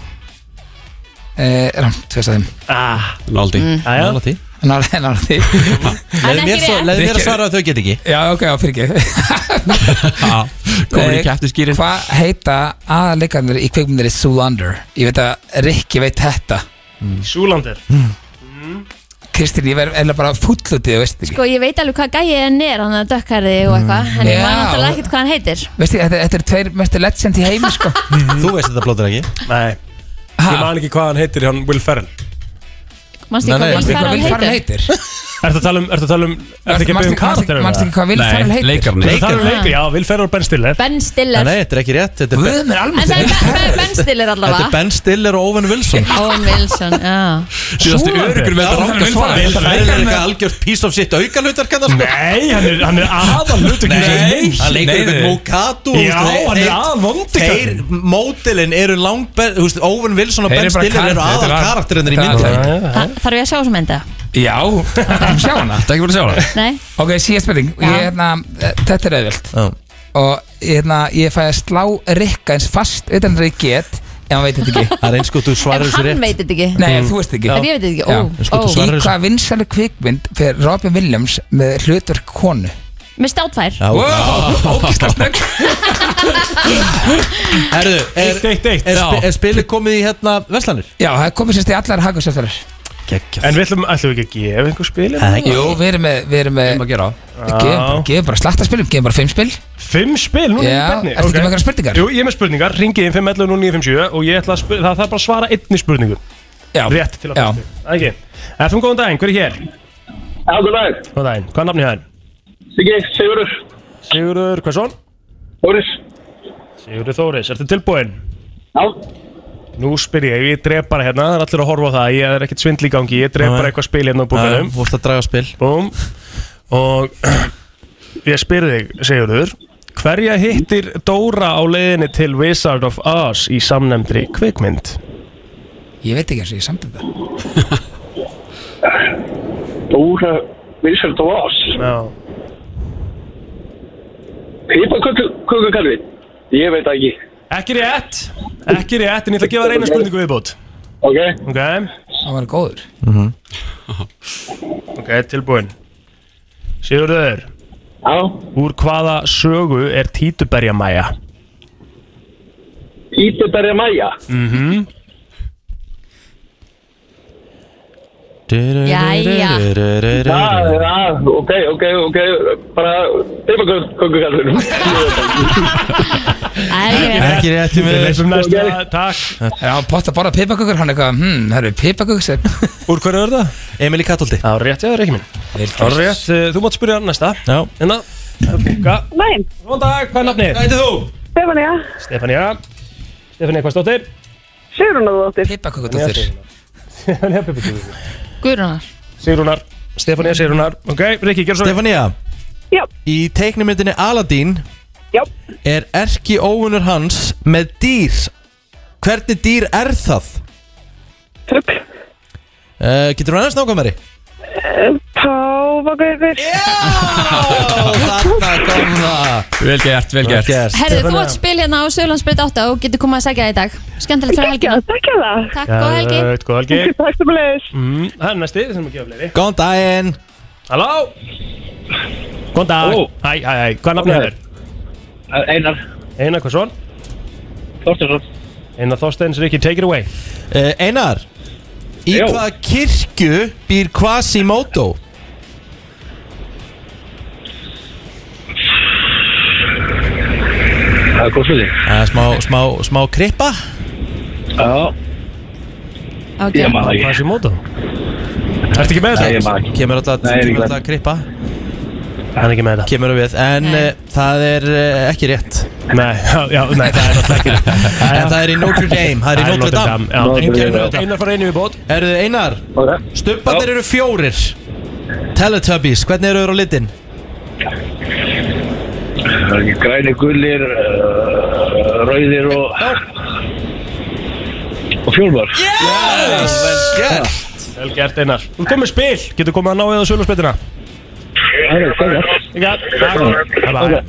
[SPEAKER 21] eh, Rann, tvist að þeim
[SPEAKER 4] ah,
[SPEAKER 22] Náldi
[SPEAKER 2] Nála því
[SPEAKER 21] Nála nála því
[SPEAKER 3] Leið Mm. ekki mér svo- rétt. leið mér að svara
[SPEAKER 2] að þau get ekki
[SPEAKER 21] Já, ok, já, fyrir ekki
[SPEAKER 22] komin í keppnisgírinn.
[SPEAKER 21] Hvað heita aðalegarnir í kveikmyndinni Zoolander? Ég veit að Rikki veit þetta Hmm.
[SPEAKER 4] Súlandir
[SPEAKER 21] Kristín, ég verð eða bara fullutið, veist ekki
[SPEAKER 3] Sko, ég veit alveg hvað gæiðin er Þannig að dökkarði og eitthvað En ég man
[SPEAKER 21] Mm, Já.
[SPEAKER 3] náttúrulega ekkert hvað hann heitir
[SPEAKER 21] Veist ekki, þetta, þetta er tveir mestu legend í heimi, sko
[SPEAKER 3] Hmm.
[SPEAKER 2] Þú veist þetta blóttir ekki
[SPEAKER 4] Nei Ég man ekki hvað hann heitir, hann Will Ferrell
[SPEAKER 3] Manstu
[SPEAKER 4] Nei, nei,
[SPEAKER 3] hvað
[SPEAKER 4] manstu
[SPEAKER 21] hvað Will
[SPEAKER 3] Will Ferrell
[SPEAKER 21] Ferrell
[SPEAKER 3] heitir?
[SPEAKER 21] heitir?
[SPEAKER 4] Ertu að tala um, ertu að tala um Ertu ekki að
[SPEAKER 21] Manstu-
[SPEAKER 4] byggja um
[SPEAKER 21] manstu-
[SPEAKER 4] karakterina?
[SPEAKER 21] manstu ekki hvað Will Nei, Ferrell heitir? leikarinn.
[SPEAKER 4] Ertu að tala um
[SPEAKER 3] Leikarinn.
[SPEAKER 4] leikar, já, Will Ferrell og Ben Stiller
[SPEAKER 3] Ben Stiller
[SPEAKER 2] Nei, þetta er ekki rétt Þetta
[SPEAKER 21] Guð mér
[SPEAKER 3] En það er Ben- Ben- Ben Stiller
[SPEAKER 2] Þetta er
[SPEAKER 3] allavega
[SPEAKER 2] Ben Stiller og Owen Wilson
[SPEAKER 3] Owen Wilson, já
[SPEAKER 2] Sjóðastu örgur með
[SPEAKER 21] Já,
[SPEAKER 2] þetta
[SPEAKER 21] hann
[SPEAKER 2] ranga
[SPEAKER 21] er
[SPEAKER 2] svar
[SPEAKER 21] Will
[SPEAKER 2] Will
[SPEAKER 21] Ferrell.
[SPEAKER 2] Ferrell er eitthvað algjört piece of shit aukalutar kannar
[SPEAKER 4] Nei, hann er, hann er aðal hlutur
[SPEAKER 2] Nei, hann leikur
[SPEAKER 4] nei,
[SPEAKER 2] einhvern
[SPEAKER 4] nei.
[SPEAKER 2] Mokatu
[SPEAKER 4] Já, hann er aðalvondikarinn.
[SPEAKER 2] Þeir mótilinn eru langbæð Owen Wilson og
[SPEAKER 21] Þeir
[SPEAKER 2] Ben
[SPEAKER 21] eru bara
[SPEAKER 2] Stiller eru
[SPEAKER 21] karakter-
[SPEAKER 2] aðal
[SPEAKER 21] þetta er aðal-
[SPEAKER 2] karakterinir í
[SPEAKER 21] þetta er aðal-
[SPEAKER 2] myndinni
[SPEAKER 3] Ha, Þarf ég að sjá þessum enda?
[SPEAKER 21] Já, það er sjá hana
[SPEAKER 22] Þetta er ekki búin að sjá hana
[SPEAKER 3] Nei?
[SPEAKER 21] Ok, síðan spurning ég,
[SPEAKER 3] Já.
[SPEAKER 21] hérna, eh, Þetta er auðvilt
[SPEAKER 2] Já.
[SPEAKER 21] Og hérna, ég fæ að slá Rikka eins fast utan þegar ég get En hann veit þetta ekki
[SPEAKER 2] Það er eins gott þú svarar
[SPEAKER 3] En
[SPEAKER 2] þessu
[SPEAKER 3] hann
[SPEAKER 2] rétt
[SPEAKER 3] veit þetta ekki Mm.
[SPEAKER 21] Nei, þú veist ekki
[SPEAKER 3] Já. En ég veit þetta ekki, ó,
[SPEAKER 21] Já.
[SPEAKER 3] En sko, þú ó.
[SPEAKER 21] Í
[SPEAKER 3] svarar þessu.
[SPEAKER 21] hvað vinsælu kvikmynd fyrir Robin Williams með hlutur konu
[SPEAKER 3] Með státfær
[SPEAKER 2] Já.
[SPEAKER 21] Wow, ógislega snögg
[SPEAKER 2] Herðu, er,
[SPEAKER 4] Eitt, eitt, eitt
[SPEAKER 2] er, spi-
[SPEAKER 4] Já.
[SPEAKER 2] er spilið komið í hérna Vestlandir?
[SPEAKER 21] Já, það er komið sérst í allar hagusöftarar
[SPEAKER 2] Gekkjað
[SPEAKER 4] En við ætlum, ætlum við ekki að gefa einhver spil hérna?
[SPEAKER 2] Það er ekki.
[SPEAKER 21] Jú, við erum með Við erum með
[SPEAKER 22] að gera
[SPEAKER 21] Gefum gefum bara slatta spilum, gefum bara fimm spil
[SPEAKER 4] Fimm spil, núna í
[SPEAKER 21] Já,
[SPEAKER 4] beinni,
[SPEAKER 21] ertu ekki
[SPEAKER 4] ok.
[SPEAKER 21] með einhverjar spurningar?
[SPEAKER 4] Jú, ég er með spurningar, ringið inn 511 0957 og ég ætla að spil, það þarf bara að svara einni spurningu
[SPEAKER 21] Já.
[SPEAKER 4] Rétt til að
[SPEAKER 21] Já.
[SPEAKER 4] Það er ekki Efum góðan daginn, hver er hér?
[SPEAKER 19] Já, góð dag
[SPEAKER 4] Góðan daginn, hvað er nafnið hér?
[SPEAKER 19] Siggi, Sigurður
[SPEAKER 4] Sigurður, hvað svon?
[SPEAKER 19] Þóris
[SPEAKER 4] Sigurður Þóris, ertu tilbúinn?
[SPEAKER 19] Já
[SPEAKER 4] Nú spyr ég, ég dref bara hérna, það er allir að horfa á það, ég er ekkert svindl í gangi, ég dref
[SPEAKER 2] Nei.
[SPEAKER 4] bara eitthvað spil hérna á
[SPEAKER 2] Já,
[SPEAKER 4] búinum
[SPEAKER 2] Þú vorst að draga spil
[SPEAKER 4] Búm Og ég spyr þig, Sigurður Hverja hittir Dóra á leiðinni til Wizard of Oz í samnefndri kvikmynd?
[SPEAKER 21] Ég veit ekki eins og ég samt þetta
[SPEAKER 19] Dóra Vinsöld og Voss
[SPEAKER 4] Já
[SPEAKER 19] Pippakökukalvin Ég veit það ekki
[SPEAKER 4] Ekki rétt, ekki rétt, en ég ætla að gefa þér eina spurningu viðbót
[SPEAKER 19] Ok
[SPEAKER 4] Ok,
[SPEAKER 21] Það var góður
[SPEAKER 4] ok, tilbúin Sigurður Já Úr hvaða sögu er Títuberja Mæja?
[SPEAKER 1] Ítuberja mæja
[SPEAKER 4] Mhm
[SPEAKER 1] Jæja.
[SPEAKER 15] Ah,
[SPEAKER 1] Já, já, ok, ok, ok Bara, þeim að kongukallur
[SPEAKER 21] Ekki rétt í
[SPEAKER 4] Við
[SPEAKER 21] miður.
[SPEAKER 4] leysum næsta, takk
[SPEAKER 21] Já, potta bara pipakökur, hann eitthvað Hmm, það eru pipakökur
[SPEAKER 4] Úr hverju er það?
[SPEAKER 2] Emil í Katolti
[SPEAKER 4] Já, rétt, já, það er ekki minn Það er rétt, eh, þú mátt spyrja næsta
[SPEAKER 2] Já
[SPEAKER 4] Hérna Kukka
[SPEAKER 23] Næn
[SPEAKER 4] Góðan dag, hvað er nafnið? Hvað heitir þú?
[SPEAKER 23] Stefania
[SPEAKER 4] Stefania Stefania, hvað stóttir?
[SPEAKER 23] Sigrunaðardóttir
[SPEAKER 21] Pippakökudóttir
[SPEAKER 4] Stefania Pippakökudóttir
[SPEAKER 3] Guðrunar
[SPEAKER 4] Sigrunar Stefania Sigrunar Ok, Rikki, gerð svo
[SPEAKER 2] Stefania
[SPEAKER 23] Já
[SPEAKER 2] Í teiknumyndinni Aladdin
[SPEAKER 23] Já
[SPEAKER 2] Er erki óunur hans með dýr Hvernig dýr er það?
[SPEAKER 23] Fugg
[SPEAKER 2] uh, Getur þú annars nákvæmari?
[SPEAKER 23] Páfagaukur
[SPEAKER 2] Þarna kom það
[SPEAKER 24] Vel gert, vel gert,
[SPEAKER 2] gert.
[SPEAKER 3] Herðu, þú átt spil hérna á Sölandsbreyt 8 og getur komað að segja það í dag Skemmtilegt fyrir helgina
[SPEAKER 23] Takk hjá það
[SPEAKER 3] Takk og helgi
[SPEAKER 4] Gæt, góð helgi
[SPEAKER 23] Takk sem að leiðis
[SPEAKER 4] Mm, Það er næsti, við þurfum að gefa fleiri
[SPEAKER 2] Góðan daginn
[SPEAKER 4] Halló Góðan dag
[SPEAKER 15] Halló.
[SPEAKER 4] Hæ, hæ, hæ, hvað er nafnið þér?
[SPEAKER 15] Einar
[SPEAKER 4] Einar, hvað svon?
[SPEAKER 15] Þorstinsson
[SPEAKER 4] Einar Þorsteins, Rikki, take it away
[SPEAKER 2] uh, Einar Í
[SPEAKER 4] Já.
[SPEAKER 2] hvaða kirkju býr Quasimodo?
[SPEAKER 15] Það er góð sluti
[SPEAKER 2] Uh, smá, smá, smá krippa
[SPEAKER 15] Já
[SPEAKER 3] Ok.
[SPEAKER 15] Ég man það ekki.
[SPEAKER 4] Hvað er sér móta? Ertu ekki með
[SPEAKER 2] Nei, ég
[SPEAKER 4] þetta?
[SPEAKER 2] man ekki. Kemur alltaf- Nei, ég er ekki kemur með alltaf þetta. krippa
[SPEAKER 4] Hann er ekki með þetta
[SPEAKER 2] Kemur við, en uh, það er uh, ekki rétt
[SPEAKER 4] Nei, já, já, nei, það er náttúrulega ekki
[SPEAKER 2] eh, En það er í Notre Dame, það er í Notre Dame
[SPEAKER 4] Já,
[SPEAKER 2] Ringja í
[SPEAKER 4] Einar-
[SPEAKER 2] Notre Dame.
[SPEAKER 4] Einar fara einu við bót
[SPEAKER 2] Herðu, Einar, stubbarnir eru fjórir Teletubbies, hvernig eru þeir á litin?
[SPEAKER 15] Græni gullir, uh, rauðir og og fjólmar
[SPEAKER 4] Yes! Vel gert Vel gert Einar Þú komið spil, getur komið að ná eða sölurspetina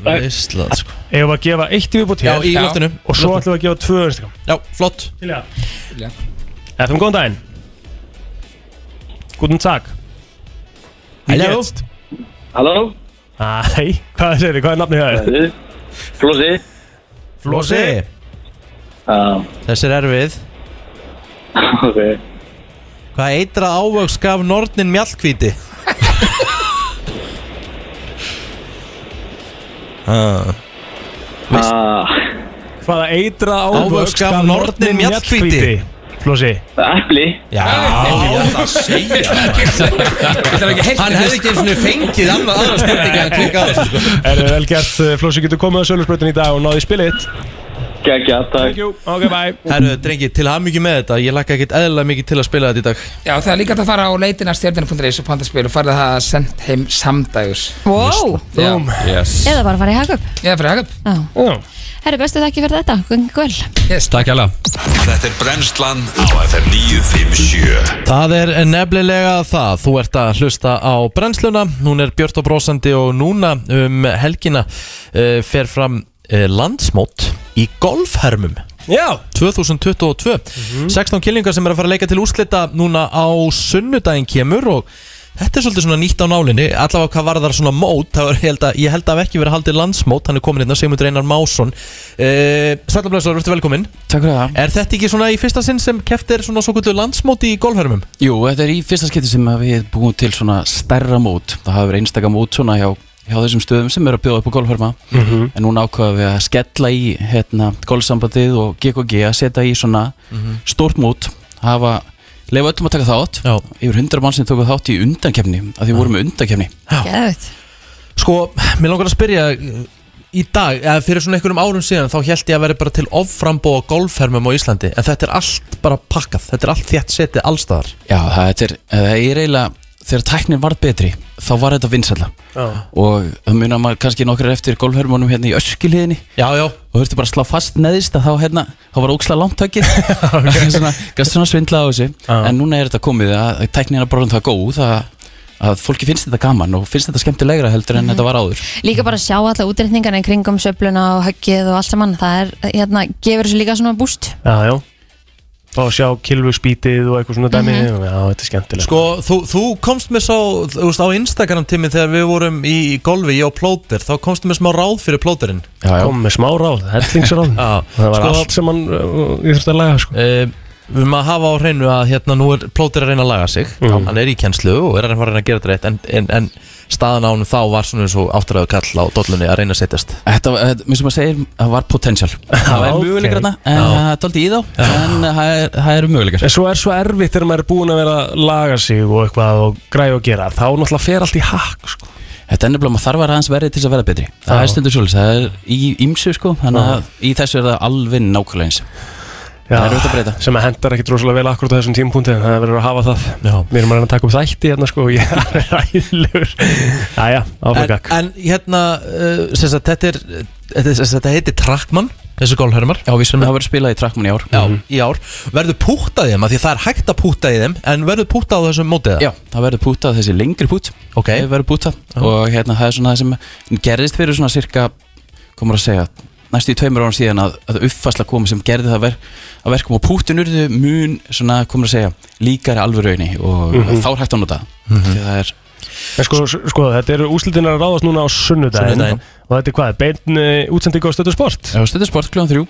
[SPEAKER 2] Veistla, sko
[SPEAKER 4] Ef að gefa eitt í viðbútt
[SPEAKER 2] Já,
[SPEAKER 4] hér
[SPEAKER 2] í loftinu
[SPEAKER 4] Og svo ætlum við að gefa tvö einstakam
[SPEAKER 2] Já, flott
[SPEAKER 4] Tilja FM, góðan daginn Guten Tag
[SPEAKER 15] Halló. Halló
[SPEAKER 2] Ah.
[SPEAKER 4] Æ, hvað segir þið, hvað er nafnið það?
[SPEAKER 15] Flósi
[SPEAKER 2] Flósi
[SPEAKER 15] Já,
[SPEAKER 2] Þessi er erfið
[SPEAKER 15] ok
[SPEAKER 2] Hvað eitra ávöks gaf nornin mjallkvíti? ah. Veist-
[SPEAKER 15] Ah.
[SPEAKER 4] Hvaða eitra
[SPEAKER 2] Ah. Ávöxt gaf nornin mjallhvíti.
[SPEAKER 4] Flósi
[SPEAKER 15] Epli
[SPEAKER 2] Já,
[SPEAKER 4] Ah.
[SPEAKER 2] ég ætla að segja það. Hann hefði ekki einu sinni fengið annað aðra spurninga en klikað á þessu sko.
[SPEAKER 4] Er vel gert, Flósi getur komið að sölurspetina í dag og náði spilit
[SPEAKER 15] Gækja, takk
[SPEAKER 4] Ok, bye
[SPEAKER 2] Herru, drengi, til hamingju með þetta Ég lakka ekkert eðlilega mikið til að spila þetta í dag
[SPEAKER 21] Já, það er líka hægt að fara á leitina stjörnir.is og pantaspil og farið það sendt heim samdægurs
[SPEAKER 3] Wow
[SPEAKER 21] Já, yes
[SPEAKER 3] Eða bara fara í Hagup
[SPEAKER 21] Eða fara í Hagup
[SPEAKER 3] Já Herru, bestu þakki fyrir þetta, göngu kvöld
[SPEAKER 21] Yes, takk hella
[SPEAKER 25] Þetta er brennslan á FM 957
[SPEAKER 2] Það er nefnilega það, þú ert að hlusta á brennsluna, hún er björt og brósandi og núna um helgina uh, fer fram uh, landsmót í golfhermum
[SPEAKER 4] Já
[SPEAKER 2] 2022 16 kynningar sem er að fara að leika til úrslita núna á sunnudaginn kemur og þetta er svolítið svona nýtt á nálinni allavega hvað varðar svona mót það var, ég, held að, ég held að hafi ekki verið haldið landsmót hann er komin hérna, Sigmundur Einar Másson uh, Sælablaðsar, ertu velkominn
[SPEAKER 7] Takk fyrir það
[SPEAKER 2] Er þetta ekki svona í fyrsta sinn sem keftir svona svo kvöldu landsmóti í golfhermum?
[SPEAKER 7] Jú, þetta er í fyrsta skipti sem að við búum til svona stærra mót Það hafa verið einstaka mót svona hjá, hjá þessum stöðum sem eru að bjóða upp á golfhörma
[SPEAKER 4] Mhm.
[SPEAKER 7] En núna ákvaðum við að skella í hérna, golfsambandið og GKG að setja í svona
[SPEAKER 4] Mhm.
[SPEAKER 7] stórt mót hafa leifa öllum að taka þátt
[SPEAKER 2] Já.
[SPEAKER 7] Yfir 100 mann sem tóku þátt í undankefni að því við vorum með undankefni
[SPEAKER 3] Gæðut
[SPEAKER 2] Sko, mér langar að spyrja eh, í dag, eða fyrir svona einhverjum árum síðan þá held ég að vera bara til offrambó á golfhermum á Íslandi, en þetta er allt bara pakkað, þetta er allt þétt setið allstaðar
[SPEAKER 7] Já, það er, það er eiginlega þegar tæknin varð betri, þá var þetta vinsælla
[SPEAKER 4] Já.
[SPEAKER 7] og það munar maður kannski nokkrar eftir golfhörmunum hérna í öskilíðinni
[SPEAKER 2] já, já.
[SPEAKER 7] og þurfti bara að slá fast neðist að þá hérna, þá var óksla langtökið svona, gæst svona svindla á þessu en núna er þetta komið að að tæknin er bara um það góð að, að fólki finnst þetta gaman og finnst þetta skemmtilegra heldur en
[SPEAKER 3] Mhm.
[SPEAKER 7] þetta var áður
[SPEAKER 3] Líka bara sjá alla útreikningarna í kringum söfluna og höggið og allt saman Það er, hérna, gefur þessu líka svona búst
[SPEAKER 4] Já, já fá að sjá kilvugspítið og eitthvað svona dæmi
[SPEAKER 2] Mhm.
[SPEAKER 4] Já, þetta er skemmtilegt
[SPEAKER 2] Sko, þú, þú komst með svo, þú veist, á Instagram tími þegar við vorum í, í golfi, ég og Plóter, þá komstu með smá ráð fyrir Plóterinn.
[SPEAKER 4] já, Sko- já. Kom með smá ráð, hellingsráð Það var allt sem hann, eh, ég þurfti að laga, sko.
[SPEAKER 7] Eh,
[SPEAKER 26] Við erum að hafa á hreinu að hérna nú er plótir að reyna að laga sig Hann er í kjenslu og er að fara að reyna að gera þetta rétt En, en, en staðan á hann þá var svona eins og áttræðu kall á dollunni að reyna að setjast
[SPEAKER 7] Þetta var, eh, þetta- mér sem maður segir, það var potential Það var
[SPEAKER 4] ok.
[SPEAKER 7] möguleikar þarna, en það er tóldi í þá En eh, það er- það eru möguleikar
[SPEAKER 4] En svo er svo erfitt þegar maður er búin að vera að laga sig og eitthvað og græja og gera Þá náttúrulega fer allt í hakk sko.
[SPEAKER 7] Þetta er nefnilega maður þarf að aðeins verið til þess að verða betri Það
[SPEAKER 4] Já.
[SPEAKER 7] er stundur svolítið, það er í ímsu sko Þannig
[SPEAKER 4] Já.
[SPEAKER 7] að í þessu er það alveg nákvæmlega eins
[SPEAKER 4] Já,
[SPEAKER 7] Það er auðvitað að breyta
[SPEAKER 4] Sem að hendar ekkit rosalega vel akkurat á þessum tímpúnti en það verður að hafa það
[SPEAKER 26] Já.
[SPEAKER 4] Við erum að reyna að taka upp þætti hérna sko og ég er ræðilegur Jæja, áfram
[SPEAKER 2] En,
[SPEAKER 4] gakk
[SPEAKER 2] en hérna, uh, sem sagt, þetta er, þetta, er- sem sagt, þetta heitir Trackman, þessi golfhermar.
[SPEAKER 7] Já, við sem það verður spilað í Trackman í ár. Mhm.
[SPEAKER 2] Já, í ár. Verður púttað í þeim, af því að það er hægt að pútta í þeim, en verður púttað á þessum mótið það?
[SPEAKER 7] Já, það verður pútað þessi lengri pút
[SPEAKER 2] Ok
[SPEAKER 7] Það verður pútað og hérna það er svona það sem gerðist fyrir svona cirka komur að segja næstu í tveimur árum síðan að, að uppfasla komi sem gerði það ver, að verkum og pútin urðu mun svona komur að segja líkari alvörauðni og
[SPEAKER 4] Mhm.
[SPEAKER 7] þá er hægt að nota það.
[SPEAKER 4] Mhm.
[SPEAKER 7] því að það er
[SPEAKER 4] En sko, sko, þetta eru úslitin að ráðast núna á sunnudaginn
[SPEAKER 7] Sunnudaginn.
[SPEAKER 4] Og þetta er hvað, beinn útsendingu á Stöðu Sport?
[SPEAKER 7] Já, Stöðu Sport kljóðan þrjú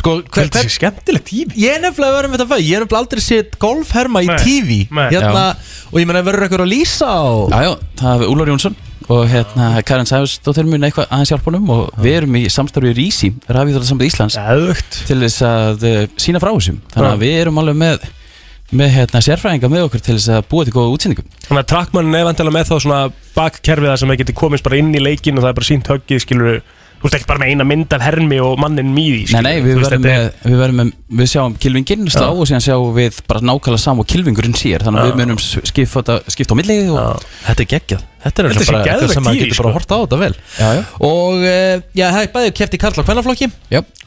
[SPEAKER 2] Sko, hver,
[SPEAKER 4] Þetta er skemmtilegt tími
[SPEAKER 2] Ég er nefnilega verið með þetta fæ, ég er nefnilega aldrei sétt golfherma í
[SPEAKER 7] Nei,
[SPEAKER 2] TV
[SPEAKER 7] nei.
[SPEAKER 2] Hérna,
[SPEAKER 7] Já.
[SPEAKER 2] og ég meina verður eitthvað að lýsa og...
[SPEAKER 7] Já, já, það er Úlar Jónsson og hérna Karin Sæfusdóttir mun eitthvað aðeins hjálpa honum og við erum í samstarfi í Rísi, Rafíðarlega Sambandu Íslands
[SPEAKER 4] Æðvögt.
[SPEAKER 7] til þess að uh, sína frá þessum þannig
[SPEAKER 4] Já.
[SPEAKER 7] að við erum alveg með með hérna sérfræðinga með okkur til þess að búa til góða útsendingum
[SPEAKER 4] Þannig að trackmann er vantilega með þá svona bakkerfið það sem það getur komist bara inn í leikin og það er bara sínt höggið skilur Þú ert ekki bara með eina mynd af hermi og mannin mýði
[SPEAKER 7] Nei, nei, við verðum með, við verðum með, við sjáum kilvinginn slá og síðan sjáum við bara nákvæmlega saman og kilvingurinn sér, þannig að
[SPEAKER 4] Já.
[SPEAKER 7] við munum skipta, skipta á millið og
[SPEAKER 2] Þetta er geggjað, þetta er
[SPEAKER 7] Þetta
[SPEAKER 2] bara
[SPEAKER 7] sé geðveikt
[SPEAKER 2] eitthvað sem maður
[SPEAKER 7] í því,
[SPEAKER 2] getur bara
[SPEAKER 7] sko.
[SPEAKER 2] að horta á þetta vel
[SPEAKER 7] Já, já. eh,
[SPEAKER 2] Og uh, já, það er bæðið keft í karl og kvennaflokki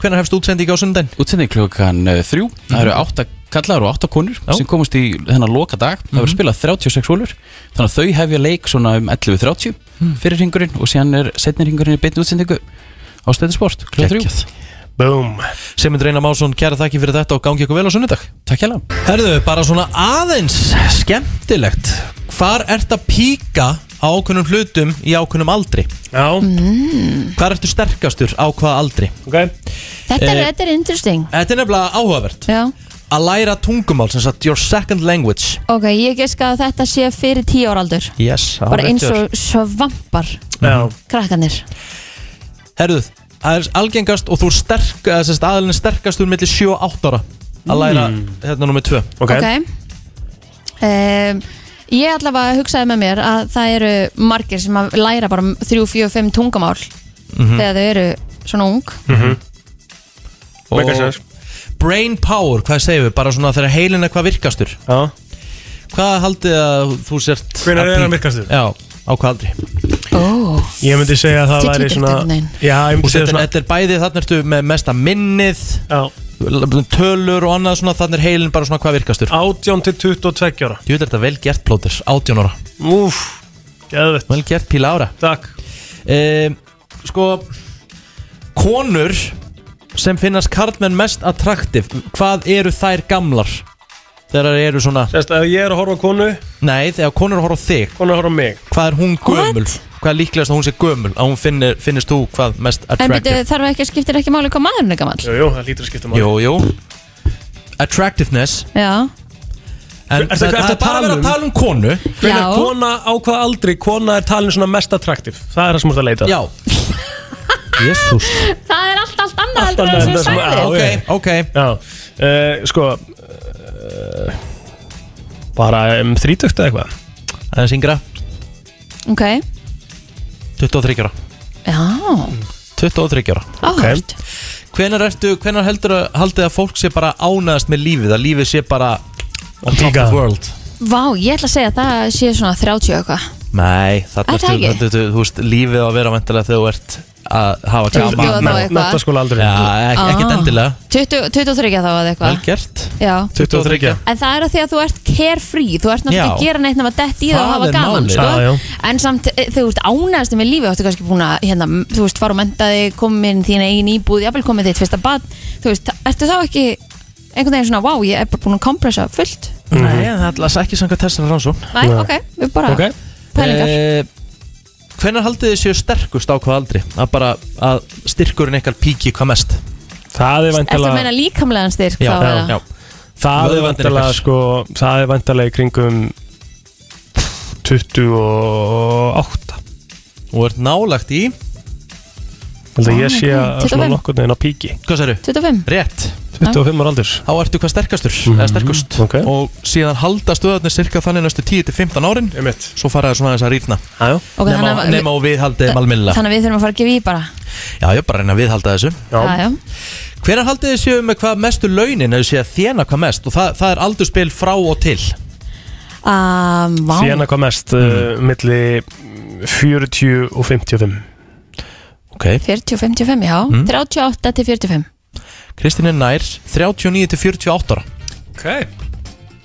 [SPEAKER 2] Hvenær hefst útsendingi á Mhm. sundin?
[SPEAKER 7] útsending klukkan uh, þrjú, það eru átta kallar og átta konur sem komast í þennan loka dag, það verður
[SPEAKER 2] Mhm.
[SPEAKER 7] spilað 36 hólur þannig að þau hefja leik svona um 11.30
[SPEAKER 2] Hmm.
[SPEAKER 7] fyrir ringurinn og síðan er setni ringurinn í beinni útsendingu á stöðu sport klukkan þrjú
[SPEAKER 4] Boom
[SPEAKER 2] Semund Reyna Másson, kæra þakki fyrir þetta og gangi ykkur vel á sunnudag
[SPEAKER 7] Takk hjá
[SPEAKER 2] Herðu, bara svona aðeins skemmtilegt Hvar ert að píka á ákunnum hlutum í ákunnum aldri?
[SPEAKER 4] Já
[SPEAKER 2] mm. Hvar ertu sterkastur á hvaða aldri? Eh,
[SPEAKER 4] Okay.
[SPEAKER 3] Þetta er, þetta er interesting
[SPEAKER 2] Þetta er nefnilega áhugavert
[SPEAKER 3] Já.
[SPEAKER 2] Að læra tungumál, sem sagt your second language
[SPEAKER 3] Ok, ég geska að þetta sé fyrir tíu ára aldur
[SPEAKER 2] Yes, Mhm. það var
[SPEAKER 3] Bara
[SPEAKER 2] rétt
[SPEAKER 3] eins
[SPEAKER 2] hjá þér.
[SPEAKER 3] og svampar
[SPEAKER 2] Já.
[SPEAKER 3] Krakkanir
[SPEAKER 2] Herðu, það er algengast og þú sterk, að sérst, aðalinn er sterkastur millir 7 og 8 ára að læra
[SPEAKER 4] Mm.
[SPEAKER 2] hérna nummið 2
[SPEAKER 3] Ok, um, Ég allavega hugsaði með mér að það eru margir sem að læra bara 3, 4, 5 tungumál
[SPEAKER 2] Mhm.
[SPEAKER 3] þegar þau eru svona ung
[SPEAKER 4] Make sense.
[SPEAKER 2] Brain power, hvað segir við? Bara svona þegar heilin er hvað virkastur
[SPEAKER 4] Já
[SPEAKER 2] Hvað haldið að þú sért
[SPEAKER 4] Hvenær
[SPEAKER 2] að
[SPEAKER 4] er hann
[SPEAKER 2] pí-
[SPEAKER 4] virkastur?
[SPEAKER 2] Já, á hvað aldri
[SPEAKER 3] oh.
[SPEAKER 4] Ég myndi segja að það væri svona Já, ég
[SPEAKER 2] Og
[SPEAKER 4] myndi segja
[SPEAKER 2] þetta,
[SPEAKER 4] svona
[SPEAKER 2] þetta er bæði, þarna ertu með mesta minnið Já Tölur og annað svona, þarna er heilin bara svona hvað virkastur
[SPEAKER 4] 18 til 22 ára
[SPEAKER 2] Jú, þetta er þetta vel gert plótir, 18 ára
[SPEAKER 4] Úf, geðvett
[SPEAKER 2] Vel gert píla ára
[SPEAKER 4] Takk
[SPEAKER 2] Sko, konur sem finnast karlmenn mest attraktiv Hvað eru þær gamlar? Þegar þær eru svona
[SPEAKER 4] Sérst, ef ég er að horfa á konu
[SPEAKER 2] Nei, þegar konur horfa á þig
[SPEAKER 4] Konur horfa á mig
[SPEAKER 2] Hvað er hún gömul? Hvað er líklegast að hún sé gömul? Að hún finnir, finnist þú hvað mest
[SPEAKER 3] En byrju,
[SPEAKER 2] attractive?
[SPEAKER 3] þarf ekki að skiptir ekki máli hvað maðurinn er gamall
[SPEAKER 4] Jú, jú, það lítur að skipta
[SPEAKER 2] Jú, jú Attractiveness
[SPEAKER 3] Já,
[SPEAKER 2] En
[SPEAKER 4] Ertu-
[SPEAKER 2] það,
[SPEAKER 4] ertu
[SPEAKER 2] það
[SPEAKER 4] að
[SPEAKER 2] er bara
[SPEAKER 4] tala
[SPEAKER 2] að vera
[SPEAKER 4] um-
[SPEAKER 2] að tala um konu
[SPEAKER 4] Hvenær
[SPEAKER 3] Já.
[SPEAKER 4] kona á hvað aldri Kona er talin svona mest attraktiv Það er það sem þú ert að leita
[SPEAKER 2] Já Jésús
[SPEAKER 3] það er allt, allt annað
[SPEAKER 4] Allt
[SPEAKER 3] heldur en
[SPEAKER 4] annað en
[SPEAKER 3] það
[SPEAKER 4] það
[SPEAKER 3] sem
[SPEAKER 4] sem-
[SPEAKER 3] ég sagði.
[SPEAKER 4] já,
[SPEAKER 2] ok
[SPEAKER 4] Já, uh, sko uh, Bara um þrítökt eða eitthvað
[SPEAKER 2] Það er syngra
[SPEAKER 3] Ok,
[SPEAKER 2] 23 ára
[SPEAKER 3] já
[SPEAKER 2] 23 ára
[SPEAKER 3] Áhört
[SPEAKER 2] Hvenar, ertu, hvenar heldur að haldið að fólk sé bara ánæðast með lífið Að lífið sé bara On top of the world
[SPEAKER 3] Vá, ég ætla að segja að það sé svona 30 og eitthvað
[SPEAKER 2] Nei,
[SPEAKER 3] Er
[SPEAKER 2] þarna
[SPEAKER 3] það
[SPEAKER 2] ertu,
[SPEAKER 3] ekki?
[SPEAKER 2] ertu, ertu, þú veist, lífið á að vera vantilega þegar þú ert að hafa
[SPEAKER 3] Þú bjóða þá eitthvað.
[SPEAKER 4] Menntaskóla aldrei
[SPEAKER 2] Já, ek, ekkert
[SPEAKER 3] Ah.
[SPEAKER 2] endilega
[SPEAKER 3] 20 23 þá að eitthvað
[SPEAKER 2] Vel gert
[SPEAKER 3] Já
[SPEAKER 2] 23
[SPEAKER 3] En það er að því að þú ert carefree, þú ert náttúrulega
[SPEAKER 2] Já.
[SPEAKER 3] að gera neitt nema dett í það og
[SPEAKER 2] Það
[SPEAKER 3] hafa
[SPEAKER 2] er
[SPEAKER 3] gaman,
[SPEAKER 2] málið.
[SPEAKER 3] sko.
[SPEAKER 2] Já, já.
[SPEAKER 3] En samt, eh, þegar þú ert ánægast með lífi, þú ert kannski búin að, hérna, þú veist, fara og menta þig, komin þín eigin íbúð, jafnvel komin þitt fyrsta bad, þú veist, ertu þá ekki einhvern veginn svona, wow, ég er bara búin að kompressa fullt
[SPEAKER 4] Mhm.
[SPEAKER 2] Nei, en það er alltaf ekki samkvæmt þessari rannsókn
[SPEAKER 3] Nei, ok, við bara
[SPEAKER 2] Ok.
[SPEAKER 3] pælingar
[SPEAKER 2] Eh, Hvenær haldið þið séu sterkust á hvað aldri? Að bara að styrkurinn ykkar píki hvað mest
[SPEAKER 4] Það er
[SPEAKER 3] Ertu að meina líkamlegan styrk þá eða?
[SPEAKER 4] Það er
[SPEAKER 2] Vöðvarnir
[SPEAKER 4] vantalega
[SPEAKER 2] ykkar.
[SPEAKER 4] sko Það er vantalega í kringum 28
[SPEAKER 2] Og ert nálagt í
[SPEAKER 4] Held að ég sé að svona
[SPEAKER 2] 25.
[SPEAKER 4] nokkur neginn á píki
[SPEAKER 2] Hvað sérðu?
[SPEAKER 3] 25
[SPEAKER 2] Rétt
[SPEAKER 4] 25 ára aldur
[SPEAKER 2] Þá ertu hvað sterkastur, eða sterkust Og síðan halda stöðarnir cirka þannig næstu 10-15 árin Einmitt. Svo fara það svona þess að rýrna
[SPEAKER 3] Ok, þannig
[SPEAKER 2] Nefna
[SPEAKER 3] að-
[SPEAKER 2] nema og viðhaldið um alminnilega
[SPEAKER 3] Þannig að við þurfum að fara að gefa í bara
[SPEAKER 2] Já, ég er bara að reyna að viðhalda þessu
[SPEAKER 3] Já, já.
[SPEAKER 2] Hvenær haldið þið séu með hvað mestu launin Ef þið séu að þjena hvað mest Og það, það er aldurspil frá og til
[SPEAKER 3] Um, vá.
[SPEAKER 4] Síðan að hvað mest mm. Milli 40 og 55
[SPEAKER 2] Ok
[SPEAKER 3] 40-55, já,
[SPEAKER 2] Mm.
[SPEAKER 3] 38 til 45
[SPEAKER 2] Kristín er nær 39 til 48 ára
[SPEAKER 4] Ok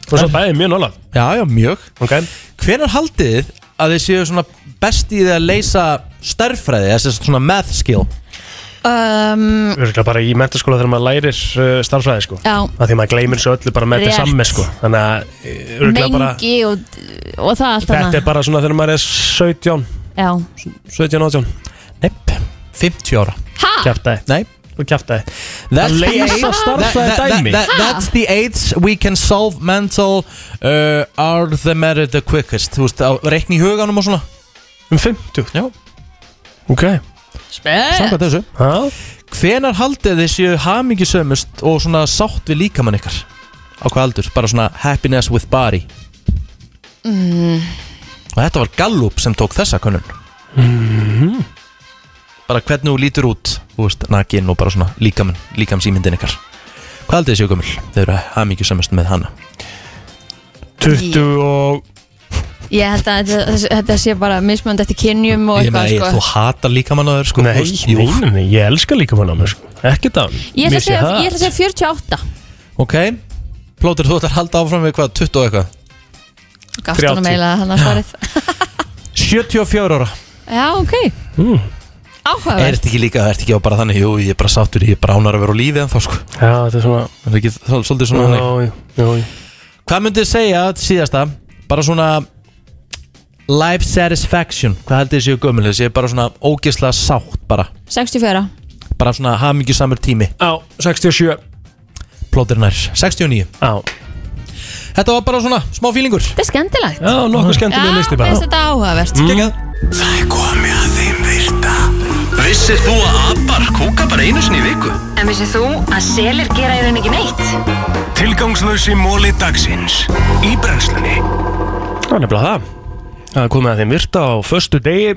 [SPEAKER 4] Þú svo bæðið mjög nála
[SPEAKER 2] Já, já, mjög
[SPEAKER 4] okay.
[SPEAKER 2] Hvenær haldið þið að þið séu svona best í því að leysa stærfræði eða sem sagt svona math skill
[SPEAKER 3] um,
[SPEAKER 4] Örgulega bara í mentaskóla þegar maður lærir uh, starffræði sko
[SPEAKER 3] Já.
[SPEAKER 4] Af Því maður gleymir svo öllu bara með
[SPEAKER 3] Rétt.
[SPEAKER 4] þetta samme sko Þannig að örgulega bara
[SPEAKER 3] Mengi og, og það allt
[SPEAKER 4] Þetta er bara svona þegar maður er 17
[SPEAKER 3] Já,
[SPEAKER 4] 17, 18
[SPEAKER 2] Nepp 50 ára
[SPEAKER 3] Ha?
[SPEAKER 4] Kjæftæði
[SPEAKER 2] Nei
[SPEAKER 4] Þú kjæftæði
[SPEAKER 2] That's
[SPEAKER 4] Að
[SPEAKER 2] the
[SPEAKER 4] leysa
[SPEAKER 2] age-
[SPEAKER 4] stærðfræði
[SPEAKER 2] that- that-
[SPEAKER 4] dæmi.
[SPEAKER 2] that-
[SPEAKER 4] Ha?
[SPEAKER 2] That's the age we can solve mental uh, Are the matter the quickest Þú veist, á reikni í huganum og svona
[SPEAKER 4] Um 50
[SPEAKER 2] Já
[SPEAKER 4] Ok
[SPEAKER 3] Eh.
[SPEAKER 2] Samkvæmt þessu
[SPEAKER 4] ha?
[SPEAKER 2] Hvenar haldið þið séu hamingisömmust og svona sátt við líkamann ykkar? Á hvað aldur? Bara svona happiness with body
[SPEAKER 17] Mhm.
[SPEAKER 3] mm,
[SPEAKER 2] Og þetta var Gallup sem tók þessa kunnun
[SPEAKER 1] Mhm.
[SPEAKER 2] Bara hvernig þú lítur út Þú veist, nakin og bara svona líkamann Líkamsýmyndin ykkar Hvað haldið þið séu gömul? Þau eru hamingisömmust með hana
[SPEAKER 4] 20 og
[SPEAKER 3] ég held að þetta, þessi- þetta sé bara mismönd eftir kynjum og
[SPEAKER 2] Ég meina,
[SPEAKER 3] eitthvað
[SPEAKER 2] ég, þú
[SPEAKER 3] sko.
[SPEAKER 2] hatar líkamann á þér sko
[SPEAKER 4] Nei, nei, nei, nei, ég elska líka mann á mér sko Ekki það
[SPEAKER 3] Ég ætla að segja- ég ætla að segja 48
[SPEAKER 2] Ok, plótur þú ætlar að halda áfram við hvað, 20 og eitthvað
[SPEAKER 3] Gafst hún
[SPEAKER 2] 30.
[SPEAKER 3] eiginlega hann að svarið
[SPEAKER 2] 74 ára
[SPEAKER 3] Já, ok
[SPEAKER 2] mm. Er
[SPEAKER 3] Áhugavert
[SPEAKER 2] þetta ekki líka, er þetta ekki bara þannig Jú, ég er bara sáttur, ég er bara ánar að vera á lífi en þá sko
[SPEAKER 4] Já, þetta er svona
[SPEAKER 2] Er það ekki svo- svolítið svona
[SPEAKER 4] Já, já, já
[SPEAKER 2] Hvað myndið þið segja síðasta Bara svona Life satisfaction, hvað heldur þið séu gömul Þið séu bara svona ógisla sátt bara
[SPEAKER 3] 64
[SPEAKER 2] Bara svona hamingi samur tími
[SPEAKER 4] Já, 67
[SPEAKER 2] Plótur nær, 69
[SPEAKER 4] Já
[SPEAKER 2] Þetta var bara svona smá fílingur
[SPEAKER 3] Þetta er skemmtilegt
[SPEAKER 4] Já, nokkuð skemmtileg listi bara. Mm.
[SPEAKER 3] Já, finnst þetta áhugavert
[SPEAKER 1] Það er komið að þeim virta Vissir þú að abar kúka bara einu sinni í viku?
[SPEAKER 17] En vissið þú að selir gera í raun ekki neitt?
[SPEAKER 1] Tilgangslösi móli dagsins Í brennslunni
[SPEAKER 4] Það er nefnilega það Það er komið að þeim virta á föstu degi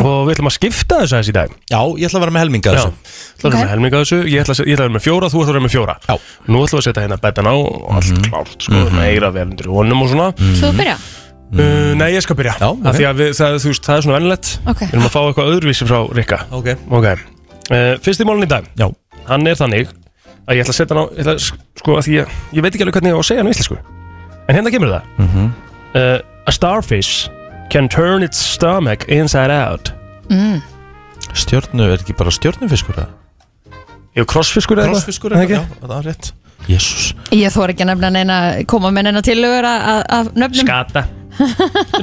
[SPEAKER 4] og við ætlum að skipta þessu aðeins í dag
[SPEAKER 2] Mhm. Já, ég ætla að vera með helminga
[SPEAKER 4] þessu Það er
[SPEAKER 2] Ok.
[SPEAKER 4] með helminga þessu, ég ætla, að se- ég ætla að vera með fjóra, þú ætla að vera með fjóra Já. Nú ætlum við að setja hérna betan á og allt
[SPEAKER 2] Mhm.
[SPEAKER 4] klárt, sko, mm -hmm. eira vel undir honum og svona
[SPEAKER 3] Þú byrja
[SPEAKER 2] Mm.
[SPEAKER 4] Uh, nei, ég skal byrja Já, okay. Því að við, það, þú veist, það er svona vennilegt
[SPEAKER 3] Ok.
[SPEAKER 4] Við erum að fá eitthvað öðruvísi frá Rikka
[SPEAKER 2] Ok,
[SPEAKER 4] okay. Uh, Fyrst í málun í dag
[SPEAKER 2] Já.
[SPEAKER 4] Hann er þannig að ég ætla að setja hann á ég ætla, að sk- Sko, að því ég, ég veit ekki alveg hvernig ég á að segja hann í íslensku En hérna kemur það
[SPEAKER 2] Mhm.
[SPEAKER 4] uh, A starfish can turn its stomach inside out
[SPEAKER 3] mm.
[SPEAKER 2] Stjörnu, er ekki bara stjörnufiskur það?
[SPEAKER 4] Jú, krossfiskur eða eitthvað,
[SPEAKER 2] Krossfiskur
[SPEAKER 4] er það
[SPEAKER 2] eða
[SPEAKER 4] ekki?
[SPEAKER 2] eitthvað, já, það er rétt Jésús
[SPEAKER 3] Ég þóra ekki að nefna neina koma með neina tillögur að- að af nöfnum
[SPEAKER 4] Skata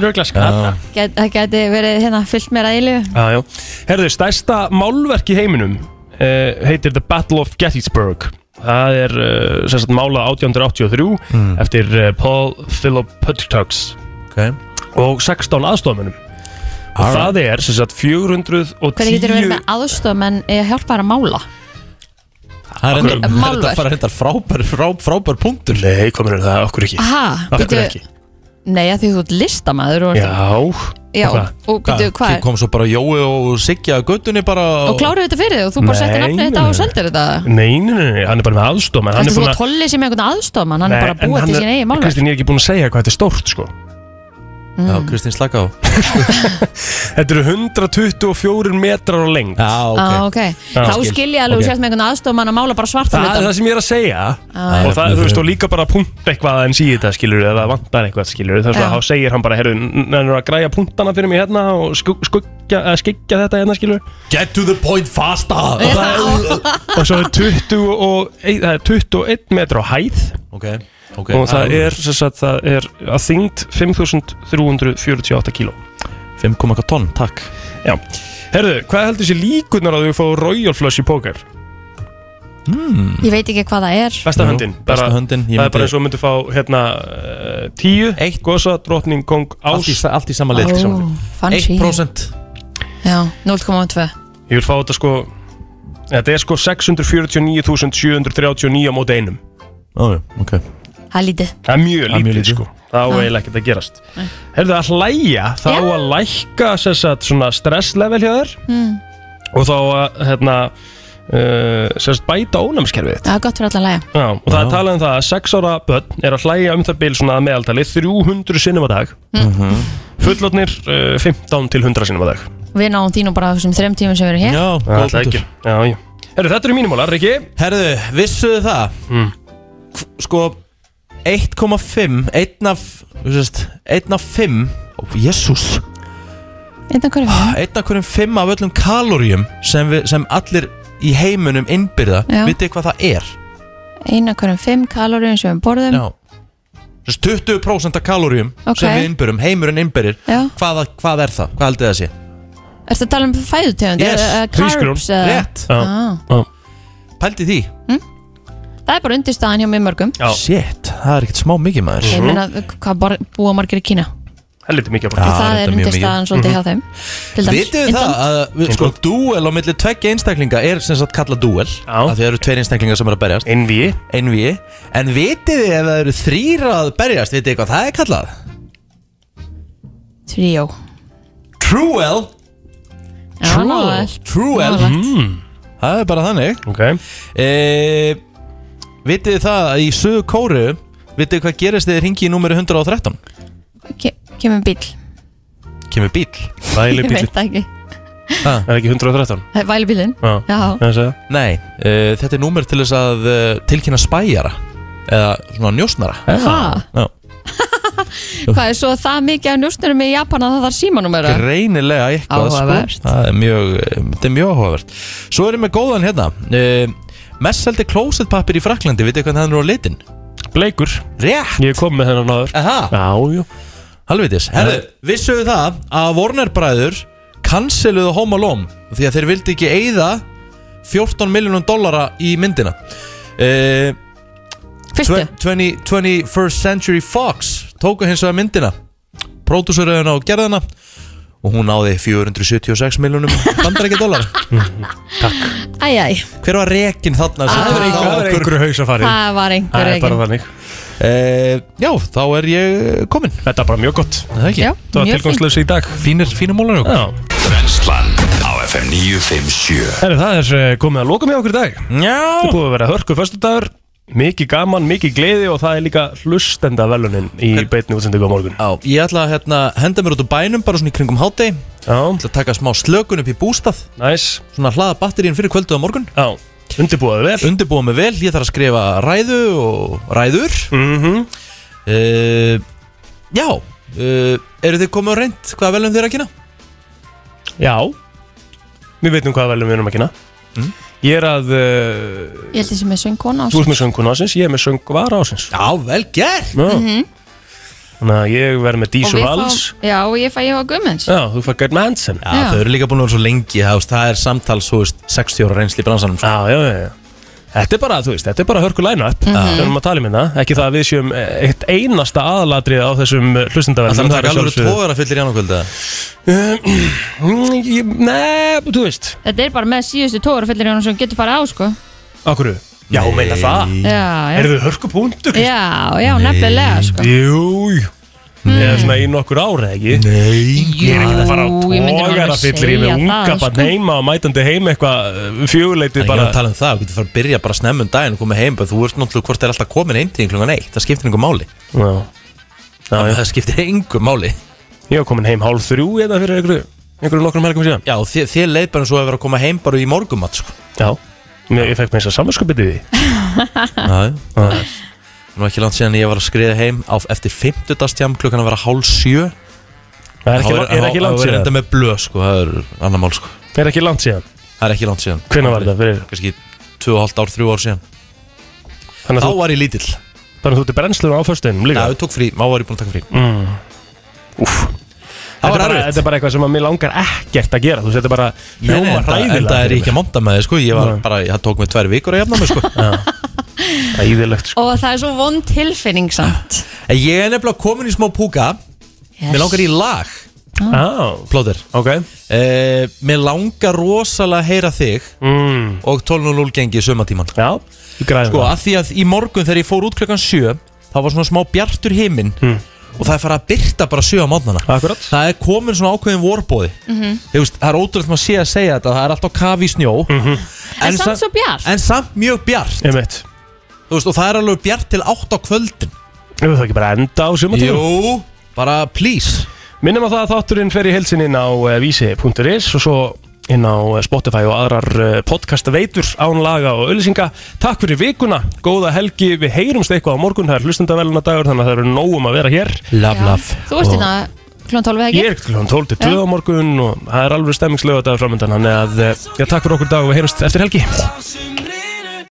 [SPEAKER 4] Röglega skata
[SPEAKER 3] Gæt- Það gæti verið hérna fyllt mér að eilífu
[SPEAKER 4] Já, já. Herðu, stærsta málverk í heiminum uh, heitir The Battle of Gettysburg. Það er uh, sem sagt mála 1883
[SPEAKER 2] Hmm.
[SPEAKER 4] eftir uh, Paul Philip Puttox
[SPEAKER 2] okay.
[SPEAKER 4] og 16 aðstofamönnum. Og
[SPEAKER 2] Alright.
[SPEAKER 4] það er sem sagt 410...
[SPEAKER 3] Hvernig getur verið með aðstof menn að hjálpa þær að mála
[SPEAKER 2] Það er reyndar-
[SPEAKER 3] Málverk.
[SPEAKER 2] þetta fara reyndar frábær, frá, frábær punktur
[SPEAKER 4] Nei, komur er það okkur ekki
[SPEAKER 3] Aha, bíddu, Nei, að því þú ert listamaður og, Já, og byrju, hvað er
[SPEAKER 2] Kom svo bara Jói og Siggi að göttunni bara
[SPEAKER 3] Og kláruðu þetta fyrir þig og þú bara
[SPEAKER 4] Nei,
[SPEAKER 3] settir nafnið þetta á
[SPEAKER 4] nei.
[SPEAKER 3] og sendir þetta
[SPEAKER 4] Nei, nei, nei, nei, hann er bara með aðstofamenn. hann er
[SPEAKER 3] Þetta þú
[SPEAKER 4] búinn
[SPEAKER 3] að tolli sem einhvern aðstofmann, hann er bara
[SPEAKER 4] en
[SPEAKER 3] búið
[SPEAKER 4] hann
[SPEAKER 3] til
[SPEAKER 4] er-
[SPEAKER 3] sín eigin málverk
[SPEAKER 4] Kristín, ég er ekki búin að segja hvað þetta er stórt sko
[SPEAKER 3] Mm.
[SPEAKER 27] Já, Kristín slaka á
[SPEAKER 4] Þetta eru 124 metrar á lengt Já,
[SPEAKER 3] Á, Ah, ok. Þá skil ég alveg okay. sért með einhvern aðstofmann að mála bara Ah. svarta
[SPEAKER 4] Það er það sem ég er að segja
[SPEAKER 3] Já.
[SPEAKER 4] Og það, þú veist, og líka bara punkt eitthvað en síði þetta skilur eða vantar eitthvað skilur þess að
[SPEAKER 3] Já.
[SPEAKER 4] þá segir hann bara, herru, hann er að græja punktana fyrir mig hérna og skuggja, skuggja þetta hérna skilur
[SPEAKER 27] Get to the point faster
[SPEAKER 4] Og það er- Og svo er 20 og, ei- það er 21 metrar á hæð
[SPEAKER 27] Ok, ok
[SPEAKER 4] Og það er, sem sagt, það er að þyngd 5348 kíló
[SPEAKER 27] 5,1 tonn, takk
[SPEAKER 4] Já, herru, hvað heldur þessi líkunar að þú fá Royal Flush í póker?
[SPEAKER 17] Hmm.
[SPEAKER 27] mm.
[SPEAKER 3] Ég veit ekki hvað það er.
[SPEAKER 4] Besta
[SPEAKER 27] Jú,
[SPEAKER 4] höndin
[SPEAKER 27] besta höndin, ég
[SPEAKER 4] Það er
[SPEAKER 27] myndi-
[SPEAKER 4] bara eins og myndu fá hérna uh, tíu Eitt Gosa, drottning, kong, ás
[SPEAKER 27] Allt í sa- allt í sama lið.
[SPEAKER 4] Allt í sama
[SPEAKER 3] Ó,
[SPEAKER 4] lið.
[SPEAKER 3] fancy.
[SPEAKER 27] 1%
[SPEAKER 3] Já, 0,2.
[SPEAKER 4] Ég vil fá þetta sko Þetta er sko 649.739 á móti einum
[SPEAKER 27] Ó, ok
[SPEAKER 3] Það er lítið.
[SPEAKER 4] Það er mjög
[SPEAKER 27] er mjög
[SPEAKER 4] lítið
[SPEAKER 27] lítið.
[SPEAKER 4] sko Það á
[SPEAKER 3] Já.
[SPEAKER 4] eiginlega ekkert að gerast Herðu að hlæja Þá á að lækka sem sagt, svona stresslevel hjá þér
[SPEAKER 3] Mm.
[SPEAKER 4] Og þá að hérna uh, sem sagt, bæta ónæmiskerfið þitt
[SPEAKER 3] Það er gott fyrir alla að læga.
[SPEAKER 4] Já, og það er talað um það að 6 ára börn er að hlæja um það bil svona að meðaltali 300 sinnum á dag
[SPEAKER 27] Mhm.
[SPEAKER 4] Fullotnir uh, 15 til 100 sinnum á dag
[SPEAKER 3] Við náum þínu bara á þessum þrem tímum sem við erum hér.
[SPEAKER 4] Það er ekki Já, já Herru, þetta eru mínumólar, ekki?
[SPEAKER 2] Herðu, vissuðu það
[SPEAKER 4] Mm.
[SPEAKER 2] Sko 1,5 1 af þú veist, 1 af 5 Ó, Jésús
[SPEAKER 3] Einn af hverju fyrir.
[SPEAKER 2] einn af hverjum fimm af öllum kaloríum sem, við, sem allir í heiminum innbyrða,
[SPEAKER 3] Já.
[SPEAKER 2] vitið þið hvað það er
[SPEAKER 3] Einn af hverjum fimm kaloríum sem við borðum.
[SPEAKER 2] Já. Þess 20% af kaloríum
[SPEAKER 3] Um- Ok.
[SPEAKER 2] sem við innbyrðum, heimurinn innbyrðir
[SPEAKER 3] Já.
[SPEAKER 2] hvað, hvað er það, hvað heldur það að sé
[SPEAKER 3] Ertu að tala um fæðutegund?
[SPEAKER 2] Yes, hrísgrjón.
[SPEAKER 3] Carbs? eða- Ah.
[SPEAKER 2] Rétt.
[SPEAKER 3] Já.
[SPEAKER 2] pældi því,
[SPEAKER 3] Það er bara undirstaðan hjá mjög mörgum.
[SPEAKER 2] shit það er ekkert smá mikið maður
[SPEAKER 3] Ég meina, hvað bor- búa margir í Kína?
[SPEAKER 4] Helviti mikið
[SPEAKER 3] Og það er undirstaðan svolítið hjá þeim. Til dæmis.
[SPEAKER 2] Mhm. Vitið þið það
[SPEAKER 3] Indland.
[SPEAKER 2] að við, sko, dúel á milli tveggja einstaklinga er sem sagt kallað dúel að þið eru tveir einstaklingar sem eru að berjast
[SPEAKER 4] Einvíi
[SPEAKER 2] Einvíi En vitið þið ef það eru þrýr að berjast vitið þið hvað það er kallað?
[SPEAKER 3] Tríó.
[SPEAKER 2] Truel
[SPEAKER 3] Já, nálægt.
[SPEAKER 2] Truel
[SPEAKER 3] Nálægt.
[SPEAKER 4] Mhm.
[SPEAKER 2] Það er bara þannig
[SPEAKER 4] okay.
[SPEAKER 2] e, Vitið þið það að í sögu kóru Vitið þið hvað gerist þegar þið ringi í númeru 113
[SPEAKER 3] Ke- Kemur bíl.
[SPEAKER 2] Kemur bíl
[SPEAKER 3] Ég veit það ekki.
[SPEAKER 4] Er ekki 113?
[SPEAKER 3] Það er Vælubílinn.
[SPEAKER 4] Já.
[SPEAKER 3] Já.
[SPEAKER 2] Nei, e, þetta er númer til þess að e, tilkynna spæjara Eða svona njósnara
[SPEAKER 3] Ha?
[SPEAKER 2] Já.
[SPEAKER 3] Hvað er svo það mikið af njósnurum í Japan að það þarf símanúmera?
[SPEAKER 2] greinilega eitthvað
[SPEAKER 3] Áhugavert.
[SPEAKER 2] sko. það er mjög, þetta er mjög áhugavert svo erum við góðan hérna uh, mestseldi klósetpapir í Fraklandi vitið hvernig hann er á litin
[SPEAKER 4] bleikur,
[SPEAKER 2] rétt
[SPEAKER 4] ég kom með þennan áður já,
[SPEAKER 2] já halvitis, herðu, vissuðu það að Warner bræður canceluðu Home Alone því að þeir vildi ekki eyða 14 miljónum dollara í myndina uh,
[SPEAKER 3] Fyrstu
[SPEAKER 2] 20, 21st Century Fox tóku hins vegar myndina pródúsörðuna og gerðina og hún náði 476 miljónum bandarækja dólar
[SPEAKER 3] Æj, æj,
[SPEAKER 2] Hver var rekin þarna? sem
[SPEAKER 3] Það
[SPEAKER 2] tók
[SPEAKER 3] var einhver-
[SPEAKER 2] þá
[SPEAKER 3] það var
[SPEAKER 2] ákvörðun?
[SPEAKER 4] einhver hausafari.
[SPEAKER 3] það var einhver reygin
[SPEAKER 4] þannig
[SPEAKER 2] Eh, Já, þá er ég kominn
[SPEAKER 4] Þetta er bara mjög gott
[SPEAKER 2] Það er ekki
[SPEAKER 3] Já,
[SPEAKER 4] Það var mjög tilgangslaus í dag
[SPEAKER 2] Fínir, fínir mólar
[SPEAKER 4] Já
[SPEAKER 1] Brenslan á FM 957
[SPEAKER 4] Herru, það er eh, komið að loka með okkur í dag
[SPEAKER 2] Já
[SPEAKER 4] Það er búið að vera hörku föstudagur Mikið gaman, mikið gleði og það er líka hlustenda velunin í beitni útsendingu á morgun
[SPEAKER 2] Já, ég ætla að hérna, henda mér út úr bænum bara svona í kringum hátegi
[SPEAKER 4] Já Ég
[SPEAKER 2] ætla að taka smá slökun upp í bústað
[SPEAKER 4] Næs
[SPEAKER 2] Svona hlaða batterín fyrir kvölduð á morgun
[SPEAKER 4] Já, undirbúaðu vel
[SPEAKER 2] Undirbúaðu mig vel, ég þarf að skrifa ræðu og ræður Eh,
[SPEAKER 4] mm -hmm.
[SPEAKER 2] Já, uh, eru þið komið á reynd hvaða velum þið er að kynna?
[SPEAKER 4] Já Við veitum hvað velum við erum að kynna
[SPEAKER 2] Mm.
[SPEAKER 4] Ég er að uh,
[SPEAKER 3] Ég held þessi með söngkona á
[SPEAKER 4] Þú ert með söngkona ásins, ég er með söngvara ásins
[SPEAKER 2] Já, vel gert
[SPEAKER 4] Já,
[SPEAKER 3] Mhm.
[SPEAKER 4] þannig að ég verð með
[SPEAKER 3] Og
[SPEAKER 4] Dísu
[SPEAKER 3] við
[SPEAKER 4] Vals
[SPEAKER 3] fá- Já, og ég fæ ég á Guðmunds
[SPEAKER 4] Já, þú fær Gert Manson Já,
[SPEAKER 3] Já.
[SPEAKER 2] þau eru líka búin að vera svo lengi Það, það er samtals, þú veist, 60 ára reynsli í bransanum sko.
[SPEAKER 4] Já, já, já, já. Þetta er bara, þú veist, þetta er bara hörku line-up
[SPEAKER 2] Mhm.
[SPEAKER 4] Við erum að tala um þetta Ekki það að við séum eh, eitt einasta aðalatrið á þessum eh,
[SPEAKER 2] Það
[SPEAKER 4] hlustendaverðum
[SPEAKER 2] er alveg tógar að fyllir í annarkvölda
[SPEAKER 4] Nei, þú veist
[SPEAKER 3] Þetta er bara með síðustu tórufyllir Jónas sem getur farið á sko
[SPEAKER 4] Akkur Já, meina það
[SPEAKER 3] Já, já.
[SPEAKER 4] Eru þau hörku punktur?
[SPEAKER 3] Já, já, nefnilega sko Hmm.
[SPEAKER 4] Jú, jú Eða svona í nokkur ára, ekki? Nei Ég er ekkert að fara á
[SPEAKER 3] Jú, ég myndi nú alveg
[SPEAKER 4] tógar að fyllir í með
[SPEAKER 3] segja
[SPEAKER 4] unga
[SPEAKER 3] það,
[SPEAKER 4] bara
[SPEAKER 3] sko.
[SPEAKER 4] heima og mætandi heim eitthvað fjöguleitið
[SPEAKER 2] Það er
[SPEAKER 4] Eh, bara
[SPEAKER 2] ekki að tala um það, þú getur fara að byrja bara snemma um daginn og koma heim, bara þú ert náttúrulega hvort það er alltaf komin einn tíðin klungan eitt, það skiptir einhver máli
[SPEAKER 4] Já. Já,
[SPEAKER 2] Það skiptir einhver máli
[SPEAKER 4] Ég var komin heim hálf þrjú eða fyrir einhverju, einhverju nokkrum helgum síðan
[SPEAKER 2] Já, þið, þið leið bara eins og að vera að koma heim bara í morgumat sko.
[SPEAKER 4] Já, ég, ég fekk með þess að samanskapitið því
[SPEAKER 2] Já, já. Nú er ekki langt síðan ég var að skriða heim á, eftir 50 dagstjám klukkan að vera hálf sjö
[SPEAKER 4] Það er ekki lan- er ekki langt
[SPEAKER 2] Það er
[SPEAKER 4] síðan.
[SPEAKER 2] enda með blöð sko, það er annar mál sko
[SPEAKER 4] Er ekki langt síðan?
[SPEAKER 2] Það er ekki langt síðan
[SPEAKER 4] Hvenær var þetta fyrir?
[SPEAKER 2] Kanski 2,5 ár, 3 ár síðan
[SPEAKER 4] Þannig
[SPEAKER 2] Þá
[SPEAKER 4] að þú-
[SPEAKER 2] var ég lítill
[SPEAKER 4] Þannig að þú ert brennslur á föstunum Um líka?
[SPEAKER 2] Já, ég tók frí, má var ég búin að taka frí
[SPEAKER 4] mm. Úff
[SPEAKER 2] Það
[SPEAKER 4] Þetta er
[SPEAKER 2] var
[SPEAKER 4] bara-
[SPEAKER 2] erfitt.
[SPEAKER 4] Þetta er bara eitthvað sem að mér langar ekkert að gera Þú veist, þetta er bara
[SPEAKER 2] Nei, nei,
[SPEAKER 4] hljómar
[SPEAKER 2] enda,
[SPEAKER 4] hræðilega
[SPEAKER 2] enda er ég ekki að monta með þið sko Ég var
[SPEAKER 4] Nei.
[SPEAKER 2] bara, það tók mig tvær vikur að jafna mig sko
[SPEAKER 4] Æðilegt
[SPEAKER 3] Og það er svo vond tilfinning samt
[SPEAKER 2] En ég er nefnilega komin í smá púka
[SPEAKER 3] Yes.
[SPEAKER 2] Mér langar í lag
[SPEAKER 4] ah.
[SPEAKER 2] Plóður
[SPEAKER 4] okay.
[SPEAKER 2] Mér langar rosalega að heyra þig
[SPEAKER 4] mm.
[SPEAKER 2] Og 12.0 gengi í sömatíman
[SPEAKER 4] Já,
[SPEAKER 2] Sko, að því að í morgun þegar ég fór út klukkan 7 Það var svona smá bjartur himinn Og það er farið að byrta bara 7 á mótnana
[SPEAKER 4] Mm. Akkurat
[SPEAKER 2] Það er komin svona ákveðin vorbóði
[SPEAKER 3] Mhm.
[SPEAKER 2] Þú veist, það er ótrúlega maður sé að segja þetta Það er alltaf kafi í snjó
[SPEAKER 3] En samt svo bjart.
[SPEAKER 2] En samt mjög bjart
[SPEAKER 4] Mhm. Einmitt.
[SPEAKER 2] Þú veist, og það er alveg bjart til 8 á kvöldin
[SPEAKER 4] Ef það ekki bara enda á sumatíma
[SPEAKER 2] Jú, bara please
[SPEAKER 4] Minnum að það að þátturinn fer í helsinn inn á eh, vísi.is og svo inn á eh, Spotify og aðrar podcast veitur án laga og öllisinga Takk fyrir vikuna, góða helgi Við heyrumst eitthvað á morgun, það er hlustendaveluna dagur þannig að það eru nógum að vera hér
[SPEAKER 2] Love,
[SPEAKER 4] love
[SPEAKER 3] Þú ert hérna klón 12 eða
[SPEAKER 4] Ég er
[SPEAKER 3] ekki?
[SPEAKER 4] klukkan 12 til 2 á morgun og það er alveg stemmingslega dagur framöndan þannig að, eh, já, takk fyrir okkur í dag og við heyrumst eftir helgi